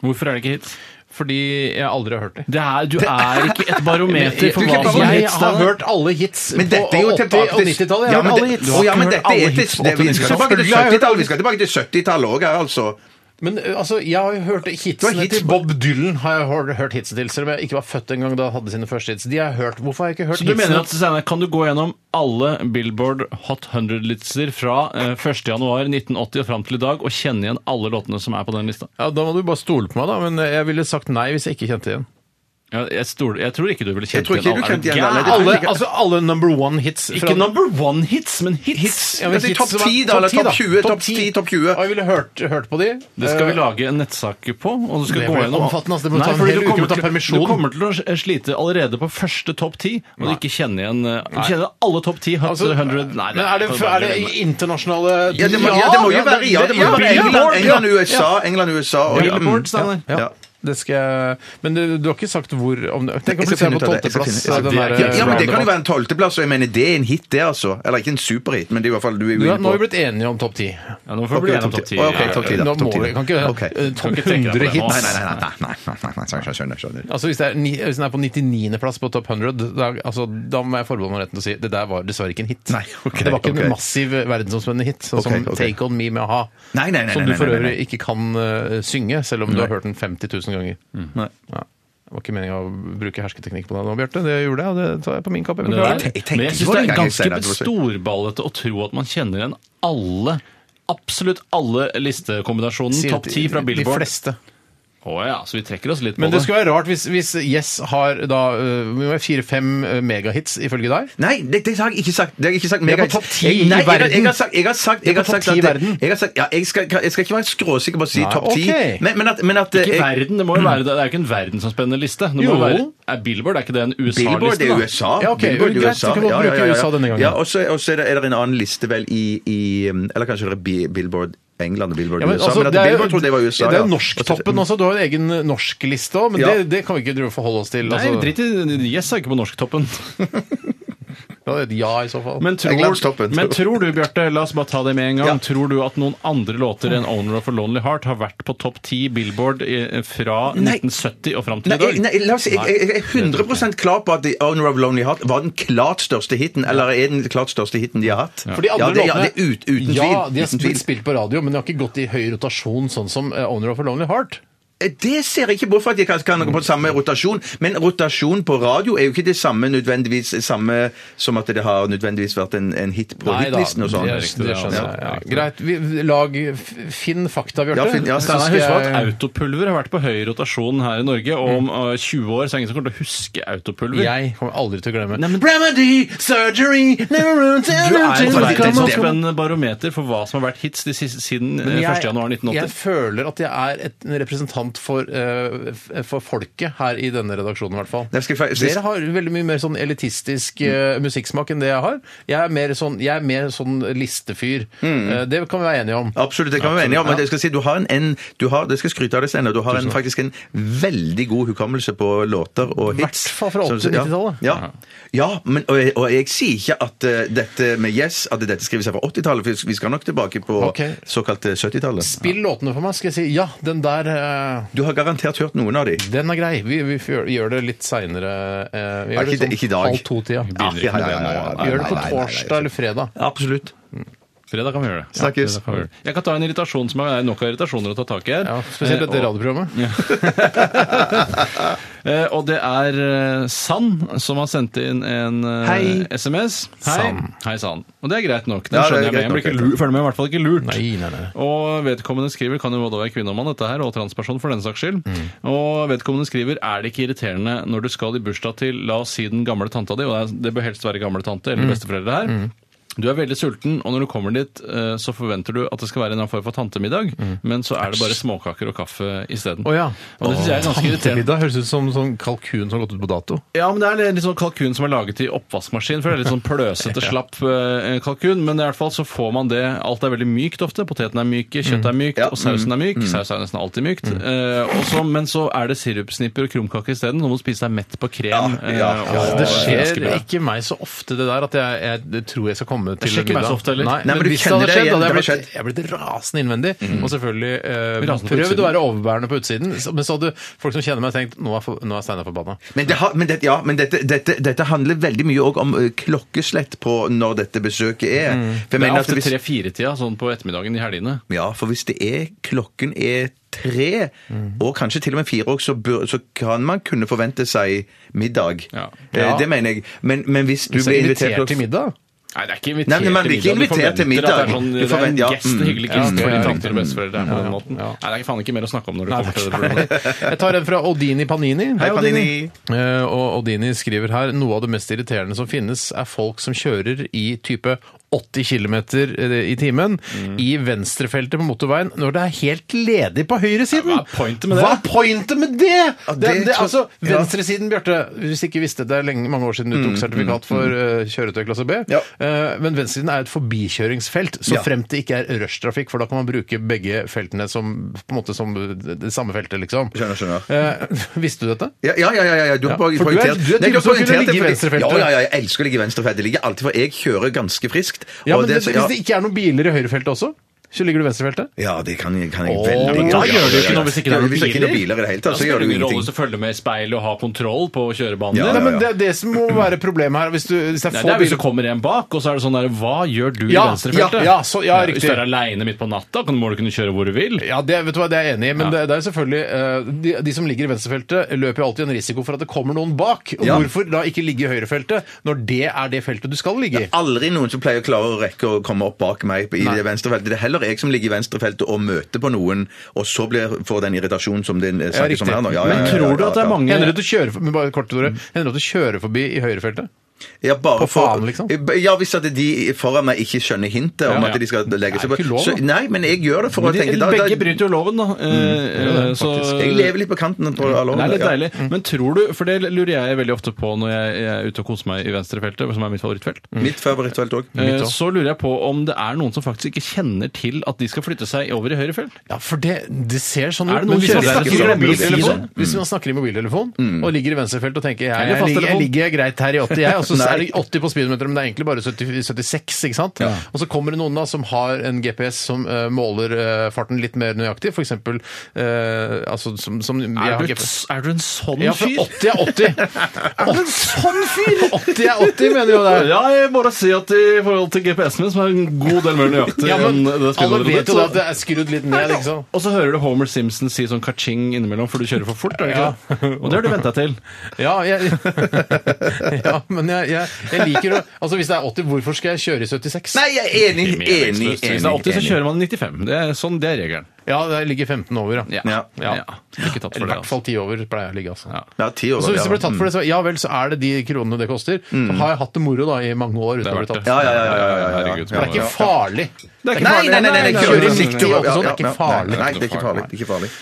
Hvorfor er det ikke hit?
Fordi jeg aldri har hørt det.
Det er, du er ikke et barometer
Du
for
er
hva
ikke
som
barometer.
er
Jeg
hits,
har
da?
hørt alle hits
Men dette er jo
på 80-
tilbake
og 90-tallet. Jeg
Ja,
har
men
hørt alle
det-
hits.
Å, ja, men
Du har ikke hørt
dette er
alle
til-
hits på
det- Vi
80- og
skal tilbake til
90-tallet.
70-tallet, vi skal tilbake til 70-tallet òg her, altså.
Men uh, altså, jeg har jo hørt hitsene
hits
til
på-
Bob Dylan har jeg hørt, hørt hitsen til, selv om jeg ikke var født engang da han hadde sine første hits. De har jeg hørt. Hvorfor har jeg ikke hørt
Så du
hitsene?
mener at Steinar, Kan du gå gjennom alle Billboard Hot 100-lister fra eh, 1.1.1980 og fram til i dag, og kjenne igjen alle låtene som er på den lista?
Ja, Da må du bare stole på meg, da. Men jeg ville sagt nei hvis jeg ikke kjente igjen.
Jeg, jeg, stoler- jeg tror ikke du ville
Jeg
kjent
tror ikke du
igjen alle. Er
kjente
du
igjen
gæren?
alle. Det tror
Alle,
jeg ikke.
altså alle number one-hits.
Ikke number one-hits, men hits! Altså,
Ja, men
Det er
hits
topp
som er-
10 da, eller topp 20, topp 10, topp 20.
Ja, jeg ville hørt, hørt på de. Eh,
Det skal vi lage en nettsak på. og du skal
Det
gå
blir
gjennom...
omfattende, altså. Det må ta en
fordi
hel
du
uke,
kommer
må ta
til-
permisjon.
Du kommer til å slite allerede på første topp ti, og du ikke kjenner igjen eh, Du kjenner alle topp ti. Hot
Altså,
100 Nei,
Men er det, er det internasjonale
Ja, det må, ja, det må jo være ja, det må jo være England,
Billboard,
England,
ja.
USA, England, USA og
Ja, Billboard, Steinar.
Ja.
Ja. Det skal jeg Men du, du har ikke sagt hvor om det. Tenk om
Jeg
du
skal
ser
finne
på
ut av det. Jeg skal
tolvteplass.
finne-
den
Ja,
der, eh,
Ja, ja, men Det kan
roundabout.
jo være en tolvteplass, og jeg mener det er en hit, det, altså. Eller ikke en superhit, men det er i hvert fall du er jo
Du,
inne
nå har vi
på
blitt enige om topp ti.
Ja, nå får vi bli enige om topp ti.
Å, ok, topp ti, da.
Nå må
Topp ti, da.
vi- kan ikke-
Ok.
eh, topp
Kan ikke tenke deg på
100
det nå.
hits.
Nei, nei, nei, nei, nei, nei, nei, nei, nei, skjønner, skjønner.
Altså hvis, det er, ni- hvis den er på 99. plass på topp 100, da, altså, da må jeg forbeholde meg retten til å si det der var dessverre ikke en hit.
Nei, ok,
det var ikke
ok.
en massiv verdensomspennende hit, sånn
Ok,
som
ok.
Take On Me med A-ha.
Nei, nei, nei,
som du
nei, nei,
for
nei,
øvrig
nei.
ikke kan eh, synge, selv om du har hørt den 50 000 ganger.
Nei.
Ja. Det var ikke meningen å bruke hersketeknikk på deg nå, Bjarte. Det gjorde jeg, og det tar jeg på min kappe.
Men det
Beklager.
er,
Jeg tenker
men jeg syns
ikke
det
på
er
det, jeg
ganske
sier det, jeg
storballete å tro at man kjenner igjen alle Absolutt alle listekombinasjonen
Sier
topp ti fra
De
Billboard.
fleste.
Å ja, så vi trekker oss litt på
Men det
det.
skulle være rart hvis, hvis Yes har da øh, fire-fem øh, megahits, ifølge deg.
Nei, det, det har jeg ikke sagt. Det har jeg ikke sagt.
er på
Megahits.
topp 10
Jeg-
i
nei,
verden.
Jeg, jeg har sagt, jeg har sagt,
Det er
jeg
på
har
topp
sagt
10 i
at
verden.
jeg, har sagt, ja, jeg, skal, jeg skal ikke være skråsikker på å si
Nei,
topp 10,
ok.
men, men at, eh, men at
Ikke
jeg,
verden, det må jo være det. Det er jo ikke en verdensomspennende liste. Det må
Jo.
jo være, er Billboard er ikke det en
Billboard
USA-liste?
er
da?
USA.
Ja, ok,
Billboard er
greit, så kan man bruke USA denne gangen.
Ja, og så og så er, det- er det en annen liste vel i, i um, Eller kanskje det er Bi- Billboard England og Billboard USA. men at
altså, det er jo-
Billboard trodde det var USA,
det er jo
ja.
norsktoppen også. Du har en egen norskliste òg, men
Ja.
det, det kan vi ikke drive og forholde oss til.
Nei,
altså.
drit i Yes er ikke på norsktoppen.
Ja, det er et ja, i så fall.
Men tror,
Englandstoppen.
men tror du, Bjarte, la oss bare ta det med en gang,
Ja.
tror du at noen andre låter enn 'Owner of a Lonely Heart' har vært på topp ti Billboard i- fra
Nei.
1970 og fram til
Nei,
i dag?
jeg, nei, la oss si, jeg, jeg, jeg er 100 klar på at The Owner of Lonely Heart var den klart største hiten, eller er den klart største hiten de har hatt.
For de andre
ja, det, ja,
låtene-
det er ut, uten tvil.
Ja, de har
uten tvil.
spilt, spilt på radio, men de har ikke gått i høy rotasjon, sånn som eh, Owner of a Lonely Heart.
Det ser jeg ikke bort fra at de kan, kan gå på samme rotasjon, men rotasjon på radio er jo ikke det samme nødvendigvis samme som at det har nødvendigvis vært en, en hit på
Nei da,
hitlisten og sånn.
det er riktig, det skjønner jeg. Ja, greit. Vi, lag, f- finn fakta, Bjarte.
Ja, finn- ja,
Så
Steinar,
skal
husk
jeg-
hva
At autopulver har vært på høy rotasjon her i Norge, og om eh, 20 år så er det ingen som kommer til å huske autopulver.
Jeg kommer aldri til å glemme.
Nei, men-
Remedy, surgery, never runs
Du er
anything.
jo
det-
veldig
det-
opp en barometer for hva som har vært hits de siste, siden eh, 1. januar
jeg
1980.
føler at jeg er et, en representant for, eh, f- for folket her i denne redaksjonen, i hvert fall.
Jeg skal fa-
Dere har veldig mye mer sånn elitistisk eh, musikksmak enn det jeg har. Jeg er mer sånn, jeg er mer sånn listefyr. Eh, det kan vi være enige om.
Absolutt, det kan vi være enige om. Men jeg skal si, du har en, en du har, det skal jeg skryte av deg senere, du har en, faktisk en veldig god hukommelse på låter og hits.
Hvert fall fra 80-
Så- ja.
90-tallet.
Ja, ja men, og, jeg, og jeg sier ikke at eh, dette med Yes, at dette skriver seg fra 80-tallet, for vi skal nok tilbake på eh,
Ok.
såkalte 70-tallet.
Spill låtene for meg, skal jeg si. Ja, den der eh,
Du har garantert hørt noen av de.
den er grei. Vi, vi gjør- gjør det litt seinere. eh, vi
Ja,
gjør
ikke-
det
ikke i
sånn
dag.
halv to-tida.
Ja,
Begynner ikke
nei,
med
nei,
det
nei,
nå.
nei,
Vi gjør
nei,
det på
nei, nei, nei.
torsdag liksom. eller fredag.
Absolutt.
Fredag kan vi gjøre det.
Snakkes.
fredag kan vi gjøre det. Jeg kan ta en irritasjon som er nok av irritasjoner å ta tak i her.
Ja,
Eh,
spesielt dette
og-
radioprogrammet.
Eh, Og det er eh, Sann som har sendt inn en eh,
Hei.
SMS. Hei.
Sann.
Hei, Sann. Og det er greit nok. Den
Ja, det er
skjønner jeg. men
greit
Jeg blir ikke
nok,
lur, føler meg i hvert fall ikke lurt.
Nei, nei, nei.
Og vedkommende skriver, kan jo både være kvinne og mann dette her, og transperson for den saks skyld.
Mm.
Og vedkommende skriver, er det ikke irriterende når du skal i bursdag til, la oss si den gamle tanta di, og det er- det bør helst være gamle tante eller
Mm.
besteforeldre her, Du er veldig sulten, og når du kommer dit, eh, så forventer du at det skal være en eller annen form for tantemiddag, men så er det bare småkaker og kaffe isteden.
Mm. Å ja.
Og det synes jeg er ganske irriterende.
Tantemiddag høres ut som sånn kalkun som har gått ut på dato.
Ja, men det er litt sånn kalkun som er laget i oppvaskmaskin, for det er litt sånn pløsete, slapp eh, kalkun. Men i hvert fall så får man det Alt er veldig mykt ofte. Poteten er myk, kjøttet er mykt, og sausen er myk. Saus er nesten alltid mykt. Eh, og så- men så er det sirupsnipper og krumkake isteden. Nå må du spise deg mett på krem.
Ja, ja,
eh,
ja,
og-
Det skjer
Askebrød.
ikke meg så ofte det der at jeg, jeg det tror jeg skal komme til
skjer ikke meg så ofte heller.
Nei,
Nei, men
men
du
hvis det
kjenner
hadde
det
skjedd, hadde jeg
igjen, det har
blitt, jeg blitt rasende innvendig. Og selvfølgelig eh,
Rasende på
prøvd å
utsiden.
være overbærende på utsiden. så- Men så hadde folk som kjenner meg, tenkt nå er, for- nå er Steinar forbanna.
Men, det har, men, det, ja, men dette, dette, dette handler veldig mye òg om eh, klokkeslett på når dette besøket er.
Mm.
For jeg
Det er
mener at
ofte
hvis-
tre-fire-tida sånn på ettermiddagen i helgene.
Ja, for hvis det er klokken er tre,
Mm.
og kanskje til og med fire også, så, bør, så kan man kunne forvente seg middag.
Ja.
Eh,
Ja.
Det mener jeg. Men, men hvis du
Hvis
blir
jeg
invitert
invitert til middag?
Nei, det er ikke invitert
Nei, men man blir ikke
til middag. Du
invitert til
forventer at Det er,
middag.
sånn,
Du
det er en
forventer- ja,
gest, en hyggelig gest
mm. Ja,
for
ok,
de
ja.
tanter og besteforeldre på den
ja.
måten.
Ja.
Nei, det er ikke faen ikke mer å snakke om når det
Nei,
kommer
det
til
er
det problemet.
ikke det. Jeg tar en fra Odini Panini.
Hei, Panini.
Eh, Og Odini skriver her noe av det mest irriterende som finnes, er folk som kjører i type 80 km i timen i venstrefeltet på motorveien når det er helt ledig på høyresiden.
Ja, hva er pointet med det?
Hva er pointet med det?
Ja,
det,
det
det
tror-
altså,
ja.
venstresiden, Bjarte, hvis du ikke visste det, det er lenge, mange år siden du tok sertifikat for eh, kjøretøy klasse B,
Ja.
Eh, men venstresiden er et forbikjøringsfelt, så
Ja.
fremt det ikke er rushtrafikk, for da kan man bruke begge feltene som, på en måte, som det det samme feltet, liksom.
Skjønner, skjønner.
Eh, visste du dette?
Ja, ja, ja. ja, ja. Du har
Ja,
bare
for du er-
poengtert-
du er
Nei,
typen som kunne
poengtert
ligge i
det, fordi-
venstrefeltet.
Ja, ja, ja, jeg elsker å ligge i venstrefeltet. Det ligger alltid for jeg kjører ganske friskt.
Ja,
og
men
det-
det,
ja.
Hvis det ikke er noen biler i høyrefeltet også, så ligger du i venstrefeltet?
Ja, det kan jeg, kan jeg
Åh,
veldig
da
godt.
gjør det
ikke
jo
noe hvis ikke det er
Ja,
noen
hvis ikke det er
biler.
biler i det hele tatt,
Da
så gjør det jo
spiller ingen rolle
ingenting.
å følge med i speilet og ha kontroll på kjørebanen.
Ja,
Nei,
ja,
men det er det som må være problemet her. Hvis, du, hvis det er
Nei,
få
det er hvis det
biler
kommer en bak, og så er det sånn der Hva gjør du
Ja,
i venstrefeltet?
ja, ja, så- ja, riktig.
Hvis du er aleine midt på natta, kan, må du kunne kjøre hvor du vil.
ja, det, vet du hva, det er jeg enig i,
Ja.
men det, det er jo selvfølgelig eh, de, de som ligger i venstrefeltet, løper jo alltid en risiko for at det kommer noen bak. Og
Ja.
Hvorfor da ikke ligge i høyrefeltet når det er det feltet du skal ligge i?
Aldri noen som pleier å klare å rekke å komme opp bak meg på- i det venstrefeltet. Det er heller jeg som ligger i venstrefeltet og møter på noen, og så blir, får den irritasjonen som det snakkes
riktig.
om her nå. Ja, ja,
Men
ja, ja,
tror du
ja,
at det
ja.
er mange
Hender det at du kjører, for- men bare kort, Tore. Hender det at du kjører forbi i høyrefeltet?
Ja, bare
På
for-
faen, liksom?
Ja, hvis at de foran meg ikke skjønner hintet om
Ja, ja.
at de skal legge
Det
seg på
er ikke lov,
så,
da.
Nei, men jeg gjør det for å
Men de-
tenke da- da-
Begge bryter jo loven,
Mm,
da. Eh, eh, så-
Jeg lever litt på kanten tror jeg, av loven.
Mm. Det er litt
ja.
deilig.
Mm.
Men tror du, for det lurer jeg veldig ofte på når jeg jeg er ute og koser meg i venstrefeltet, som er mitt favorittfelt,
Mitt favorittfelt òg.
Eh, så lurer jeg på om det er noen som faktisk ikke kjenner til at de skal flytte seg over i høyre felt.
Ja, for det, det ser sånn
Er det
ut. men
noen
Hvis
som
man snakker
snakker
i
i mobiltelefon?
mobiltelefon, hvis man snakker i mobiltelefon og ligger i venstrefeltet og tenker jeg,
Eller
jeg, ligger, jeg
fasttelefon.
ligger greit her i 80, jeg, og så så
Nei.
er det 80 på speedometeret, men det er egentlig bare 70, 76, ikke sant? Og så kommer det noen da som har en GPS som eh, måler eh, farten litt mer nøyaktig, for eksempel eh, altså, som, som jeg
Er
har
du,
GPS.
er du en sånn
Ja, for
fyr?
80 er 80.
Er du en sånn fyr?
80 er 80, mener jo det.
Ja, jeg må bare si at i forhold til GPS-en min, som er en god del mer nøyaktig
Ja,
enn
men
det
alle
speedometeret
vet
ditt,
jo da
så-
at det er skrudd litt ned, ikke sant?
Og så hører du Homer Simpson si sånn ka-ching innimellom, for du kjører for fort. er det ikke det? Og det har du venta til.
Ja, jeg, ja men jeg, jeg, jeg liker å Altså, hvis det er 80, hvorfor skal jeg kjøre i 76?
Nei, jeg er enig, enig, enig.
Hvis det er 80, så kjører man 95. Det er, sånn, det er regelen.
Ja, det ligger 15 over, ja.
Ja.
Ja. Ikke tatt for
Eller i
det,
hvert fall 10 over pleier jeg å ligge, altså.
Ja. mm.
Ja, ti år.
Så hvis
ja.
det blir tatt for det, så ja vel, så er det de kronene det koster. Så har jeg hatt det moro da i mange år uten
Det
å
er
bli
verdt
tatt.
det.
Ja, ja, ja, ja, ja, ja, ja.
Herregud,
Det er ikke farlig.
Det er ikke
Nei,
farlig.
nei, nei, nei, nei,
Kjører
kjører
forsiktig
forsiktig,
og
ja,
sånn,
ja,
det er ikke
ja.
farlig.
Nei, det er ikke farlig. det er ikke farlig.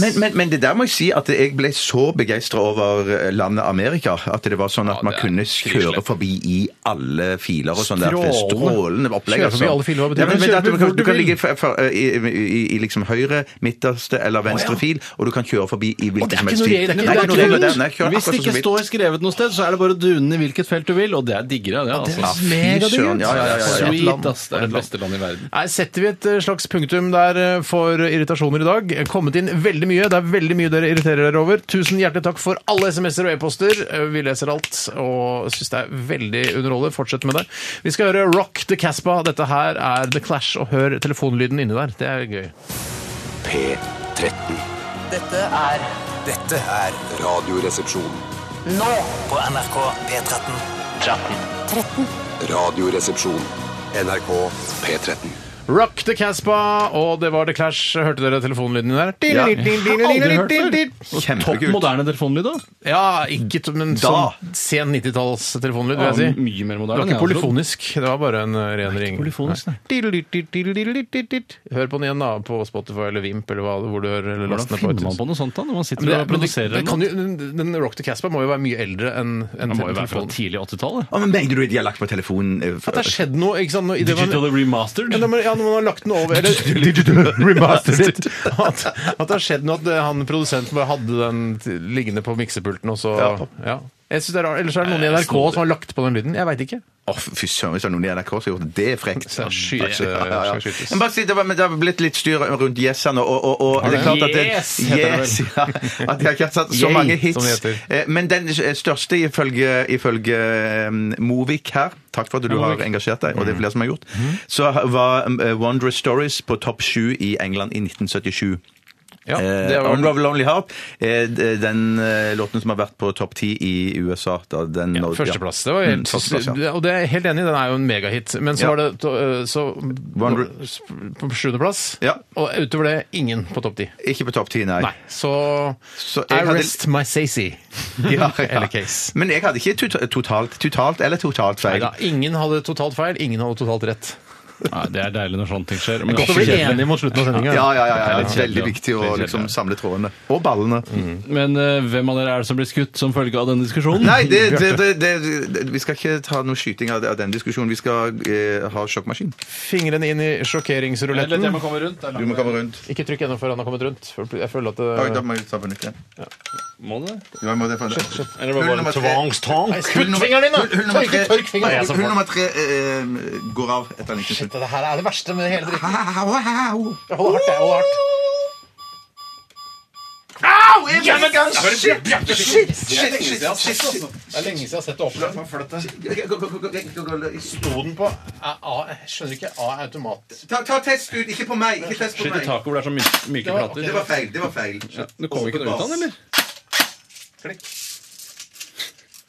Men, men, men det der må jeg si at jeg ble så begeistra over eh, landet Amerika. At det var sånn at
Ja,
man
det er
kunne
frislepp.
kjøre forbi i alle filer og sånn. der. Det er
Strålende.
Strålende opplegg.
Kjøre
altså.
forbi alle filer, hva betyr
Ja,
det?
men, men,
Kjøre
at du,
forbi hvor
kan,
du
du kan
vil.
ligge for, for, i, i, i liksom høyre, midterste eller venstre fil, og du kan kjøre forbi i
det er
hvilken som
ikke
helst
noe
fil.
regel, det er ikke noe
Nei, noe
regel.
regel. Nei, kjør
Hvis det
akkurat sånn som
ikke
du vil.
står skrevet noe sted, så er det bare å dune i hvilket felt du vil, og det er diggere, det.
det er
altså.
megadigg,
Fy søren,
ja, ja, ja, ja, ja.
Sweet, ass. Det er det beste landet i verden.
Nei, Setter vi et eh, slags punktum der eh, for irritasjoner i dag? Eh, Kommet inn veldig mye. Det er veldig mye dere irriterer dere over. Tusen hjertelig takk for alle SMS-er og e-poster. Eh, Vi leser alt og syns det er veldig underholdende. Fortsett med det. Vi skal høre Rock the Casbah. Dette her er The Clash. Og hør telefonlyden inni der. Det er gøy.
P13.
Dette er Dette er
Radioresepsjon.
nå på NRK P13. 13.
Radioresepsjon.
NRK P13.
Rock the Casbah, og det var The Clash. Hørte dere telefonlyden der? Ja,
Aldri hørt før. Topp
Kjempekult.
moderne telefonlyd, da.
ikke t- men
Da.
sånn sen 90-talls telefonlyd, vil
Ja,
jeg si.
Mye mer
Det
moderne. enn
var ikke
jeg hadde trodd.
polyfonisk, det var bare en eh, ren ring.
polyfonisk, altså- nei.
Nei. Hør på den igjen da, på Spotify eller Vimp eller hva, hvor du hører eller last
Hvordan
ned på
finner man
iTunes.
på noe sånt da, når man
Men
sitter
det-
og
men det-
produserer
det kan
noe?
jo- Den den Rock the Casper må jo være mye eldre enn en
Den må jo være fra
telefonen.
tidlig 80-tallet.
Å, men Mener du at de har lagt på telefonen eh,
At det har skjedd noe, ikke sant? Når, i det man-
Digital
Ja,
remastered.
når man, ja, når man har lagt den over eller, Remastered it. At, at det har skjedd noe at eh, han produsenten bare hadde den t- liggende på miksepulten, og så ja. Jeg synes det er rart. Ellers er det noen i NRK som har lagt på den lyden. Jeg veit ikke.
Å, fy søren, hvis det er noen i NRK som har gjort det, det er frekt.
Så jeg skyter-
Ja, ja, ja.
skal eh, skytes.
Men bare si, det, var, men det har blitt litt styr rundt Yes-ene, og, og, og, og det er klart at det,
Yes, heter
yes ja, At de har ikke hatt så- så
Yay,
mange
som
hits.
det heter.
Eh, Men den største ifølge, ifølge eh, Movik her Takk for at du har engasjert deg,
Mm.
og det er flere som har gjort. Så var eh, Wondrous Stories på topp sju i England i 1977.
Ja, det
Eh,
var-
On Love Lonely Heart, eh, d- den eh, låten som har vært på topp ti i USA. Da, den,
Ja,
nådde-
førsteplass. Det var helt,
Mm, førsteplass, ja.
Og det er jeg helt enig i, den er jo en megahit. Men så
Ja.
var det to- øh, så,
One-
på sjuendeplass,
Ja.
og utover det ingen på topp ti.
Ikke på topp ti,
Nei. Så,
Så
I
jeg hadde-
rest my sassy.
Ja, ja.
Eller case.
Men jeg hadde ikke to- totalt, totalt eller totalt feil.
Neida, ingen hadde totalt feil, ingen hadde totalt rett.
Nei, det er deilig når sånne ting skjer. men det er
Godt å bli
så kjedelig.
enig mot slutten av sendinga.
Ja, ja, ja, ja, det er
Ja,
veldig
ja.
viktig å
Veldig kjedelig,
liksom
ja.
samle trådene. Og ballene.
Men eh, hvem av dere er det som blir skutt som følge av denne diskusjonen?
Nei, det, det, det, det, det, vi skal ikke ta noe skyting av, av den diskusjonen. Vi skal eh, ha sjokkmaskin.
Fingrene inn i sjokkeringsruletten.
jeg må komme rundt.
Du må komme rundt.
Ikke trykk ennå før han har kommet rundt. for Jeg føler at eh,
Oi, da
det...
må jeg ta på nytt igjen.
Må det?
Jo, jeg må det for-
Eller var det
Hull
bare
nummer tre.
tvangstank?
Nei, hull nummer-
fingeren din, da!
hull- hull nummer
Tørk-
tre- altså,
tørk fingeren. Nei, jeg er så
Hull
fort.
nummer tre eh, går av etter en liten
Shit,
stund.
det her er det verste med hele dritten.
Au, au, au.
Jeg holder hardt, jeg holder hardt.
Au! jeg- Shit, shit, shit, shit, shit, shit.
Det er lenge siden jeg har sett det opplevd.
Gå, gå, gå, gå, gå, gå, gå.
Sto den på A, A, Jeg skjønner ikke. A er automat.
Ta, ta test ut, ikke på meg! Ikke test på
Skyt i
meg.
taket hvor det er så myke, myke
var-
plater.
Det var feil. det var feil.
Du kommer ikke noe ut av den, eller?
Klikk.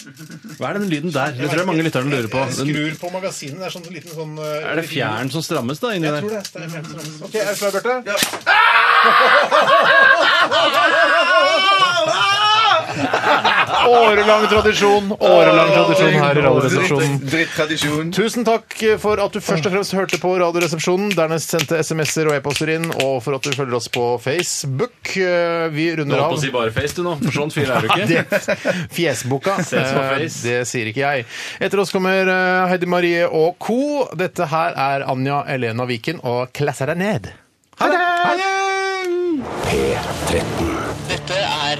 Hva er den lyden der? Det tror jeg mange lytterne lurer på.
Jeg
Den,
skrur på magasinet. Det er sånn liten sånn
er det fjæren som strammes da inni
Jeg
der?
tror det. det er fjern som- OK, er du klar, Bjarte? Årelang tradisjon. Årelang tradisjon her i Radioresepsjonen.
Drittradisjon.
Tusen takk for at du først og fremst hørte på Radioresepsjonen, dernest sendte SMS-er og e-poster inn, og for at du følger oss på Facebook. Eh, Vi
Du
runder
holdt
av.
på å si bare face, du nå. For sånn fyr er du ikke.
Det, fjesboka.
Ses på
Eh,
face.
Det sier ikke jeg. Etter oss kommer eh, Heidi Marie og co. Dette her er Anja Elena Viken og Klasser deg ned. Ha det!
Dette er